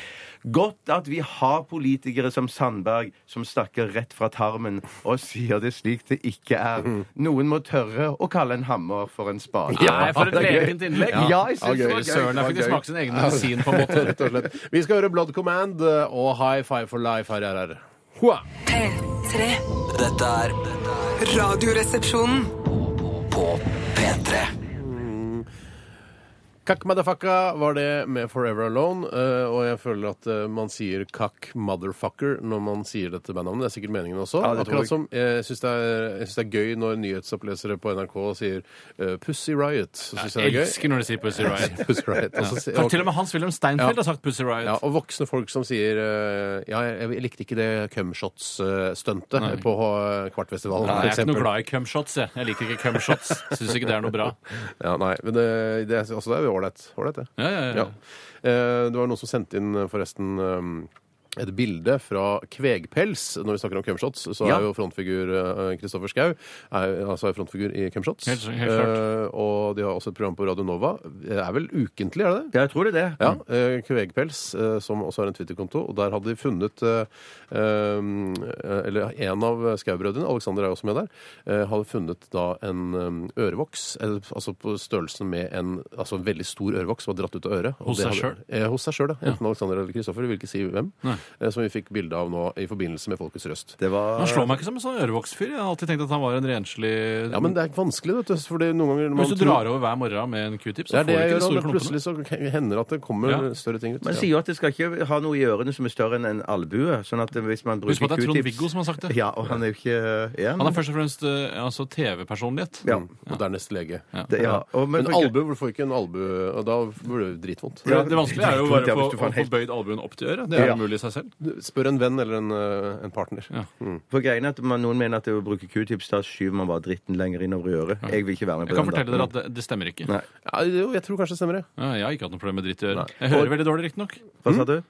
[SPEAKER 6] Godt at vi har politikere som Sandberg, som snakker rett fra tarmen og sier det slik det ikke er.
[SPEAKER 5] Mm.
[SPEAKER 6] Noen må tørre å kalle en hammer for en spade.
[SPEAKER 5] Nei, for et lekent innlegg!
[SPEAKER 6] Ja, jeg synes det var gøy.
[SPEAKER 5] Søren, der fikk de
[SPEAKER 6] Det var gøy.
[SPEAKER 5] smake sin egen medisin, på en måte.
[SPEAKER 4] Rett og slett. Vi skal høre Blood Command eh, og High Five for Life her er her. Hua!
[SPEAKER 7] P3.
[SPEAKER 2] Dette er dette er
[SPEAKER 7] Radioresepsjonen.
[SPEAKER 2] på P3.
[SPEAKER 4] Kakk motherfucka var det med Forever Alone, eh, og jeg føler at eh, man sier kakk motherfucker når man sier dette bandnavnet. Det er sikkert meningen også.
[SPEAKER 6] Ja, det tror jeg.
[SPEAKER 4] Akkurat som eh, jeg syns det, er- jeg synes det er gøy når nyhetsopplesere på NRK sier eh, Pussy Riot. Så synes jeg
[SPEAKER 5] Jeg
[SPEAKER 4] det er gøy.
[SPEAKER 5] elsker når de sier Pussy Riot.
[SPEAKER 4] Pussy Riot. Og så sier-
[SPEAKER 5] Kan til og med Hans-Wilhelm Steinfeld har sagt Pussy
[SPEAKER 4] Ja,
[SPEAKER 5] Riot.
[SPEAKER 4] og voksne folk som sier eh, Ja, jeg, jeg likte ikke det cumshots-stuntet på eh, Kvartfestivalen,
[SPEAKER 5] Nei,
[SPEAKER 4] for
[SPEAKER 5] jeg er ikke noe
[SPEAKER 4] eksempel.
[SPEAKER 5] glad i cumshots. Jeg Jeg liker ikke cumshots. Syns ikke det er noe bra.
[SPEAKER 4] Ja, nei, men det, det, er- også det er jo ålreit. Ålreit, det.
[SPEAKER 5] Ja, ja, ja.
[SPEAKER 4] Eh, Det var noen som sendte inn eh, forresten eh, et bilde fra Kvegpels. Når vi snakker om cumshots, så
[SPEAKER 6] Ja.
[SPEAKER 4] er jo frontfigur eh, Kristoffer Schau er, jo- altså er frontfigur i cumshots.
[SPEAKER 5] Helt- helt klart.
[SPEAKER 4] Eh, og de har også et program på Radio Nova. Det er vel ukentlig, er det det?
[SPEAKER 6] Ja, jeg tror det er det.
[SPEAKER 4] Ja,
[SPEAKER 5] Mm.
[SPEAKER 4] eh, Kvegpels, eh, som også har en Twitter-konto. Og der hadde de funnet eh, eh, Eller en av Skau-brødrene, Alexander er jo også med der, eh, hadde funnet da en eh, ørevoks, eh, altså på størrelsen med en altså en veldig stor ørevoks som var dratt ut av øret. Og
[SPEAKER 5] Hos
[SPEAKER 4] det
[SPEAKER 5] seg
[SPEAKER 4] hadde- Eh, hos seg sjøl, ja. Enten Alexander eller Kristoffer, vi vil ikke si hvem. Eh, som vi fikk bilde av nå i forbindelse med Folkets Røst.
[SPEAKER 6] Det var
[SPEAKER 5] Han slår meg ikke som en sånn ørevoksfyr. Jeg har alltid tenkt at han var en renslig
[SPEAKER 4] Ja, men det er vanskelig, vet du. Fordi noen ganger når man
[SPEAKER 5] Hvis du drar over hver morgen med en q-tip,
[SPEAKER 4] det
[SPEAKER 5] så
[SPEAKER 4] er
[SPEAKER 5] får du
[SPEAKER 4] det
[SPEAKER 5] ikke
[SPEAKER 4] jeg
[SPEAKER 5] de
[SPEAKER 4] gjør,
[SPEAKER 5] store
[SPEAKER 4] og plutselig
[SPEAKER 5] klumpene.
[SPEAKER 4] så hender det at det kommer
[SPEAKER 5] Ja.
[SPEAKER 4] større ting ut.
[SPEAKER 6] Man
[SPEAKER 4] Ja.
[SPEAKER 6] sier jo at det skal ikke ha noe i ørene som er større enn en albue. sånn at hvis man bruker
[SPEAKER 5] Husk på at det er
[SPEAKER 6] Q-tips-
[SPEAKER 5] Trond-Viggo som har sagt det.
[SPEAKER 6] Ja, og han er jo ikke ja,
[SPEAKER 5] Han er først og fremst eh, altså, TV-personlighet.
[SPEAKER 6] ja,
[SPEAKER 4] Og dernest lege.
[SPEAKER 6] det, ja. Og,
[SPEAKER 4] Men,
[SPEAKER 6] men-
[SPEAKER 4] albu, hvorfor ikke en albu? Og da blir det dritvondt.
[SPEAKER 5] For Det, det vanskelige er jo
[SPEAKER 6] Ja,
[SPEAKER 5] bare
[SPEAKER 6] hvis
[SPEAKER 5] å få
[SPEAKER 6] du får en
[SPEAKER 5] å få
[SPEAKER 6] helt-
[SPEAKER 5] bøyd albuen opp til øret. Det er
[SPEAKER 6] Ja.
[SPEAKER 5] umulig i seg
[SPEAKER 1] seg selv?
[SPEAKER 4] Spør en venn eller en, eh, en partner.
[SPEAKER 1] Ja.
[SPEAKER 6] For greien er at man, Noen mener at det å bruke q-tips da skyver man bare dritten lenger innover i øret. Jeg vil ikke være med på
[SPEAKER 1] Jeg kan
[SPEAKER 6] den.
[SPEAKER 1] fortelle
[SPEAKER 6] da.
[SPEAKER 1] dere at det, det stemmer ikke.
[SPEAKER 6] Nei.
[SPEAKER 4] Ja, jo, jeg tror kanskje det stemmer, det.
[SPEAKER 1] Ja, Jeg har ikke hatt noe problem med dritt i øret. Jeg hører veldig dårlig, riktignok.
[SPEAKER 6] Hva sa du?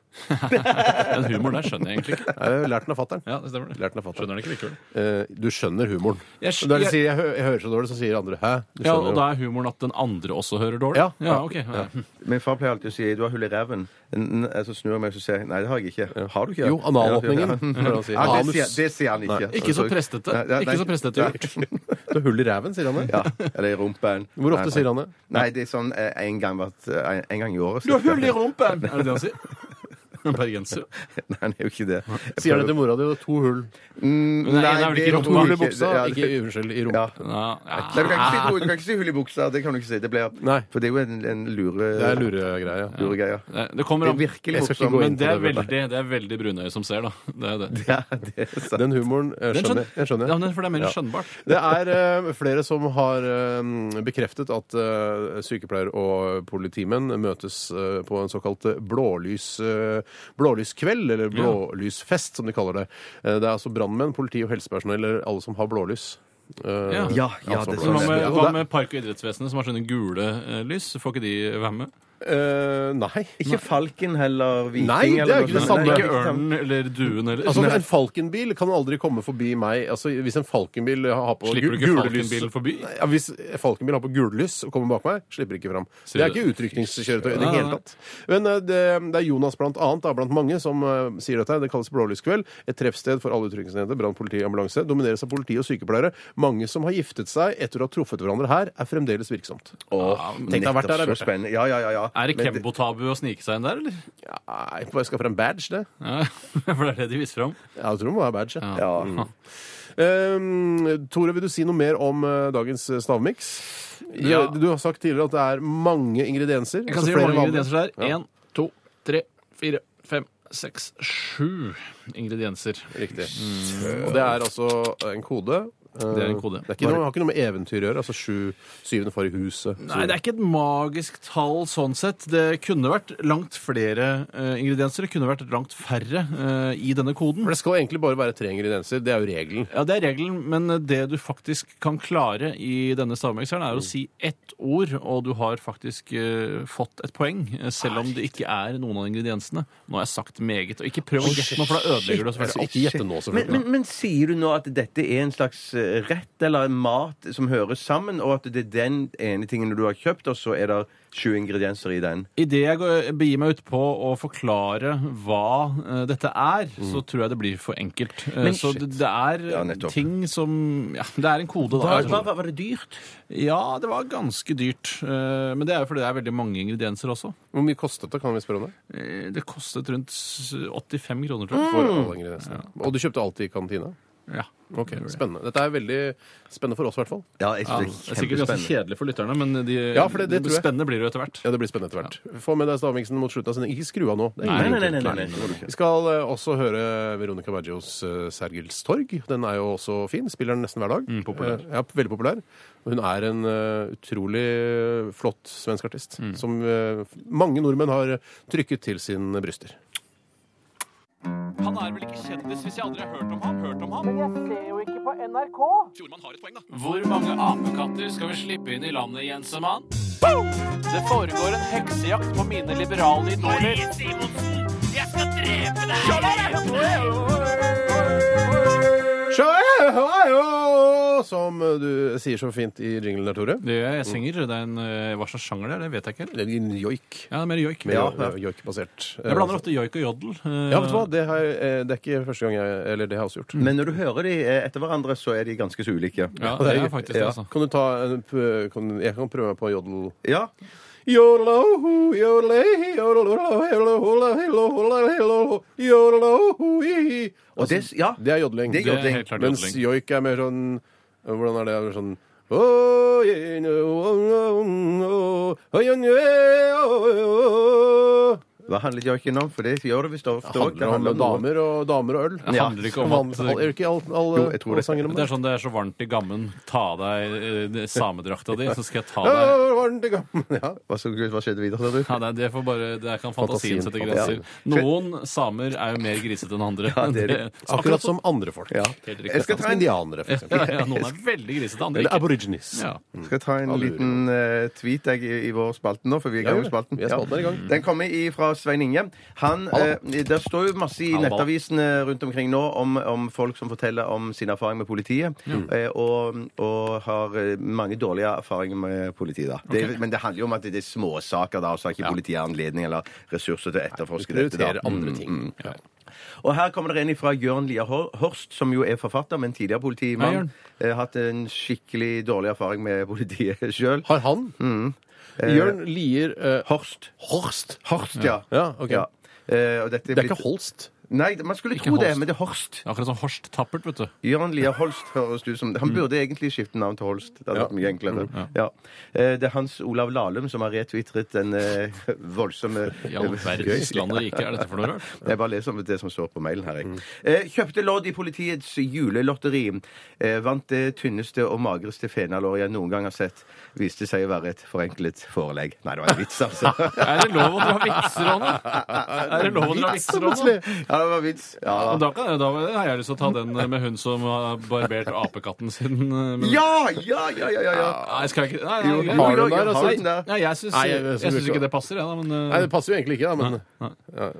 [SPEAKER 1] Den humoren der skjønner jeg egentlig ikke.
[SPEAKER 4] Jeg har lært den av fatter'n.
[SPEAKER 1] Ja, det stemmer det.
[SPEAKER 4] Lært den av fatteren.
[SPEAKER 1] Skjønner den ikke likevel.
[SPEAKER 4] Eh, du skjønner humoren.
[SPEAKER 1] Jeg
[SPEAKER 4] Når
[SPEAKER 1] skj-
[SPEAKER 4] du sier jeg, hø 'jeg hører så dårlig', så sier andre 'hæ'? Du
[SPEAKER 1] Ja,
[SPEAKER 4] skjønner jo.
[SPEAKER 1] og da er humoren at den andre også hører dårlig?
[SPEAKER 4] Ja.
[SPEAKER 1] ok. Ja.
[SPEAKER 6] Min far pleier alltid å si 'du har hull i ræven'. N- n- Så snur jeg meg og sier jeg, 'nei, det har jeg ikke'. Har du ikke?
[SPEAKER 4] Jo, analåpningen,
[SPEAKER 6] Ja, ja.
[SPEAKER 4] pleier han å si.
[SPEAKER 6] Ja, det
[SPEAKER 4] Anus.
[SPEAKER 6] sier- det sier han ikke.
[SPEAKER 1] Ikke så prestete.
[SPEAKER 6] Nei, Altså, nei,
[SPEAKER 1] Ikke så prestete
[SPEAKER 6] nei.
[SPEAKER 1] gjort.
[SPEAKER 4] Du har hull i ræven, sier han det.
[SPEAKER 6] Ja, eller i rumpen.
[SPEAKER 4] Hvor ofte
[SPEAKER 6] Nei,
[SPEAKER 4] sier han det?
[SPEAKER 6] Nei, det er sånn eh, en gang, hvert- eh, en gang i året.
[SPEAKER 1] Du har hull i rumpen! Er det det han sier? En bergenser.
[SPEAKER 6] Nei, han er jo ikke det. Jeg
[SPEAKER 4] Sier han det til mora
[SPEAKER 6] prøver-
[SPEAKER 4] di? og To hull.
[SPEAKER 6] Mm,
[SPEAKER 1] Men det ene er vel
[SPEAKER 6] det
[SPEAKER 1] ikke
[SPEAKER 6] er
[SPEAKER 1] rumpa?
[SPEAKER 4] To
[SPEAKER 6] jo
[SPEAKER 4] hull i
[SPEAKER 6] ikke-
[SPEAKER 4] buksa,
[SPEAKER 6] ja, det-
[SPEAKER 4] ikke unnskyld, i
[SPEAKER 6] Ja.
[SPEAKER 4] rumpa.
[SPEAKER 1] Ja, Ah. ja.
[SPEAKER 6] Nei, du, kan ikke si, du kan ikke si hull i buksa. Det kan du ikke si. Det blir,
[SPEAKER 4] Nei.
[SPEAKER 6] For det er jo en, en lure...
[SPEAKER 4] Det er luregreie. Ja.
[SPEAKER 6] luregreie.
[SPEAKER 1] Nei, Eh, Det kommer
[SPEAKER 6] Det
[SPEAKER 1] an
[SPEAKER 6] er virkelig
[SPEAKER 4] Jeg skal ikke
[SPEAKER 6] morsomt.
[SPEAKER 4] gå
[SPEAKER 1] Men
[SPEAKER 4] inn på
[SPEAKER 1] det er
[SPEAKER 4] det, Bjarte.
[SPEAKER 1] veldig, det er veldig brunøye som ser, da. Det er det.
[SPEAKER 6] Ja, det er sant.
[SPEAKER 4] Den humoren eh,
[SPEAKER 1] Den
[SPEAKER 4] skjønner jeg. jeg. skjønner.
[SPEAKER 1] Ja, men for det er mer skjønnbart.
[SPEAKER 4] Det er eh, flere som har eh, bekreftet at eh, sykepleier og politimenn møtes eh, på en såkalt blålys, eh, blålyskveld, eller blålysfest som de kaller det. Eh, det er altså brannmenn, politi og helsepersonell, eller alle som har blålys. Eh,
[SPEAKER 1] Ja.
[SPEAKER 6] Ja, ja,
[SPEAKER 4] altså
[SPEAKER 6] det
[SPEAKER 4] blålys.
[SPEAKER 1] Så Hva med,
[SPEAKER 4] Ja, og
[SPEAKER 1] hva
[SPEAKER 4] det-
[SPEAKER 1] med Park- og idrettsvesenet, som har sånne gule eh, lys? Får ikke de være med?
[SPEAKER 4] Eh, nei.
[SPEAKER 6] Ikke Falken heller, Viking
[SPEAKER 4] Nei, det er
[SPEAKER 6] eller noe
[SPEAKER 4] ikke det
[SPEAKER 6] sånt.
[SPEAKER 4] samme.
[SPEAKER 6] Nei,
[SPEAKER 1] Ikke ørnen eller duen eller
[SPEAKER 4] Altså,
[SPEAKER 1] Nei,
[SPEAKER 4] En falkenbil kan aldri komme forbi meg. Altså, Hvis en falkenbil har på
[SPEAKER 1] Slipper du
[SPEAKER 4] gu-
[SPEAKER 1] ikke
[SPEAKER 4] gule lys-
[SPEAKER 1] Falkenbil forbi?
[SPEAKER 4] Ja, hvis Falkenbil har på gule lys og kommer bak meg, slipper ikke fram.
[SPEAKER 1] Ser
[SPEAKER 4] Det er
[SPEAKER 1] du
[SPEAKER 4] ikke utrykningskjøretøy i det
[SPEAKER 1] Nei, nei,
[SPEAKER 4] hele tatt. Men eh, det, det er Jonas blant annet, da, blant mange, som eh, sier dette. her. Det kalles Blålyskveld. Et treffsted for alle utrykningsenheter, brann, politi, ambulanse. Domineres av politi og sykepleiere. Mange som har giftet seg etter å ha truffet hverandre her, er fremdeles virksomt.
[SPEAKER 6] Åh,
[SPEAKER 4] Tenk deg å ha vært der, der,
[SPEAKER 6] nettopp, så
[SPEAKER 4] Bjarte.
[SPEAKER 6] spennende. Ja, ja, ja, ja.
[SPEAKER 1] Er det
[SPEAKER 6] Men
[SPEAKER 1] Kembo-tabu å snike seg inn der, eller?
[SPEAKER 4] Nei, jeg skal frem badge, det.
[SPEAKER 1] Ja, for det er det de viser fram.
[SPEAKER 4] Ja, Jeg tror det må være badge. Ja.
[SPEAKER 6] Ja.
[SPEAKER 4] Ehm, Tore, vil du si noe mer om eh, dagens eh, stavmiks? Du,
[SPEAKER 1] Ja.
[SPEAKER 4] du har sagt tidligere at det er mange ingredienser.
[SPEAKER 1] Jeg kan
[SPEAKER 4] altså
[SPEAKER 1] si
[SPEAKER 4] flere
[SPEAKER 1] hvor mange
[SPEAKER 4] vanlige.
[SPEAKER 1] ingredienser det er.
[SPEAKER 4] Ja.
[SPEAKER 1] Én, to, tre, fire, fem, seks, sju ingredienser.
[SPEAKER 4] Riktig. Og det er altså en kode.
[SPEAKER 1] Mm.
[SPEAKER 4] Eh,
[SPEAKER 1] er en kode.
[SPEAKER 4] Det er ikke noe, har ikke noe med eventyr å gjøre. Altså sju, syvende eh. far i huset.
[SPEAKER 1] Nei, det er ikke et magisk tall sånn sett. Det kunne vært langt flere eh, ingredienser. Det kunne vært langt færre eh, i denne koden.
[SPEAKER 4] For det skal egentlig bare være tre ingredienser. Det er jo regelen.
[SPEAKER 1] Ja, Det er regelen, men det du faktisk kan klare i denne stavmikseren, er å si ett ord, og du har faktisk eh, fått et poeng, eh, selv om det ikke er noen av ingrediensene. Nå har jeg sagt meget, og ikke prøv å gjette nå, for da ødelegger du oss.
[SPEAKER 4] Altså, ikke gjette nå,
[SPEAKER 6] Men,
[SPEAKER 4] selvfølgelig.
[SPEAKER 6] men, men sier du nå at dette er en slags eh, rett eller en mat som hører sammen, og at det er den ene tingen du har kjøpt, og så er det sju ingredienser i den?
[SPEAKER 1] Idet jeg går- begir meg utpå å forklare hva eh, dette er, så tror jeg det blir for enkelt. Eh, så det, det er
[SPEAKER 6] Mm. Ja, nettopp.
[SPEAKER 1] ting som Ja, det er en kode, da.
[SPEAKER 6] Hva, hva, var det dyrt?
[SPEAKER 1] Ja, det var ganske dyrt. eh, Men det er jo fordi det er veldig mange ingredienser også.
[SPEAKER 4] Hvor mye kostet det, kan vi spørre om det?
[SPEAKER 1] Eh, Det kostet rundt s- 85 kroner, tror jeg.
[SPEAKER 4] For
[SPEAKER 6] Mm.
[SPEAKER 4] alle ingrediensene. Og du kjøpte alt i kantina?
[SPEAKER 1] Ja.
[SPEAKER 4] Ok, Spennende. Dette er veldig spennende for oss, i hvert fall.
[SPEAKER 6] Ja, jeg
[SPEAKER 1] Ja,
[SPEAKER 6] synes
[SPEAKER 1] det
[SPEAKER 6] det
[SPEAKER 1] er
[SPEAKER 6] er
[SPEAKER 1] sikkert ganske
[SPEAKER 6] kjempespennende.
[SPEAKER 1] kjedelig for lytterne, men de,
[SPEAKER 4] Ja, for det- det tror jeg.
[SPEAKER 1] spennende blir det jo etter hvert.
[SPEAKER 4] Ja, Det blir spennende etter hvert. Få med deg stavmiksen mot slutten av sendingen. Ikke skru av nå. Det er
[SPEAKER 6] Nei,
[SPEAKER 4] ingen
[SPEAKER 6] nei, nei,
[SPEAKER 4] grunn til.
[SPEAKER 6] nei, nei, nei, det må du ikke.
[SPEAKER 4] Vi skal eh, også høre Veronica Baggios eh, Sergels torg. Den er jo også fin. Spiller den nesten hver dag. Eh, Ja, veldig populær. Og Hun er en eh, utrolig eh, flott svensk artist som eh, mange nordmenn har trykket til sine bryster.
[SPEAKER 8] Han er vel ikke kjendis hvis jeg aldri har hørt om ham? Hørt om ham? Men jeg ser jo ikke på NRK! Fjordmann har et poeng, da. Hvor mange apekatter skal vi slippe inn i landet, Jensemann? Det foregår en heksejakt på mine liberale idoler. Marie Simonsen, jeg skal drepe deg!
[SPEAKER 4] Sjø-hei-hå! Som eh, du sier så fint i jinglen der, Tore.
[SPEAKER 1] Det gjør jeg. Jeg synger. Det er en, eh, hva slags sjanger det er, det vet jeg ikke helt.
[SPEAKER 4] Det er en joik.
[SPEAKER 1] Ja, det er mer joik.
[SPEAKER 4] Mer
[SPEAKER 1] Ja.
[SPEAKER 4] jo- joikbasert.
[SPEAKER 1] Jeg blander ofte joik og jodel. eh,
[SPEAKER 4] Ja, vet du hva? Det, har, jeg- eh, det er ikke første gang jeg Eller det har jeg også gjort.
[SPEAKER 6] Men når du hører de eh, etter hverandre, så er de ganske så ulike.
[SPEAKER 1] Ja, det er faktisk det,
[SPEAKER 6] Ja.
[SPEAKER 1] altså.
[SPEAKER 4] Kan du ta en p- kan, Jeg kan prøve meg på jodel.
[SPEAKER 6] Ja.
[SPEAKER 4] Jodelo, jodele, jodelo, jodelo, jodelo, jodelo, jodelo, hi, hi.
[SPEAKER 6] Og det, ja.
[SPEAKER 4] Altså, Det er jodling.
[SPEAKER 6] Det er
[SPEAKER 1] Det er helt klart
[SPEAKER 4] Mens
[SPEAKER 1] jodling.
[SPEAKER 4] joik er mer sånn Hvordan er det? Er det Sånn «Å, je, no, å, å, å, å, å, å, å, å, å, å».
[SPEAKER 6] Hva handler joiken om? For det gjør det visst ofte òg.
[SPEAKER 4] handler om damer og, damer og øl.
[SPEAKER 1] Det handler ikke om at
[SPEAKER 4] Van- Er det ikke alt- alle
[SPEAKER 6] Jo, jeg tror det.
[SPEAKER 4] sanger om
[SPEAKER 1] Det
[SPEAKER 4] det?
[SPEAKER 1] er sånn det er så varmt i gammen. Ta av deg eh, det- samedrakta di, så skal jeg ta
[SPEAKER 4] Ja,
[SPEAKER 1] deg
[SPEAKER 4] varmt i gang. Ja.
[SPEAKER 6] Hva, så, hva skjedde videre? sa
[SPEAKER 1] ja,
[SPEAKER 6] du?
[SPEAKER 1] nei, det, får bare, det kan
[SPEAKER 4] Fantasien,
[SPEAKER 1] fantasien, sette
[SPEAKER 4] fantasien.
[SPEAKER 1] grenser. Noen samer er jo mer grisete enn andre.
[SPEAKER 6] det er det.
[SPEAKER 1] Så
[SPEAKER 4] Akkurat som andre folk.
[SPEAKER 6] Ja.
[SPEAKER 1] Helt riktig.
[SPEAKER 6] Jeg skal
[SPEAKER 4] Som
[SPEAKER 6] ta en,
[SPEAKER 4] indianere, for
[SPEAKER 1] Ja,
[SPEAKER 4] eksempel.
[SPEAKER 1] ja, noen er veldig grisete, andre
[SPEAKER 4] Eller
[SPEAKER 1] ikke.
[SPEAKER 4] aborigines.
[SPEAKER 1] Ja.
[SPEAKER 6] skal ta en
[SPEAKER 4] lurer
[SPEAKER 6] liten eh, tweet jeg, i, i vår spalten nå, for vi er i
[SPEAKER 4] Ja,
[SPEAKER 6] gang
[SPEAKER 4] gjør
[SPEAKER 6] med
[SPEAKER 4] det.
[SPEAKER 6] spalten.
[SPEAKER 4] Vi er spalten er i gang.
[SPEAKER 6] Den kommer i, fra Svein Inge. Han,
[SPEAKER 4] Halla.
[SPEAKER 6] eh, der står jo masse i
[SPEAKER 1] Halla.
[SPEAKER 6] nettavisene rundt omkring nå om, om folk som forteller om sin erfaring med politiet,
[SPEAKER 4] Mm.
[SPEAKER 6] eh, og, og har eh, mange dårlige erfaringer med politiet. da. Det, Men det handler jo om at det er småsaker, da, og så har ikke politiet anledning eller ressurser til å etterforske dette. da.
[SPEAKER 4] Prioriterer andre ting. Ja.
[SPEAKER 6] Og her kommer det en fra Jørn Lier Hor- Horst, som jo er forfatter, men tidligere
[SPEAKER 1] Hei,
[SPEAKER 6] politimann.
[SPEAKER 1] Jørn.
[SPEAKER 6] Eh, hatt en skikkelig dårlig erfaring med politiet sjøl.
[SPEAKER 4] Har han?
[SPEAKER 6] Mm.
[SPEAKER 4] Jørn Lier eh,
[SPEAKER 6] Horst.
[SPEAKER 4] Horst?
[SPEAKER 6] Horst, ja.
[SPEAKER 4] Ja, ok.
[SPEAKER 6] Eh, og dette
[SPEAKER 4] Det er ikke Holst.
[SPEAKER 6] Nei, man skulle
[SPEAKER 1] Ikke
[SPEAKER 6] tro det,
[SPEAKER 1] Holst.
[SPEAKER 6] men det er Horst.
[SPEAKER 1] Akkurat som Horst Tappert, vet du.
[SPEAKER 6] Jørn Lier Holst høres det ut som. Han burde egentlig skifte navn til Holst. Det hadde
[SPEAKER 4] Ja.
[SPEAKER 6] vært mye enklere. Ja. Eh, Det er Hans Olav Lahlum som har retwitret den eh, voldsomme
[SPEAKER 1] I all verdens land og rike, er dette for noe rart?
[SPEAKER 6] Jeg bare leser om det som står på mailen her. Jeg. Eh, kjøpte lodd i politiets julelotteri. Eh, vant det tynneste og magreste fenalåret jeg noen gang har sett. Viste seg å være et forenklet forelegg. Nei, det var en vits, altså.
[SPEAKER 1] Er det lov å dra vitser, Anne? Er det lov å dra vitser, Anne?
[SPEAKER 6] Ja, det var vits. Ja,
[SPEAKER 1] Men Da, kan, da har jeg lyst til å ta den med hun som har barbert apekatten sin. eh, Men...
[SPEAKER 6] ja, ja, ja, ja, ja, ja.
[SPEAKER 1] Nei, skal jeg ikke Nei,
[SPEAKER 6] Jo, har
[SPEAKER 1] nei, nei,
[SPEAKER 6] du
[SPEAKER 4] der,
[SPEAKER 6] den
[SPEAKER 4] altså?
[SPEAKER 6] den der?
[SPEAKER 1] nei jeg syns
[SPEAKER 4] Nei, jeg- jeg
[SPEAKER 1] jeg syns
[SPEAKER 4] burde-
[SPEAKER 1] ikke det passer, jeg, da. Men
[SPEAKER 4] Nei, det
[SPEAKER 1] eh,
[SPEAKER 4] passer jo egentlig ikke, da, men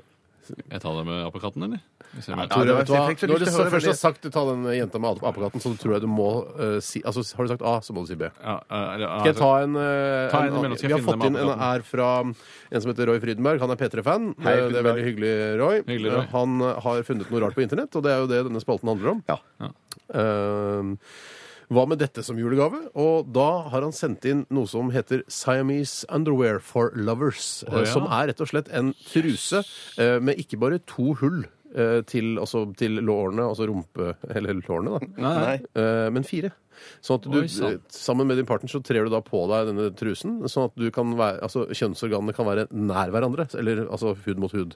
[SPEAKER 1] jeg tar det med apekatten, eller? Vi ser om jeg-
[SPEAKER 6] Ja,
[SPEAKER 4] Tore,
[SPEAKER 6] det var-
[SPEAKER 4] vet du hva?
[SPEAKER 6] jeg fikk så
[SPEAKER 4] Når
[SPEAKER 6] lyst
[SPEAKER 4] du
[SPEAKER 6] til å høre
[SPEAKER 4] først
[SPEAKER 6] veldig-
[SPEAKER 4] har sagt du tar den eh, jenta med apekatten, så tror jeg du må eh, si Altså, har du sagt A, så må du si B.
[SPEAKER 1] Ja, eller-
[SPEAKER 4] Skal jeg ta en, eh,
[SPEAKER 1] Ta
[SPEAKER 4] en
[SPEAKER 1] en imellom,
[SPEAKER 4] annen?
[SPEAKER 1] skal jeg
[SPEAKER 4] Vi har
[SPEAKER 1] finne
[SPEAKER 4] fått
[SPEAKER 1] den
[SPEAKER 4] inn
[SPEAKER 1] med
[SPEAKER 4] en
[SPEAKER 1] advokaten.
[SPEAKER 4] her fra en som heter Roy Frydenberg. Han er P3-fan. Eh,
[SPEAKER 6] Hei,
[SPEAKER 4] Det er
[SPEAKER 6] Frydenberg.
[SPEAKER 4] veldig hyggelig, Roy.
[SPEAKER 1] Hyggelig, Roy.
[SPEAKER 4] Eh, Han eh, har funnet noe rart på internett, og det er jo det denne spalten handler om.
[SPEAKER 6] Ja.
[SPEAKER 4] Eh, hva med dette som julegave? Og da har han sendt inn noe som heter Siamese Underwear for Lovers. eh,
[SPEAKER 1] ja.
[SPEAKER 4] Som er rett og slett en truse eh, med ikke bare to hull eh, til, altså, til lårene, altså rumpe Eller lårene, da.
[SPEAKER 1] Nei,
[SPEAKER 4] Eh, men fire. Sånn at du,
[SPEAKER 1] Oi, sant.
[SPEAKER 4] eh, sammen med din partner så trer du da på deg denne trusen, sånn at du kan være, altså, kjønnsorganene kan være nær hverandre. Eller altså hud mot hud.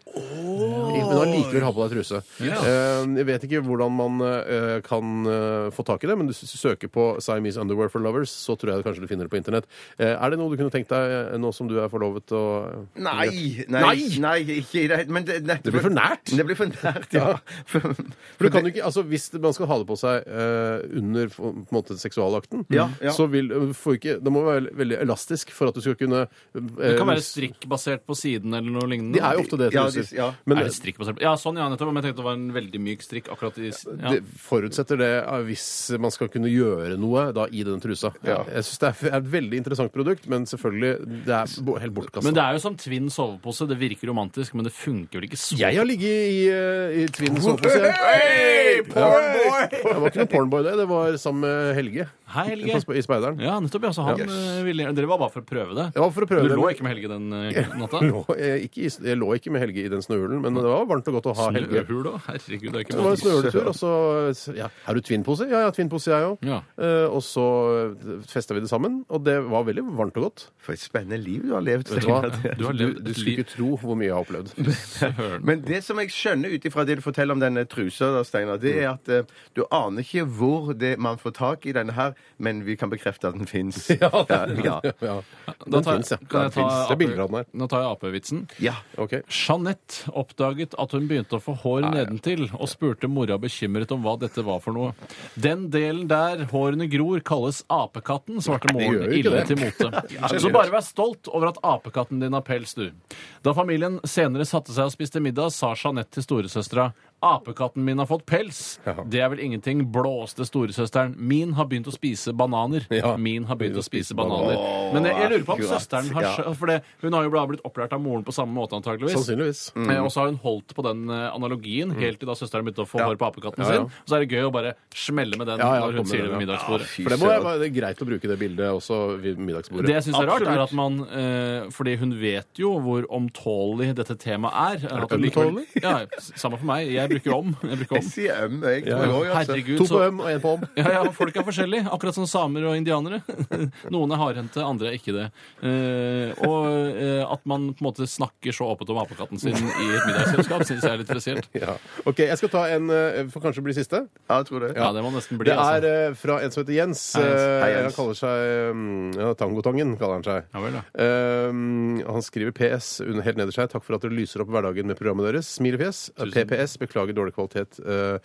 [SPEAKER 4] Men allikevel ha på deg truse.
[SPEAKER 1] Ja.
[SPEAKER 4] Eh, jeg vet ikke hvordan man eh, kan eh, få tak i det, men du s- søker på Siamese Underwear for Lovers, så tror jeg kanskje du finner det på internett. Eh, er det noe du kunne tenkt deg eh, nå som du er forlovet og
[SPEAKER 6] Nei, nei,
[SPEAKER 4] Nei!
[SPEAKER 6] nei, ikke i det hele tatt.
[SPEAKER 4] Det blir for nært.
[SPEAKER 6] Det blir for nært, ja. For,
[SPEAKER 4] For du kan jo ikke, altså Hvis det- man skal ha det på seg eh, under på en måte, seksualakten,
[SPEAKER 6] Ja, ja.
[SPEAKER 4] så vil, får ikke, det må være veldig elastisk for at du skal kunne eh,
[SPEAKER 1] Det kan være strikkbasert på siden eller noe lignende.
[SPEAKER 4] De er jo ofte det,
[SPEAKER 6] Ja,
[SPEAKER 4] truser.
[SPEAKER 6] de- ja.
[SPEAKER 4] Men
[SPEAKER 1] er det strikkbasert på Ja, sånn, ja, nettopp. Men jeg tenkte det var en veldig myk strikk akkurat i siden. Ja.
[SPEAKER 4] det forutsetter det eh, hvis man skal kunne gjøre noe da i den trusa.
[SPEAKER 6] Ja.
[SPEAKER 4] Jeg syns det er et veldig interessant produkt, men selvfølgelig, det er bo- helt bortkasta.
[SPEAKER 1] Men det er jo som tvinn sovepose. Det virker romantisk, men det funker vel ikke så
[SPEAKER 4] Jeg har ligget i, eh, i Twin sovepose. jeg. Ja. Det var ikke noe pornboy, det. Det var sammen med Helge,
[SPEAKER 1] Hei, Helge.
[SPEAKER 4] på spe- i Speideren.
[SPEAKER 1] Ja, nettopp. Ja, så han eh, ville Dere var bare for å prøve det.
[SPEAKER 4] Det var for å prøve
[SPEAKER 1] Du
[SPEAKER 4] det,
[SPEAKER 1] lå
[SPEAKER 4] men-
[SPEAKER 1] ikke med Helge den eh, natta?
[SPEAKER 4] lå, jeg, ikke, i- jeg lå ikke med Helge i den snøhulen, men det var varmt og godt å ha Helge.
[SPEAKER 1] Snøhul da? Herregud, det er
[SPEAKER 4] Det
[SPEAKER 1] ikke
[SPEAKER 4] var en
[SPEAKER 1] måte.
[SPEAKER 4] snøhuletur, og så ja, Har du tvinnpose? Ja, jeg har tvinnpose, jeg òg.
[SPEAKER 1] Ja.
[SPEAKER 4] Eh, og så festa vi det sammen, og det var veldig varmt og godt.
[SPEAKER 6] for et spennende liv du har levd.
[SPEAKER 4] Vet du hva?
[SPEAKER 1] Du har
[SPEAKER 4] Du,
[SPEAKER 1] levd
[SPEAKER 4] du
[SPEAKER 1] et
[SPEAKER 4] skulle
[SPEAKER 1] liv
[SPEAKER 4] ikke tro hvor mye jeg har opplevd.
[SPEAKER 6] Men det som jeg skjønner ut ifra det du forteller om denne trusa, da, Steinar, det er at eh, du aner ikke hvor det man får tak i denne her, men vi kan bekrefte at den fins. Ja, ja.
[SPEAKER 4] Ja.
[SPEAKER 1] Da
[SPEAKER 4] Den
[SPEAKER 1] tar jeg-
[SPEAKER 4] fins, ja. Den
[SPEAKER 1] kan jeg ta
[SPEAKER 4] finnes. Det er
[SPEAKER 1] ape-
[SPEAKER 4] bilder av den her.
[SPEAKER 1] Nå tar jeg apevitsen.
[SPEAKER 6] ja.
[SPEAKER 4] Ok.
[SPEAKER 1] Jeanette oppdaget at hun begynte å få hår nedentil, og spurte mora bekymret om hva dette var for noe. Den delen der hårene gror, kalles apekatten, svarte moren
[SPEAKER 4] gjør jo ikke
[SPEAKER 1] ille
[SPEAKER 4] det.
[SPEAKER 1] til mote. Så bare vær stolt over at apekatten din har pels, du. Da familien senere satte seg og spiste middag, sa Jeanette til storesøstera Apekatten min har fått pels. Det er vel ingenting, blåste storesøsteren. Min har begynt å spise bananer.
[SPEAKER 4] Ja.
[SPEAKER 1] Min har begynt å spise bananer. Men jeg, jeg lurer på om
[SPEAKER 6] akkurat.
[SPEAKER 1] søsteren har skjø- For det, hun har jo da blitt opplært av moren på samme måte, antageligvis.
[SPEAKER 4] Sannsynligvis.
[SPEAKER 1] Eh, Og så har hun holdt på den eh, analogien helt til da søsteren begynte å få hår på
[SPEAKER 4] Mm. Ja,
[SPEAKER 1] apekatten
[SPEAKER 4] ja.
[SPEAKER 1] sin. Og så er det gøy å bare smelle med den
[SPEAKER 4] Ja, ja, kom
[SPEAKER 1] når hun
[SPEAKER 4] med
[SPEAKER 1] sier
[SPEAKER 4] den,
[SPEAKER 1] det ved
[SPEAKER 4] ja.
[SPEAKER 1] middagsbordet.
[SPEAKER 4] For det, må jeg, det er greit å bruke det bildet også ved middagsbordet.
[SPEAKER 1] Det jeg syns er rart, er
[SPEAKER 4] Absolutt.
[SPEAKER 1] at man eh, Fordi hun vet jo hvor omtålelig dette temaet er. Er
[SPEAKER 4] det
[SPEAKER 1] likevel,
[SPEAKER 4] ømtålig?
[SPEAKER 1] ja, s- samme for meg. Jeg jeg bruker om. Jeg bruker om.
[SPEAKER 6] Jeg sier øm, jeg
[SPEAKER 1] Ja,
[SPEAKER 6] tror jeg òg, altså.
[SPEAKER 1] Herregud,
[SPEAKER 4] To på
[SPEAKER 1] så
[SPEAKER 4] øm og én på om.
[SPEAKER 1] ja, ja, folk er forskjellige, akkurat som samer og indianere. Noen er hardhendte, andre er ikke det. Eh, og eh, at man på en måte snakker så åpent om apekatten sin i et middagsselskap, syns jeg er litt spesielt.
[SPEAKER 4] Ja. OK, jeg skal ta en eh, for kanskje å bli siste.
[SPEAKER 6] Ja, jeg tror det.
[SPEAKER 1] Ja, det må nesten bli.
[SPEAKER 4] Det er
[SPEAKER 1] altså.
[SPEAKER 4] eh, fra en som heter Jens.
[SPEAKER 1] Hei, Jens.
[SPEAKER 4] Eh,
[SPEAKER 6] Hei, Jens.
[SPEAKER 4] Han kaller seg mm, ja, Tangotangen. kaller han seg.
[SPEAKER 1] Ja vel, ja.
[SPEAKER 4] Eh, han skriver PS under, helt nederst her. Takk for at dere lyser opp hverdagen med programmet deres. Eh, Smilefjes. PPS. Beklager dårlig kvalitet eh,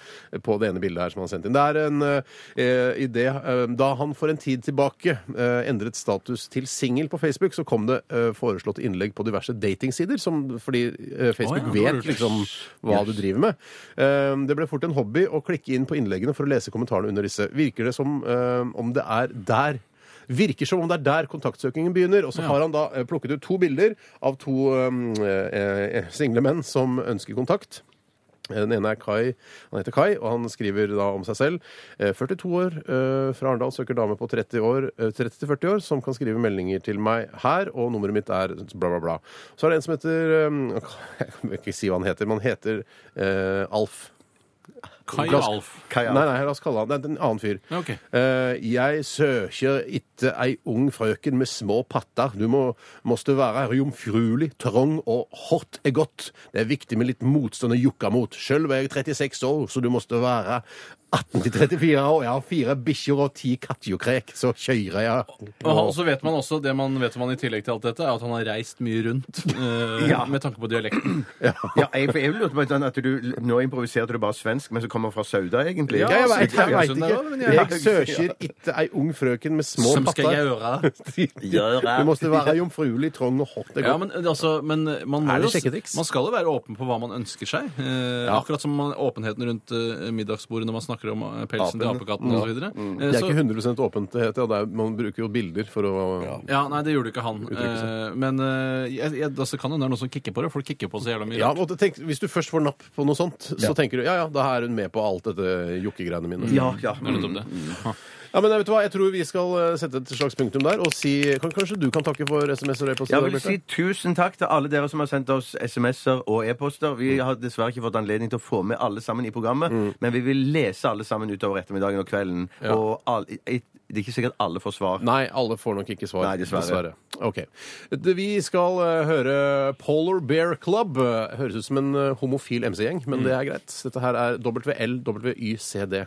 [SPEAKER 4] på det ene bildet her som han har sendt inn. Det er en eh, idé eh, Da han for en tid tilbake eh, endret status til singel på Facebook, så kom det eh, foreslått innlegg på diverse datingsider, som, fordi eh, Facebook
[SPEAKER 1] Å, ja, det var
[SPEAKER 4] vet
[SPEAKER 1] lurt.
[SPEAKER 4] liksom hva du driver med. Ehm, Det ble fort en hobby å klikke inn på innleggene for å lese kommentarene under disse. Virker det som ehm, om det er der Virker som om det er der kontaktsøkingen begynner. Og så har han da eh, plukket ut to bilder av to ehm, eh, eh, single menn som ønsker kontakt. Den ene er Kai, han heter Kai, og han skriver da om seg selv. Eh, 42 år, eh, fra Arendal, søker dame på 30 år, eh, 30-40 år, som kan skrive meldinger til meg her, og nummeret mitt er bla, bla, bla. Så er det en som heter eh, Jeg kan ikke si hva han heter, men han heter eh, Alf.
[SPEAKER 1] Kai
[SPEAKER 4] Glass-
[SPEAKER 1] Alf.
[SPEAKER 6] Kai, ja.
[SPEAKER 4] Nei, nei, la oss kalle han det er en annen fyr.
[SPEAKER 1] Ja, ok.
[SPEAKER 4] Eh, jeg søker etter ei ung frøken med små patter. Du må, måste være jomfruelig, trang og hot er godt. Det er viktig med litt motstand å jukke mot. Sjøl er jeg 36 år, så du måste være 18 til 34 år. Jeg har fire bikkjer og ti kattjokrek, så kjører jeg.
[SPEAKER 1] Og han- så vet man også, Det man vet om han i tillegg til alt dette, er at han har reist mye rundt eh,
[SPEAKER 6] Ja.
[SPEAKER 1] med tanke på dialekten.
[SPEAKER 6] Ja, jeg, for jeg lurte på sånn at du, Nå improviserte du bare svensk, men så kommer han fra Sauda, egentlig.
[SPEAKER 4] Ja, jeg
[SPEAKER 1] så
[SPEAKER 4] veit
[SPEAKER 1] det er kanskje
[SPEAKER 4] ikke.
[SPEAKER 1] det, men jeg-
[SPEAKER 4] Jeg søker etter ei ung frøken med små patter.
[SPEAKER 1] gjøre?
[SPEAKER 4] Du måste være jomfruelig, trang og hot er
[SPEAKER 1] Ja,
[SPEAKER 4] godt.
[SPEAKER 1] men, altså, men man, må
[SPEAKER 4] Er det
[SPEAKER 1] jo-
[SPEAKER 4] sjekketriks?
[SPEAKER 1] man skal jo være åpen på hva man ønsker seg. Eh, Akkurat som man, åpenheten rundt eh, middagsbordet når man snakker om eh, pelsen til
[SPEAKER 6] Apen.
[SPEAKER 1] apekatten og Eh, osv.
[SPEAKER 4] Det er ikke 100 åpenhet. Ja. Det er, man bruker jo bilder for å
[SPEAKER 1] Ja, nei, det gjorde ikke han.
[SPEAKER 4] Uttrykke seg.
[SPEAKER 1] Eh, Men eh, jeg, jeg, altså, kan det hende det er noen som kikker på det. Folk kikker på så jævla mye.
[SPEAKER 4] Ja, og tenk, Hvis du først får napp på noe sånt, så tenker du ja ja, da er hun med på alt dette jokkegreiene mine.
[SPEAKER 6] Ja, ja.
[SPEAKER 1] Det er nettopp det.
[SPEAKER 4] Ja, men vet du hva, Jeg tror vi skal eh, sette et slags punktum der og si kan, Kanskje du kan takke for SMS og e-post?
[SPEAKER 6] Jeg vil si tusen takk til alle dere som har sendt oss SMS-er og e-poster. Vi har dessverre ikke fått anledning til å få med alle sammen i programmet, men vi vil lese alle sammen utover ettermiddagen og kvelden. Og all, det er ikke sikkert alle får svar.
[SPEAKER 4] Nei, alle får nok ikke svar.
[SPEAKER 6] Nei, dessverre.
[SPEAKER 4] Ok. Det- Vi skal eh, høre Polar Bear Club. Eh, Høres ut som en eh, homofil MC-gjeng,
[SPEAKER 6] Mm.
[SPEAKER 4] men det er greit. Dette her er WLWYCD.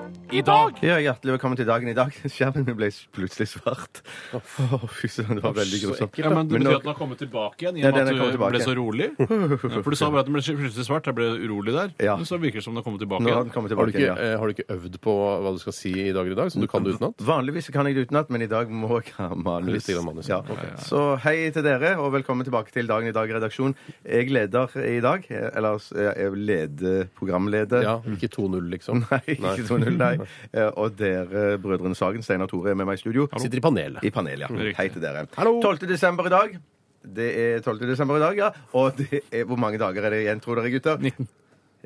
[SPEAKER 9] I dag.
[SPEAKER 6] Ja, Hjertelig velkommen til dagen i dag. Skjermen min ble plutselig svart. Å, fy søren, det var veldig grusomt.
[SPEAKER 1] Ja, men Det
[SPEAKER 6] Men
[SPEAKER 1] betyr
[SPEAKER 6] nå-
[SPEAKER 1] at den har kommet tilbake igjen, i
[SPEAKER 6] Ja,
[SPEAKER 1] og
[SPEAKER 6] den
[SPEAKER 1] med
[SPEAKER 6] har
[SPEAKER 1] at du
[SPEAKER 6] kommet
[SPEAKER 1] ble
[SPEAKER 6] tilbake.
[SPEAKER 1] så rolig. Ja, For du sa bare at den ble plutselig svart. Jeg ble urolig der.
[SPEAKER 6] Ja.
[SPEAKER 1] Men Så virker det som den har kommet tilbake
[SPEAKER 6] Nå har den
[SPEAKER 1] igjen.
[SPEAKER 6] kommet
[SPEAKER 4] Har du,
[SPEAKER 6] tilbake.
[SPEAKER 4] ikke,
[SPEAKER 6] igjen, ja.
[SPEAKER 4] eh, har du ikke øvd på hva du skal si i dager i dag, som du kan det utenat?
[SPEAKER 6] Vanligvis kan jeg det utenat, men i dag må jeg ha manus.
[SPEAKER 4] Litt grann manus,
[SPEAKER 6] Ja.
[SPEAKER 4] ja. Ok.
[SPEAKER 6] Så hei til dere, og velkommen tilbake til Dagen i dag-redaksjon. Jeg leder i dag. Eller altså, jeg er leder programleder.
[SPEAKER 4] Ja, Ikke 2-0, liksom.
[SPEAKER 6] Nei, ikke 2-0, nei. Eh, Og dere, brødrene Sagen, Steinar Tore, er med meg i studio.
[SPEAKER 4] Sitter i panelet.
[SPEAKER 6] I panelet, ja. Hei til dere.
[SPEAKER 4] Hallo.
[SPEAKER 6] 12. desember i dag. Det er 12. desember i dag, ja. Og det er, hvor mange dager er det igjen, tror dere, gutter?
[SPEAKER 1] 19.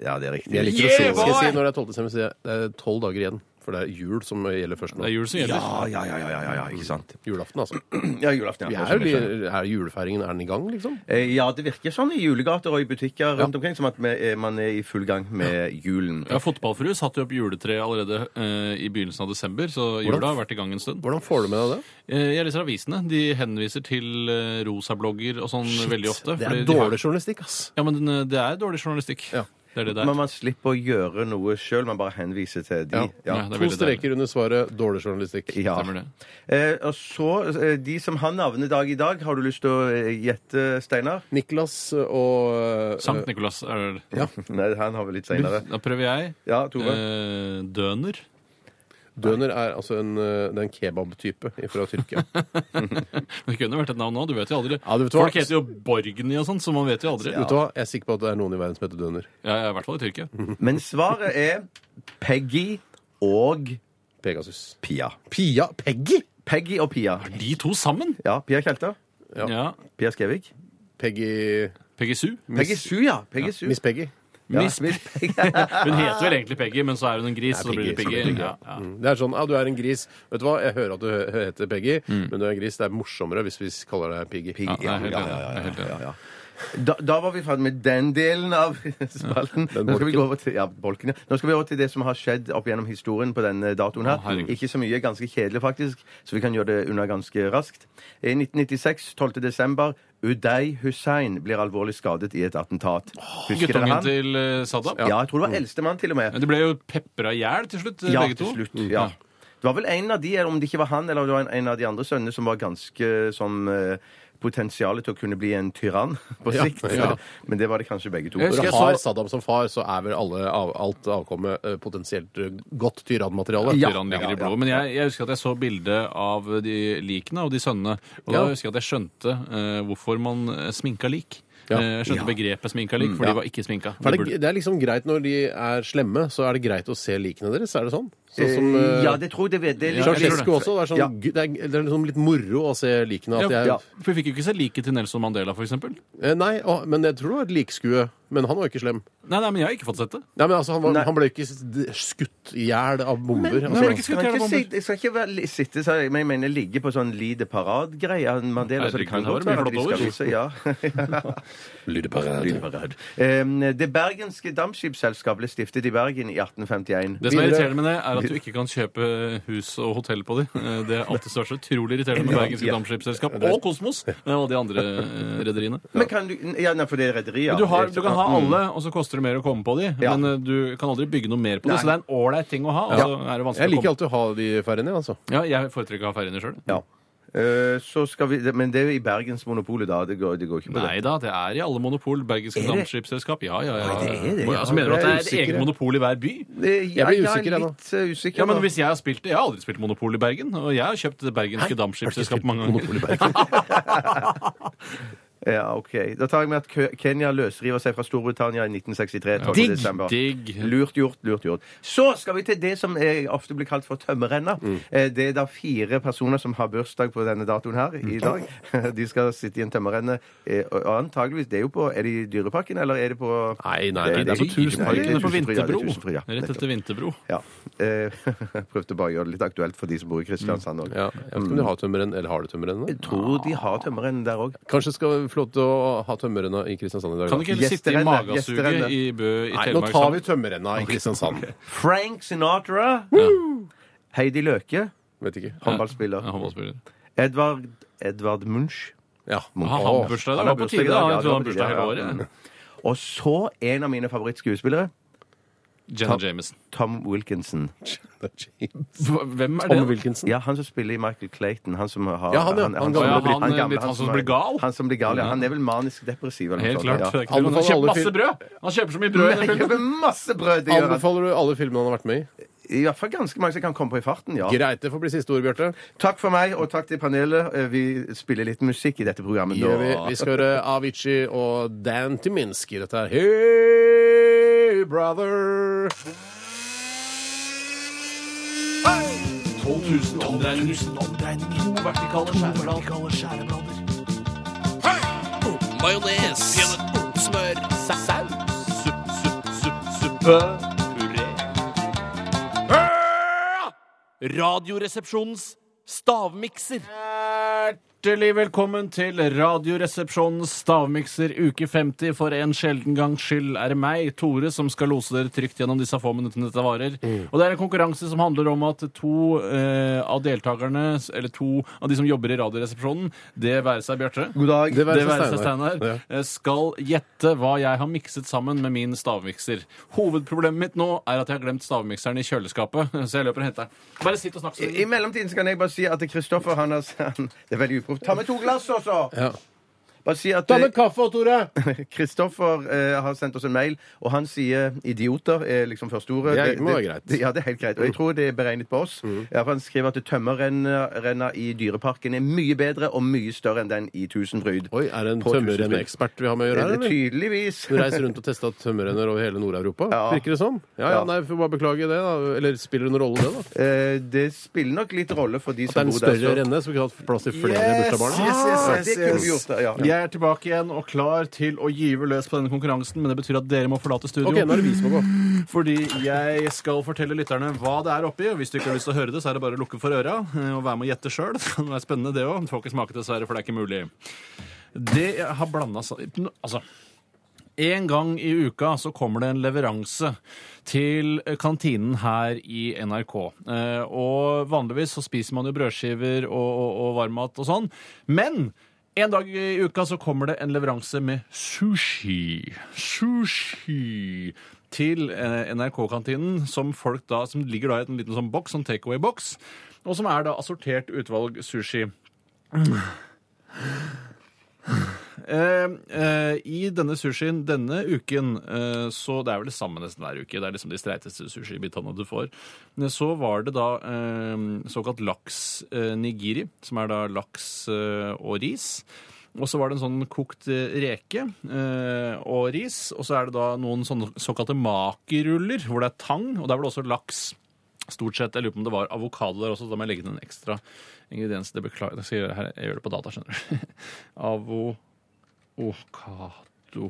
[SPEAKER 6] Ja, det er riktig.
[SPEAKER 4] Jeg liker å si, skal jeg si når det er 12. desember, så sier jeg det er tolv dager igjen. For det er jul som gjelder først
[SPEAKER 1] Det
[SPEAKER 4] nå.
[SPEAKER 1] er jul som
[SPEAKER 6] Ja,
[SPEAKER 1] gjelder.
[SPEAKER 6] Ah, ja, ja, ja, ja, ja, ja, ikke sant.
[SPEAKER 4] Julaften, altså.
[SPEAKER 6] Ja, julaften,
[SPEAKER 4] Vi
[SPEAKER 6] ja.
[SPEAKER 4] er, jo, li- er julefeiringen er den i gang, liksom?
[SPEAKER 6] Eh, Ja, det virker sånn i julegater og i butikker rundt omkring som at vi er- man er i full gang med julen.
[SPEAKER 1] Ja, Fotballfrue satte jo opp juletre allerede eh, i begynnelsen av desember, så jula har vært i gang en stund.
[SPEAKER 4] Hvordan får du med deg det?
[SPEAKER 1] Eh, jeg leser avisene. De henviser til eh, rosablogger og sånn veldig ofte.
[SPEAKER 4] Det er
[SPEAKER 1] fordi de har-
[SPEAKER 4] dårlig journalistikk, ass.
[SPEAKER 1] Ja, men eh, det er dårlig journalistikk.
[SPEAKER 4] Ja.
[SPEAKER 1] Det er det der.
[SPEAKER 6] Men man slipper å gjøre noe sjøl, man bare henviser til de.
[SPEAKER 4] Ja.
[SPEAKER 1] Ja, det er
[SPEAKER 4] To
[SPEAKER 1] veldig deilig.
[SPEAKER 4] streker under svaret dårlig journalistikk.
[SPEAKER 6] Ja.
[SPEAKER 1] Stemmer det.
[SPEAKER 6] Eh, og så, eh, De som har navnedag i dag, har du lyst til å eh, gjette, Steinar?
[SPEAKER 4] Niklas og eh,
[SPEAKER 1] Sankt Nikolas er det.
[SPEAKER 6] Nei, han har vi litt seinere.
[SPEAKER 1] Da prøver jeg.
[SPEAKER 6] Ja, Tore.
[SPEAKER 1] Eh, døner.
[SPEAKER 4] Døner er altså en, eh, det er en kebabtype fra Tyrkia.
[SPEAKER 1] Det kunne vært et navn nå, du vet jo aldri.
[SPEAKER 4] Ja, du vet hva.
[SPEAKER 1] Folk heter jo Borgny og sånn, så man vet jo aldri.
[SPEAKER 4] Vet du hva? Jeg er sikker på at det er noen i verden som heter Døner.
[SPEAKER 1] Ja, ja, I hvert fall i Tyrkia.
[SPEAKER 4] Mm.
[SPEAKER 6] Men svaret er Peggy og
[SPEAKER 4] Pegasus.
[SPEAKER 6] Pia.
[SPEAKER 4] Pia Peggy!
[SPEAKER 6] Peggy og Pia.
[SPEAKER 1] De to sammen!
[SPEAKER 6] Ja, Pia Kjelter.
[SPEAKER 1] Ja.
[SPEAKER 6] Pia Skevik.
[SPEAKER 4] Peggy
[SPEAKER 1] Peggy Sue.
[SPEAKER 6] Peggy Su, ja. Peggy Su.
[SPEAKER 4] Miss Peggy.
[SPEAKER 5] Miss Peggy. hun heter vel egentlig Peggy, men så er hun en gris,
[SPEAKER 4] Det er
[SPEAKER 5] så da blir det
[SPEAKER 4] Peggy,
[SPEAKER 5] Peggy.
[SPEAKER 4] så blir det
[SPEAKER 5] Ja, ja.
[SPEAKER 4] Mm. Det er sånn, ja, du er en gris. Vet du hva, jeg hører at du hø- heter Peggy, men du er en gris. Det er morsommere hvis vi kaller deg Piggy.
[SPEAKER 5] Mm. Ja, jeg er helt enig. Jeg er helt enig.
[SPEAKER 6] Da, da var vi ferdig med den delen av spalten.
[SPEAKER 4] den
[SPEAKER 6] Nå skal vi
[SPEAKER 4] bolken.
[SPEAKER 6] gå over til, ja, bolken, ja. Nå skal vi over til det som har skjedd opp gjennom historien på denne datoen
[SPEAKER 5] Å,
[SPEAKER 6] her.
[SPEAKER 5] herregud.
[SPEAKER 6] Ikke så mye, ganske kjedelig faktisk, så vi kan gjøre det unna ganske raskt. I 1996, 12. desember, Uday Hussein blir alvorlig skadet i et attentat. Husker dere
[SPEAKER 5] Guttungen
[SPEAKER 6] han?
[SPEAKER 5] til eh, Saddam?
[SPEAKER 6] Ja, jeg tror det var eldstemann til og med.
[SPEAKER 5] Men De ble jo pepra i hjel til slutt, eh,
[SPEAKER 6] Ja,
[SPEAKER 5] begge to.
[SPEAKER 6] til slutt. Ja. Det var vel en av de, eller om det ikke var han, eller om det var en- en av de andre sønnene som var ganske sånn eh, Potensialet til å kunne bli en tyrann på
[SPEAKER 4] Ja,
[SPEAKER 6] sikt.
[SPEAKER 4] ja.
[SPEAKER 6] Men det var det kanskje begge to.
[SPEAKER 5] Jeg
[SPEAKER 4] Når
[SPEAKER 5] husker
[SPEAKER 4] du
[SPEAKER 5] jeg
[SPEAKER 4] har
[SPEAKER 5] så-
[SPEAKER 4] Saddam som far, så er vel alle, av, alt avkommet eh, potensielt eh, godt tyrannmateriale.
[SPEAKER 5] Tyrann ligger i blodet. Men jeg, jeg husker at jeg så bilde av de likene og de sønnene. Og da
[SPEAKER 4] Ja.
[SPEAKER 5] husker jeg at jeg skjønte eh, hvorfor man eh, sminka lik.
[SPEAKER 4] Ja. Mm,
[SPEAKER 5] Eh, Jeg skjønte begrepet sminka lik, for de var ikke sminka.
[SPEAKER 4] For
[SPEAKER 5] De
[SPEAKER 4] er det,
[SPEAKER 5] burde-
[SPEAKER 4] det er liksom greit når de er slemme, så er det greit å se likene deres. Er det sånn? Sånn som
[SPEAKER 6] Eh,
[SPEAKER 4] eh,
[SPEAKER 6] ja, det tror jeg det vet. Det er litt-
[SPEAKER 5] jeg tror
[SPEAKER 4] Ceaucescu også. Det er, sånn,
[SPEAKER 6] Ja.
[SPEAKER 4] gu- det, er, det er liksom litt moro å se likene.
[SPEAKER 5] ja,
[SPEAKER 4] At jeg,
[SPEAKER 5] ja. For vi fikk jo ikke se liket til Nelson Mandela, for eksempel.
[SPEAKER 4] Eh, Nei, å, men jeg tror det var et likskue. Men han var ikke slem.
[SPEAKER 5] Nei, nei, men jeg har ikke fått sett det.
[SPEAKER 4] Nei, men altså, Han, var,
[SPEAKER 6] Nei.
[SPEAKER 4] han ble ikke s- d- skutt i hjel av bomber.
[SPEAKER 5] Men-
[SPEAKER 4] altså.
[SPEAKER 5] Nei, men-
[SPEAKER 6] skal ikke sitte, jeg skal ikke være, li- sitte så, men jeg mener ligge på sånn lide parade-greie. av Mandela, så det
[SPEAKER 5] Herregud,
[SPEAKER 6] kan
[SPEAKER 5] det var
[SPEAKER 6] godt
[SPEAKER 5] mye
[SPEAKER 6] være at vi
[SPEAKER 5] flott
[SPEAKER 6] skal
[SPEAKER 5] ord.
[SPEAKER 6] vise ja. Em, Det bergenske dampskipsselskapet ble stiftet i Bergen i 1851.
[SPEAKER 5] Det som er
[SPEAKER 4] Videre.
[SPEAKER 5] irriterende med det, er at du ikke kan kjøpe hus og hotell på de. Eh, Det er alltid så utrolig irriterende med Bergenske
[SPEAKER 6] Ja.
[SPEAKER 5] Dampskipsselskap og Kosmos eh, og de andre eh, rederiene.
[SPEAKER 6] Men kan du, ja, nei, for det er rederier.
[SPEAKER 5] Men du, har, du kan ha alle, og så koster det mer å komme på de.
[SPEAKER 6] Ja.
[SPEAKER 5] Men eh, du kan aldri bygge noe mer på det, så det er en ålreit ting å ha. Og så er det
[SPEAKER 4] Jeg
[SPEAKER 5] vanskelig å
[SPEAKER 4] liker
[SPEAKER 5] komme.
[SPEAKER 4] alltid å ha de færrene, altså.
[SPEAKER 5] Ja, jeg foretrekker å ha ferjene sjøl.
[SPEAKER 6] Ja. Eh, så skal vi, men det er jo i Bergensmonopolet, da. Det går, det går ikke på
[SPEAKER 5] Nei
[SPEAKER 6] det.
[SPEAKER 5] da, det er i alle monopol. Bergenske Dampskipsselskap. Ja, ja, ja.
[SPEAKER 6] Nei, det er det, ja.
[SPEAKER 5] Altså, mener du at det
[SPEAKER 4] Jeg
[SPEAKER 5] er
[SPEAKER 4] er
[SPEAKER 5] et eget
[SPEAKER 4] usikker.
[SPEAKER 5] monopol i hver by?
[SPEAKER 6] Det-
[SPEAKER 4] Jeg blir
[SPEAKER 6] ja,
[SPEAKER 4] usikker, jeg, nå.
[SPEAKER 6] Litt eh, usikker.
[SPEAKER 5] Ja, men
[SPEAKER 6] da.
[SPEAKER 5] hvis Jeg har spilt det, jeg har aldri spilt Monopol i Bergen. Og jeg har kjøpt Bergenske Dampskipsselskap mange ganger.
[SPEAKER 6] Ja, ok. Da tar jeg med at Kø- Kenya løsriver seg fra Storbritannia i 1963. 12.
[SPEAKER 5] Digg,
[SPEAKER 6] desember.
[SPEAKER 5] digg.
[SPEAKER 6] Lurt gjort, lurt gjort. Så skal vi til det som eh, ofte blir kalt for tømmerrenna. Eh, Det er da fire personer som har bursdag på denne datoen her i dag. De skal sitte i en tømmerrenne. eh, Og og antageligvis, det er jo på Er det i Dyreparken, eller er det på
[SPEAKER 4] Nei, nei, nei, det er på
[SPEAKER 6] i Dyreparken.
[SPEAKER 5] Tusenparken på
[SPEAKER 6] Tusenfryd, ja, det er
[SPEAKER 5] Vinterbro.
[SPEAKER 6] Tusenfryd, ja.
[SPEAKER 5] Rett etter Vinterbro.
[SPEAKER 6] Ja. Eh, Prøvde bare å gjøre det litt aktuelt for de som bor i Kristiansand òg.
[SPEAKER 4] Ja, jeg vet ikke om de har tømmeren, eller har de tømmeren?
[SPEAKER 6] Jeg tror de har tømmerrenn der òg.
[SPEAKER 4] Kanskje skal vi få lov til å ha tømmerrenna i Kristiansand i dag?
[SPEAKER 5] Kan du
[SPEAKER 4] da?
[SPEAKER 5] ikke heller sitte i
[SPEAKER 6] Gjesterenne,
[SPEAKER 5] magasuget
[SPEAKER 6] gjesterenne.
[SPEAKER 5] i Bø i
[SPEAKER 4] Nei, nå
[SPEAKER 5] Telemark? sånn?
[SPEAKER 4] tar vi
[SPEAKER 5] sammen?
[SPEAKER 4] tømmerrenna i Kristiansand.
[SPEAKER 6] Frank Sinatra. Heidi Løke,
[SPEAKER 4] Vet ikke.
[SPEAKER 6] håndballspiller.
[SPEAKER 5] Ja, håndballspiller.
[SPEAKER 6] Edvard, Edvard Munch.
[SPEAKER 4] Ja.
[SPEAKER 6] Munch.
[SPEAKER 5] Ah, han har bursdag i dag.
[SPEAKER 6] Han har
[SPEAKER 5] Det var på tide,
[SPEAKER 6] bursdag i
[SPEAKER 5] da.
[SPEAKER 6] dag, ja,
[SPEAKER 5] Jeg
[SPEAKER 6] det
[SPEAKER 5] trodde
[SPEAKER 6] var
[SPEAKER 5] han
[SPEAKER 6] på
[SPEAKER 5] bursdag
[SPEAKER 6] tide,
[SPEAKER 5] hele
[SPEAKER 6] ja, ja.
[SPEAKER 5] året.
[SPEAKER 6] Og så en av mine favorittskuespillere,
[SPEAKER 5] Jenna Jameson.
[SPEAKER 6] Tom Wilkinson.
[SPEAKER 5] Hvem er det?
[SPEAKER 4] Tom Wilkinson.
[SPEAKER 6] Ja, Han som spiller i Michael Clayton. Han som har
[SPEAKER 4] Ja, han, ja. Han gamle
[SPEAKER 5] briten. Han litt han som
[SPEAKER 6] er-
[SPEAKER 5] blir gal.
[SPEAKER 6] Han som blir gal, ja. Han er vel manisk depressiv eller
[SPEAKER 5] Helt
[SPEAKER 6] noe sånt.
[SPEAKER 5] klart. Det er
[SPEAKER 6] Ja.
[SPEAKER 5] ikke noe- Han
[SPEAKER 4] Anbefaler
[SPEAKER 5] kjøper
[SPEAKER 4] alle
[SPEAKER 5] masse
[SPEAKER 4] film-
[SPEAKER 5] brød! Han kjøper så mye brød! i den
[SPEAKER 6] Jeg
[SPEAKER 5] filmen.
[SPEAKER 6] kjøper masse brød! Det gjør han.
[SPEAKER 4] Anbefaler du alle filmene han har vært med i?
[SPEAKER 6] I hvert fall ganske mange som kan komme på i farten, ja.
[SPEAKER 4] Greit, det får bli siste ord, Bjarte.
[SPEAKER 6] Takk for meg, og takk til panelet. Eh, Vi spiller litt musikk i dette programmet
[SPEAKER 4] Gjør Vi,
[SPEAKER 6] nå.
[SPEAKER 4] vi skal høre Avicii og Dan Timinski. Dette er Hey Brother.
[SPEAKER 1] 12 000 omdreininger. To vertikale skjæreblader. Majones. Smør. Saus. Supp, supp, supp, suppe. Puré. Radioresepsjonens stavmikser.
[SPEAKER 5] Hjertelig velkommen til Radioresepsjonens stavmikser uke 50. For en sjelden gangs skyld er det meg, Tore, som skal lose dere trygt gjennom disse få minuttene dette varer. Og det er en konkurranse som handler om at to eh, av deltakerne, eller to av de som jobber i Radioresepsjonen, det være seg Bjarte
[SPEAKER 6] God dag.
[SPEAKER 4] Det være
[SPEAKER 5] det
[SPEAKER 4] seg
[SPEAKER 5] være seg
[SPEAKER 4] Steinar.
[SPEAKER 5] Steinar, eh, skal gjette hva jeg har mikset sammen med min stavmikser. Hovedproblemet mitt nå er at jeg har glemt stavmikseren i kjøleskapet, så jeg løper og henter den. Bare sitt og snakk. så
[SPEAKER 6] I i
[SPEAKER 5] lenge.
[SPEAKER 6] mellomtiden så kan jeg bare si at Kristoffer han har han- Det er veldig uproft. Ta med to glass også!
[SPEAKER 4] Ja.
[SPEAKER 6] Bare si at
[SPEAKER 4] Ta med kaffe, Tore!
[SPEAKER 6] Kristoffer eh, har sendt oss en mail, og han sier 'idioter' er liksom første ordet.
[SPEAKER 4] Det er- må være greit. Mm.
[SPEAKER 6] det- Ja, det er helt greit. Og jeg tror det er beregnet på oss. Ja, for han skriver at tømmerrenna i Dyreparken er mye bedre og mye større enn den i Tusenfryd.
[SPEAKER 4] Oi, er det en
[SPEAKER 6] På
[SPEAKER 4] tømmerrenneekspert vi har med å
[SPEAKER 6] Det
[SPEAKER 4] gjøre
[SPEAKER 6] er
[SPEAKER 4] her, eller?
[SPEAKER 6] Tydeligvis.
[SPEAKER 4] Du reiser rundt og tester tømmerrenner over hele Nord-Europa?
[SPEAKER 6] Ja.
[SPEAKER 4] Virker det sånn? Ja, ja,
[SPEAKER 6] Ja.
[SPEAKER 4] nei, får bare beklage det, da. Eller spiller det noen rolle, det, da?
[SPEAKER 6] Eh, det spiller nok litt rolle for de
[SPEAKER 4] At det er
[SPEAKER 6] som
[SPEAKER 4] sånn. en
[SPEAKER 6] bor der.
[SPEAKER 4] større
[SPEAKER 6] så-
[SPEAKER 4] renne, så vi kunne hatt plass til flere bursdagsbarn?
[SPEAKER 6] Ah, det kunne vi gjort, ja.
[SPEAKER 5] Jeg
[SPEAKER 1] Jeg er tilbake igjen og klar til å gyve løs på denne konkurransen, men det betyr at dere må forlate studio.
[SPEAKER 4] OK, nå er det vi som må gå.
[SPEAKER 1] Fordi jeg skal fortelle lytterne hva det er oppi. og Hvis du ikke har lyst til å høre det, så er det bare å lukke for øra eh, og være med å gjette sjøl. Det kan være spennende, det òg. Får ikke smake, dessverre, for det er ikke mulig. Det jeg har blanda Altså. En gang i uka så kommer det en leveranse til kantinen her i NRK. Eh, Og vanligvis så spiser man jo brødskiver og, og, og varmmat og sånn. Men en dag i uka så kommer det en leveranse med sushi. Sushi til eh, NRK-kantinen, som, folk da, som ligger da i en liten sånn boks, sånn takeaway-boks, og som er da assortert utvalg sushi. Eh, eh, I denne sushien denne uken, eh, så det er vel det samme nesten hver uke, det er liksom de streiteste sushibitene du får, eh, så var det da eh, såkalt laks eh, nigiri, som er da laks eh, og ris. Og så var det en sånn kokt eh, reke eh, og ris, og så er det da noen sånne såkalte makiruller, hvor det er tang, og der var det også laks. Stort sett. Jeg lurer på om det var avokado der også. Da må jeg legge til en ekstra ingrediens. Det beklager. Jeg, skal gjøre det her. jeg gjør det på data, skjønner du. Avo... Avokado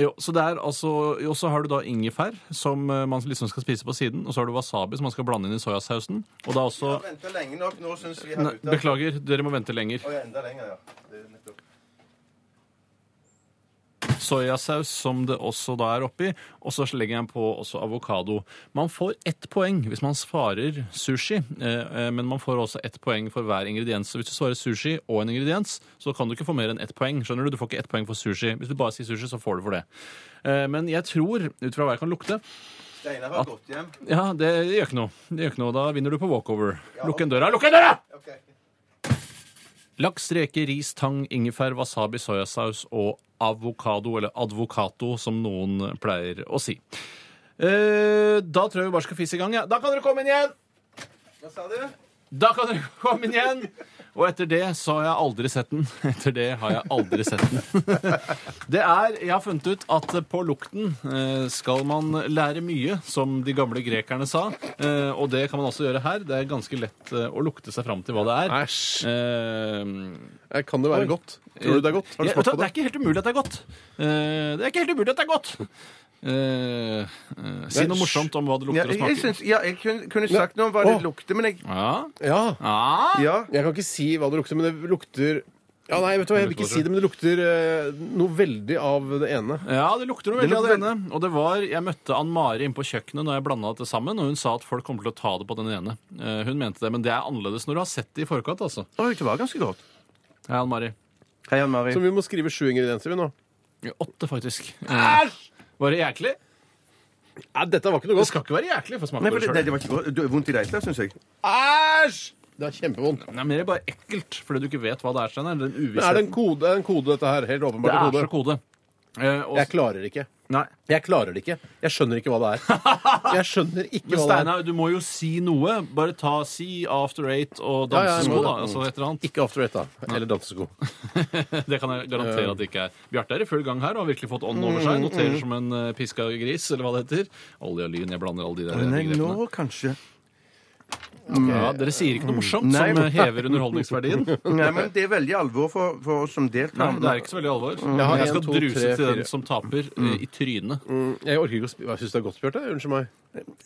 [SPEAKER 1] jo, så det er altså, jo, så har du da ingefær, som eh, man liksom skal spise på siden. Og så har du wasabi, som man skal blande inn i soyasausen. Og da også
[SPEAKER 6] Venta lenge nok. Nå syns vi
[SPEAKER 1] Nei, Beklager, dere må vente lenger.
[SPEAKER 6] Oi, enda lenger, ja. Det er nettopp.
[SPEAKER 1] Soyasaus, som det også da er oppi. Og så legger jeg på også avokado. Man får ett poeng hvis man svarer sushi, eh, eh, men man får også ett poeng for hver ingrediens. Så hvis du svarer sushi og en ingrediens, så kan du ikke få mer enn ett poeng. Skjønner du? Du får ikke ett poeng for sushi. Hvis du bare sier sushi, så får du for det. Eh, Men jeg tror, ut fra hva jeg kan lukte,
[SPEAKER 6] Steinar har gått hjem.
[SPEAKER 1] Ja, det gjør ikke noe. Det gjør ikke noe. Da vinner du på walkover. Lukk igjen døra. Lukk igjen døra!
[SPEAKER 6] Ok.
[SPEAKER 1] Laks, reker, ris, tang, ingefær, wasabi, soyasaus og avokado, eller advokato, som noen pleier å si. Eh, da tror jeg vi bare skal fise i gang. Ja. Da kan dere komme inn igjen!
[SPEAKER 6] Hva sa du?
[SPEAKER 1] Da kan dere komme inn igjen! Og etter det så har jeg aldri sett den. Etter det har jeg aldri sett den. Det er, Jeg har funnet ut at på lukten eh, skal man lære mye, som de gamle grekerne sa. Eh, Og det kan man også gjøre her. Det er ganske lett eh, å lukte seg fram til hva det er.
[SPEAKER 4] Æsj.
[SPEAKER 1] Eh,
[SPEAKER 4] Eh, Kan det være godt? Tror du det er godt? Har du
[SPEAKER 1] ja, vet
[SPEAKER 4] smakt
[SPEAKER 1] du,
[SPEAKER 4] på
[SPEAKER 1] det
[SPEAKER 4] det?
[SPEAKER 1] er ikke helt umulig at det er godt. Eh, det er ikke helt umulig at det er godt. Eh, eh, si
[SPEAKER 4] Nei,
[SPEAKER 1] noe
[SPEAKER 4] sj-
[SPEAKER 1] morsomt om hva det
[SPEAKER 6] Ja,
[SPEAKER 1] lukter
[SPEAKER 6] jeg,
[SPEAKER 1] og
[SPEAKER 6] jeg,
[SPEAKER 1] smaker.
[SPEAKER 6] syns- ja, jeg kunne, kunne sagt noe om hva det
[SPEAKER 4] Åh.
[SPEAKER 6] lukter, men jeg
[SPEAKER 1] Ja.
[SPEAKER 4] Ja.
[SPEAKER 1] Ah,
[SPEAKER 6] Ja.
[SPEAKER 4] Jeg kan ikke si hva det lukter, men det lukter ja, nei, vet du hva, Jeg vil ikke si det, men det lukter eh, noe veldig av det ene.
[SPEAKER 1] ja, det lukter noe veldig av det ene. Og det var, jeg møtte Ann Mari inne på kjøkkenet når jeg blanda dette sammen, og hun sa at folk kommer til å ta det på den ene. Eh, hun mente det, men det er annerledes når du har sett det i forkant, altså.
[SPEAKER 6] Oi, det var ganske godt.
[SPEAKER 1] Hei, Ann Mari.
[SPEAKER 6] Hei, Ann Mari.
[SPEAKER 4] Så vi må skrive sju ingredienser vi nå.
[SPEAKER 1] Ja, Åtte, faktisk.
[SPEAKER 4] Ah!
[SPEAKER 1] Eh, var det jæklig?
[SPEAKER 4] Nei, dette var ikke noe
[SPEAKER 1] Det
[SPEAKER 4] godt.
[SPEAKER 1] skal ikke være jæklig, for smak
[SPEAKER 6] Nei,
[SPEAKER 1] på
[SPEAKER 6] for
[SPEAKER 1] det
[SPEAKER 6] det,
[SPEAKER 1] sjøl.
[SPEAKER 6] nei, det var ikke godt. Det er vondt i det hele tatt, syns jeg.
[SPEAKER 4] Æsj! Det er kjempevondt.
[SPEAKER 1] Nei, men det er bare ekkelt, fordi du ikke vet hva det er. Steinar.
[SPEAKER 4] Men
[SPEAKER 1] Den
[SPEAKER 4] Er det en
[SPEAKER 1] uvissheten.
[SPEAKER 4] kode, er det en kode dette her? Helt
[SPEAKER 1] Det
[SPEAKER 4] åpenbart
[SPEAKER 1] er
[SPEAKER 4] en
[SPEAKER 1] så
[SPEAKER 4] kode.
[SPEAKER 1] kode. Eh, og,
[SPEAKER 4] Jeg klarer det ikke.
[SPEAKER 1] nei.
[SPEAKER 4] Jeg klarer det ikke. Jeg skjønner ikke hva det er. Jeg skjønner ikke
[SPEAKER 1] Men
[SPEAKER 4] hva det er.
[SPEAKER 1] Steinar, du må jo si noe. Bare ta si After Eight og
[SPEAKER 4] Ja, ja, jeg
[SPEAKER 1] dansesko,
[SPEAKER 4] må
[SPEAKER 1] da.
[SPEAKER 4] det.
[SPEAKER 1] Altså et eller annet.
[SPEAKER 4] Ikke After Eight, da. Eller dansesko.
[SPEAKER 1] Det kan jeg garantere at det ikke er. Bjarte er i full gang her og har virkelig fått ånden over
[SPEAKER 4] Mm,
[SPEAKER 1] seg. Noterer som en eh, piska gris, eller hva det heter. Olje og lyn, jeg blander alle de der
[SPEAKER 6] Nei, nå
[SPEAKER 1] begrepene.
[SPEAKER 6] kanskje.
[SPEAKER 1] Ja, dere sier
[SPEAKER 4] Mm.
[SPEAKER 1] ikke noe morsomt
[SPEAKER 6] Nei,
[SPEAKER 1] som eh,
[SPEAKER 6] men-
[SPEAKER 1] hever underholdningsverdien.
[SPEAKER 6] Nei, men det er veldig alvor for, for oss som
[SPEAKER 1] Nei,
[SPEAKER 6] deltar.
[SPEAKER 1] det er ikke så veldig alvor.
[SPEAKER 4] Jeg har
[SPEAKER 1] Jeg
[SPEAKER 4] en,
[SPEAKER 1] skal
[SPEAKER 4] to,
[SPEAKER 1] druse
[SPEAKER 4] tre,
[SPEAKER 1] til den
[SPEAKER 4] fire.
[SPEAKER 1] som taper, eh, i trynet.
[SPEAKER 4] Jeg orker ikke å spi- Jeg syns det er godt, Bjarte. Unnskyld meg.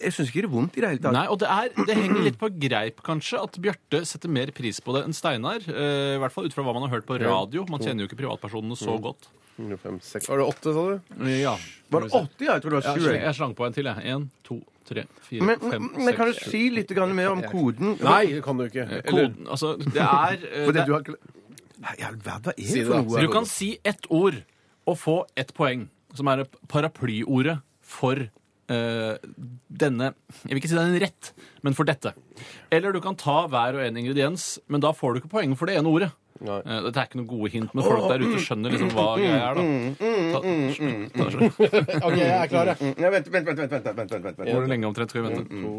[SPEAKER 6] Jeg syns ikke det er vondt i det hele tatt.
[SPEAKER 1] Nei, og det, er, det henger litt på greip, kanskje, at Bjarte setter mer pris på det enn Steinar. eh, I hvert fall ut fra hva man har hørt på radio. Man kjenner jo ikke privatpersonene så godt.
[SPEAKER 4] Fire, fem, seks. Var det åtte, sa du?
[SPEAKER 1] Ja.
[SPEAKER 6] Var det åtte, ja? Jeg tror det var
[SPEAKER 1] Jeg,
[SPEAKER 6] sju.
[SPEAKER 1] slang-
[SPEAKER 6] jeg.
[SPEAKER 1] jeg slang på en til, jeg. En, to, tre, fire,
[SPEAKER 6] Men,
[SPEAKER 1] fem,
[SPEAKER 6] men kan du
[SPEAKER 1] seks.
[SPEAKER 6] si litt grann mer om koden?
[SPEAKER 4] Nei, det kan du ikke. Eller
[SPEAKER 1] Koden, altså, det er, eh,
[SPEAKER 6] Fordi
[SPEAKER 1] det
[SPEAKER 6] du
[SPEAKER 1] er
[SPEAKER 6] har ikke Nei, i all verden, hva er
[SPEAKER 4] Si
[SPEAKER 6] det
[SPEAKER 4] det, da.
[SPEAKER 6] for
[SPEAKER 4] Si
[SPEAKER 1] Du
[SPEAKER 6] noe?
[SPEAKER 1] kan si ett ord og få ett poeng, som er paraplyordet for eh, denne Jeg vil ikke si det er en rett, men for dette. Eller du kan ta hver og en ingrediens, men da får du ikke poeng for det ene ordet.
[SPEAKER 4] Nei.
[SPEAKER 1] Eh, Dette er ikke noen gode hint, men folk der ute skjønner liksom hva greia er, da. Ta, ta, ta,
[SPEAKER 4] Eh, OK, jeg er klar, jeg.
[SPEAKER 6] Mm, Nei, vent, vent, vent. vent, vent, vent, vent, vent,
[SPEAKER 1] Hvor
[SPEAKER 6] vent.
[SPEAKER 1] lenge omtrent skal vi vente?
[SPEAKER 4] To,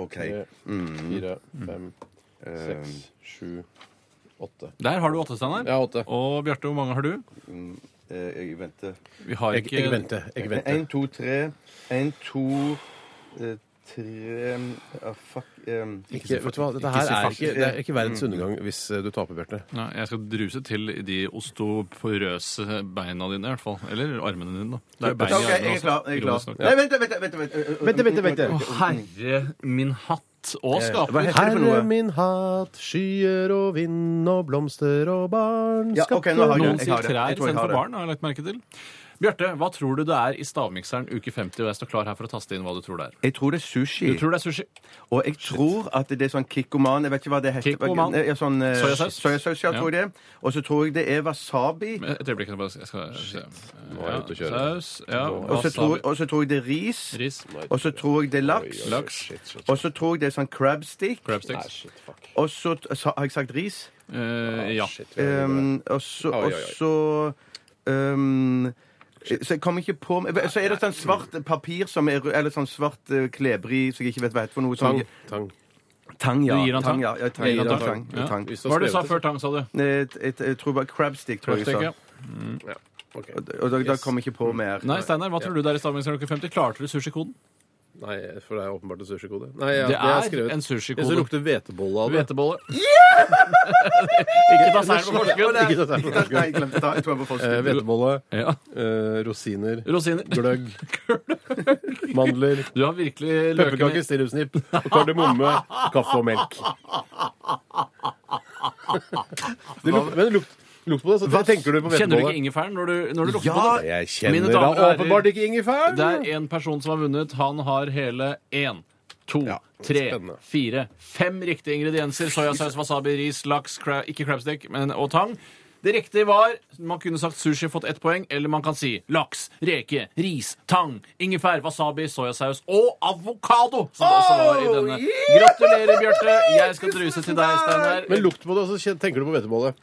[SPEAKER 6] OK.
[SPEAKER 4] tre, fire, fem, seks, sju, åtte.
[SPEAKER 1] Der har du åtte, Steinar.
[SPEAKER 4] Jeg har åtte.
[SPEAKER 1] Og Bjarte, hvor mange har du?
[SPEAKER 6] Eh, Jeg venter.
[SPEAKER 1] Vi har
[SPEAKER 4] Jeg,
[SPEAKER 1] ikke
[SPEAKER 4] jeg venter. Jeg venter.
[SPEAKER 6] Én, to, tre. Én, to, eh, tre ja, Fuck um,
[SPEAKER 4] Ikke, vet du hva, Dette her
[SPEAKER 6] si
[SPEAKER 4] er
[SPEAKER 6] fuck.
[SPEAKER 4] ikke, det er ikke verdens undergang hvis eh, du taper, Bjarte.
[SPEAKER 1] Nei, jeg skal druse til de ostoporøse beina dine, i hvert fall. Eller armene dine, da. Det er jo bein i
[SPEAKER 6] OK, jeg er klar. Jeg er klar.
[SPEAKER 1] ironisk nok.
[SPEAKER 6] Nei, vent, vent, vent, vent,
[SPEAKER 4] Vent, vent, vent, vent.
[SPEAKER 1] Å, herre min hatt og skaper.
[SPEAKER 6] Eh, heter det for noe?
[SPEAKER 4] Herre min hatt, skyer og vind og blomster og barn
[SPEAKER 6] Ja, ok, nå har jeg-
[SPEAKER 1] Noen
[SPEAKER 6] jeg
[SPEAKER 1] sier
[SPEAKER 6] har det.
[SPEAKER 1] trær
[SPEAKER 6] Jeg tror jeg har
[SPEAKER 1] istedenfor
[SPEAKER 6] det.
[SPEAKER 1] barn, har jeg lagt merke til. Bjarte, hva tror du det er i stavmikseren uke 50? Og jeg står klar her for å taste inn hva du tror det er.
[SPEAKER 6] Jeg tror det er sushi.
[SPEAKER 1] Du tror det er sushi?
[SPEAKER 6] Og jeg tror at det er sånn kikkoman Jeg vet ikke hva det heter.
[SPEAKER 1] Oh, Kikkoman.
[SPEAKER 6] Ja, sånn, eh,
[SPEAKER 1] Soyasaus.
[SPEAKER 6] Soyasaus, ja,
[SPEAKER 1] Ja.
[SPEAKER 6] tror jeg det. Og så tror jeg det er wasabi.
[SPEAKER 1] Men Et øyeblikk. Jeg bare- jeg skal se.
[SPEAKER 4] Nå er jeg ute å
[SPEAKER 1] Ja,
[SPEAKER 4] kjøre.
[SPEAKER 1] Saus. Ja,
[SPEAKER 6] Og så tror,
[SPEAKER 1] wasabi.
[SPEAKER 6] og så tror jeg det er ris.
[SPEAKER 1] Ris.
[SPEAKER 6] Og så tror jeg det er laks.
[SPEAKER 1] Laks.
[SPEAKER 6] Og så tror jeg det er sånn crab stick.
[SPEAKER 1] Crab sticks.
[SPEAKER 6] Og så t- sa- Har jeg sagt ris?
[SPEAKER 1] Eh, ja.
[SPEAKER 6] Um, og så
[SPEAKER 4] Oi, oi,
[SPEAKER 6] og
[SPEAKER 4] oi.
[SPEAKER 6] så, um, så jeg kom ikke på Så er det sånn svart papir som er Eller sånn svart eh, klebrig som jeg ikke vet hva heter for noe.
[SPEAKER 4] Tang.
[SPEAKER 6] Som,
[SPEAKER 4] tang.
[SPEAKER 6] tang, ja.
[SPEAKER 1] Du gir han tang?
[SPEAKER 6] ja. ja, tang,
[SPEAKER 1] Gir
[SPEAKER 6] ja,
[SPEAKER 1] han
[SPEAKER 6] tang,
[SPEAKER 1] tang?
[SPEAKER 6] ja,
[SPEAKER 1] Ja.
[SPEAKER 6] tang.
[SPEAKER 4] Hvis
[SPEAKER 1] Hva var det du
[SPEAKER 4] har
[SPEAKER 1] sa
[SPEAKER 4] skrevet
[SPEAKER 1] før tang, sa du?
[SPEAKER 6] Eh, et- et- Jeg tror bare crab stick, tror jeg jeg
[SPEAKER 1] Crabstick,
[SPEAKER 6] sa.
[SPEAKER 1] ja.
[SPEAKER 4] Ok.
[SPEAKER 6] Og, og da, da kom jeg ikke
[SPEAKER 4] Mm.
[SPEAKER 6] på mer.
[SPEAKER 1] Nei, Steinar, hva tror du det er i stavmikseren uke 50? Klarte du sushikoden?
[SPEAKER 4] Nei, for det er åpenbart en sushikode. Nei, ja,
[SPEAKER 1] Det
[SPEAKER 4] har jeg
[SPEAKER 1] er
[SPEAKER 4] skrevet.
[SPEAKER 1] en sushikode.
[SPEAKER 4] Jeg synes Det lukter hvetebolle av det.
[SPEAKER 1] Hvetebolle. Ikke ta seieren på forskudd.
[SPEAKER 4] Ikke dette her.
[SPEAKER 6] Nei, jeg glemte å ta. Jeg tror jeg var
[SPEAKER 4] Eh,
[SPEAKER 6] forskudd.
[SPEAKER 4] Hvetebolle,
[SPEAKER 1] Ja.
[SPEAKER 4] eh, rosiner,
[SPEAKER 1] Rosiner.
[SPEAKER 4] gløgg, mandler,
[SPEAKER 1] Du har virkelig
[SPEAKER 4] pepperkaker,
[SPEAKER 1] løkene
[SPEAKER 4] stirrepsnipp, kardemomme, kaffe og melk. Det luk, men lukt, lukt på det, så tenker du på
[SPEAKER 1] Kjenner du
[SPEAKER 4] hvetebolle.
[SPEAKER 1] ikke ingefæren når du, når du lukter
[SPEAKER 4] Ja,
[SPEAKER 1] på den?
[SPEAKER 4] jeg
[SPEAKER 1] Mine
[SPEAKER 4] kjenner da
[SPEAKER 1] damer og herrer,
[SPEAKER 4] åpenbart ikke ingefær.
[SPEAKER 1] Det er en person som har vunnet. Han har hele én, to,
[SPEAKER 4] Ja,
[SPEAKER 1] tre,
[SPEAKER 4] spennende.
[SPEAKER 1] fire, fem riktige ingredienser. Soyasaus, wasabi, ris, laks, cra ikke crabstick, men og tang. Det riktige var Man kunne sagt sushi, fått ett poeng, eller man kan si laks, reke, ris, tang, ingefær, wasabi, soyasaus og avokado! Som også var
[SPEAKER 4] Oh,
[SPEAKER 1] i denne. Gratulerer, Bjarte. Jeg skal druse til deg, Steinar.
[SPEAKER 4] Men lukt på det, og så kjen- tenker du på hvetebolle.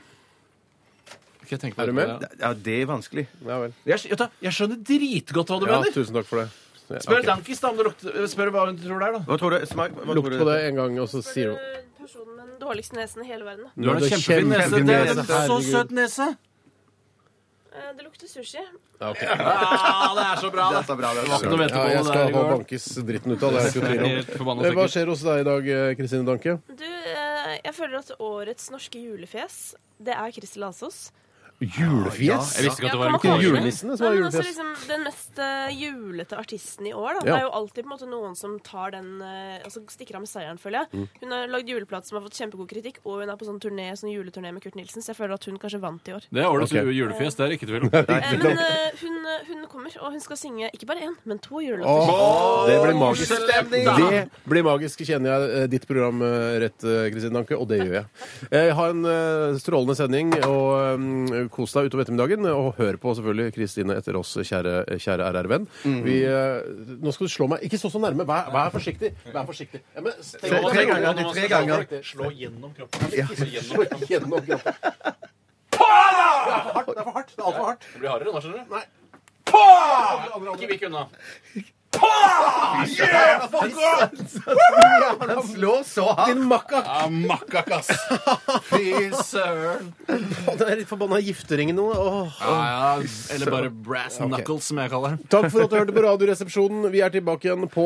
[SPEAKER 1] Skal jeg tenke på
[SPEAKER 4] Er du
[SPEAKER 1] det?
[SPEAKER 4] med?
[SPEAKER 6] Ja, det er vanskelig.
[SPEAKER 4] Ja vel.
[SPEAKER 1] Jeg, skj- vet du, jeg skjønner dritgodt hva du
[SPEAKER 4] Ja,
[SPEAKER 1] mener.
[SPEAKER 4] tusen takk for det. Ja,
[SPEAKER 1] Spør
[SPEAKER 4] ok.
[SPEAKER 1] Dankis da om det lukter Spør hva hun tror det er, da.
[SPEAKER 6] Hva tror du? Smak? Hva
[SPEAKER 4] Lukt
[SPEAKER 6] tror
[SPEAKER 4] på
[SPEAKER 6] du?
[SPEAKER 4] det en gang, og så sier du
[SPEAKER 10] Eh, Personen med den dårligste nesen i hele verden. da.
[SPEAKER 1] Du har en kjempefin nese.
[SPEAKER 6] kjempefin
[SPEAKER 1] Det
[SPEAKER 6] nese,
[SPEAKER 1] er en så
[SPEAKER 4] herregud.
[SPEAKER 1] søt nese.
[SPEAKER 10] Eh, Det lukter sushi.
[SPEAKER 4] Ja, ok.
[SPEAKER 1] Ja, det altså. er så bra,
[SPEAKER 6] Det er så bra, det er så bra.
[SPEAKER 1] Nå vet du
[SPEAKER 4] ja,
[SPEAKER 1] på
[SPEAKER 4] jeg
[SPEAKER 1] det
[SPEAKER 4] skal
[SPEAKER 1] der i
[SPEAKER 4] ha
[SPEAKER 1] går.
[SPEAKER 4] bankes dritten ut av det. er jeg ikke i tvil om.
[SPEAKER 1] Helt forbanna
[SPEAKER 4] Eh, Hva
[SPEAKER 1] sikkert.
[SPEAKER 4] skjer hos deg i dag, eh, Kristine Danke?
[SPEAKER 10] Du, eh, jeg føler at årets norske julefjes, det er Kristel Asås.
[SPEAKER 4] Julefjes?
[SPEAKER 1] Jeg visste ikke at det var en
[SPEAKER 10] Ja, kan
[SPEAKER 1] kåre.
[SPEAKER 10] man kalle
[SPEAKER 4] julenissen
[SPEAKER 10] det?
[SPEAKER 4] som har
[SPEAKER 10] Nei, men også
[SPEAKER 4] julefjes.
[SPEAKER 10] Liksom, den mest eh, julete artisten i år. Da. Det
[SPEAKER 4] Ja.
[SPEAKER 10] er jo alltid på en måte noen som tar den eh, altså, stikker av med seieren, føler jeg. Hun har lagd juleplate som har fått kjempegod kritikk, og hun er på sånn, turné, sånn juleturné med Kurt Nilsen, så jeg føler at hun kanskje vant i år.
[SPEAKER 1] Det er årets
[SPEAKER 4] Ok.
[SPEAKER 1] julefjes. Det er ikke tvil om.
[SPEAKER 10] Eh, men eh, hun, hun kommer, og hun skal synge ikke bare én, men to julelåter.
[SPEAKER 4] Åh, det blir magisk.
[SPEAKER 1] Julestemning!
[SPEAKER 4] Det blir magisk, kjenner jeg eh, ditt program eh, rett, eh, Kristine Danke, og det gjør jeg. Eh, Ha en eh, strålende sending, og mm, kos deg utover ettermiddagen. eh, Og hør på selvfølgelig Kristine etter oss, kjære, eh, kjære RR-venn. Vi, eh, Nå skal du slå meg Ikke stå så nærme, vær, vær forsiktig. Vær forsiktig. Ja, men, steng-
[SPEAKER 6] Tre, tre ganger. du, Tre ganger.
[SPEAKER 1] Slå gjennom kroppen.
[SPEAKER 4] Slå gjennom kroppen. Det er for hardt. Det er altfor hardt.
[SPEAKER 1] Det blir hardere nå, skjønner du. Ikke vikk unna.
[SPEAKER 6] Han slår så hardt.
[SPEAKER 4] Din makkak!
[SPEAKER 1] Makkakas. Fy søren.
[SPEAKER 4] Det er litt forbanna gifteringen nå. Åh.
[SPEAKER 1] Ja, ja, eller bare brass knuckles, som jeg kaller det.
[SPEAKER 4] Takk for at du hørte på Radioresepsjonen. Vi er tilbake igjen på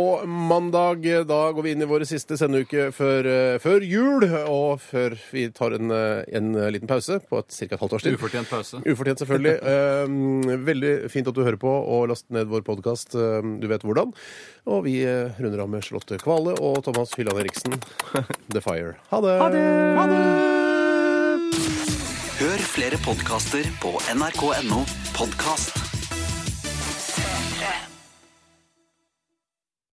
[SPEAKER 4] mandag. Da går vi inn i våre siste sendeuke før, eh, før jul, og før vi tar en, eh, en liten pause på et, ca. et halvt års tid.
[SPEAKER 1] Ufortjent pause.
[SPEAKER 4] Ufortjent, selvfølgelig. Eh, Veldig fint at du hører på og last ned vår podkast. Du vet hvordan. Og vi eh, runder av med Charlotte Kvale og Thomas Hylland Eriksen, The Fire. Ha det! Ha det!
[SPEAKER 2] Hør flere podkaster på nrk.no podkast.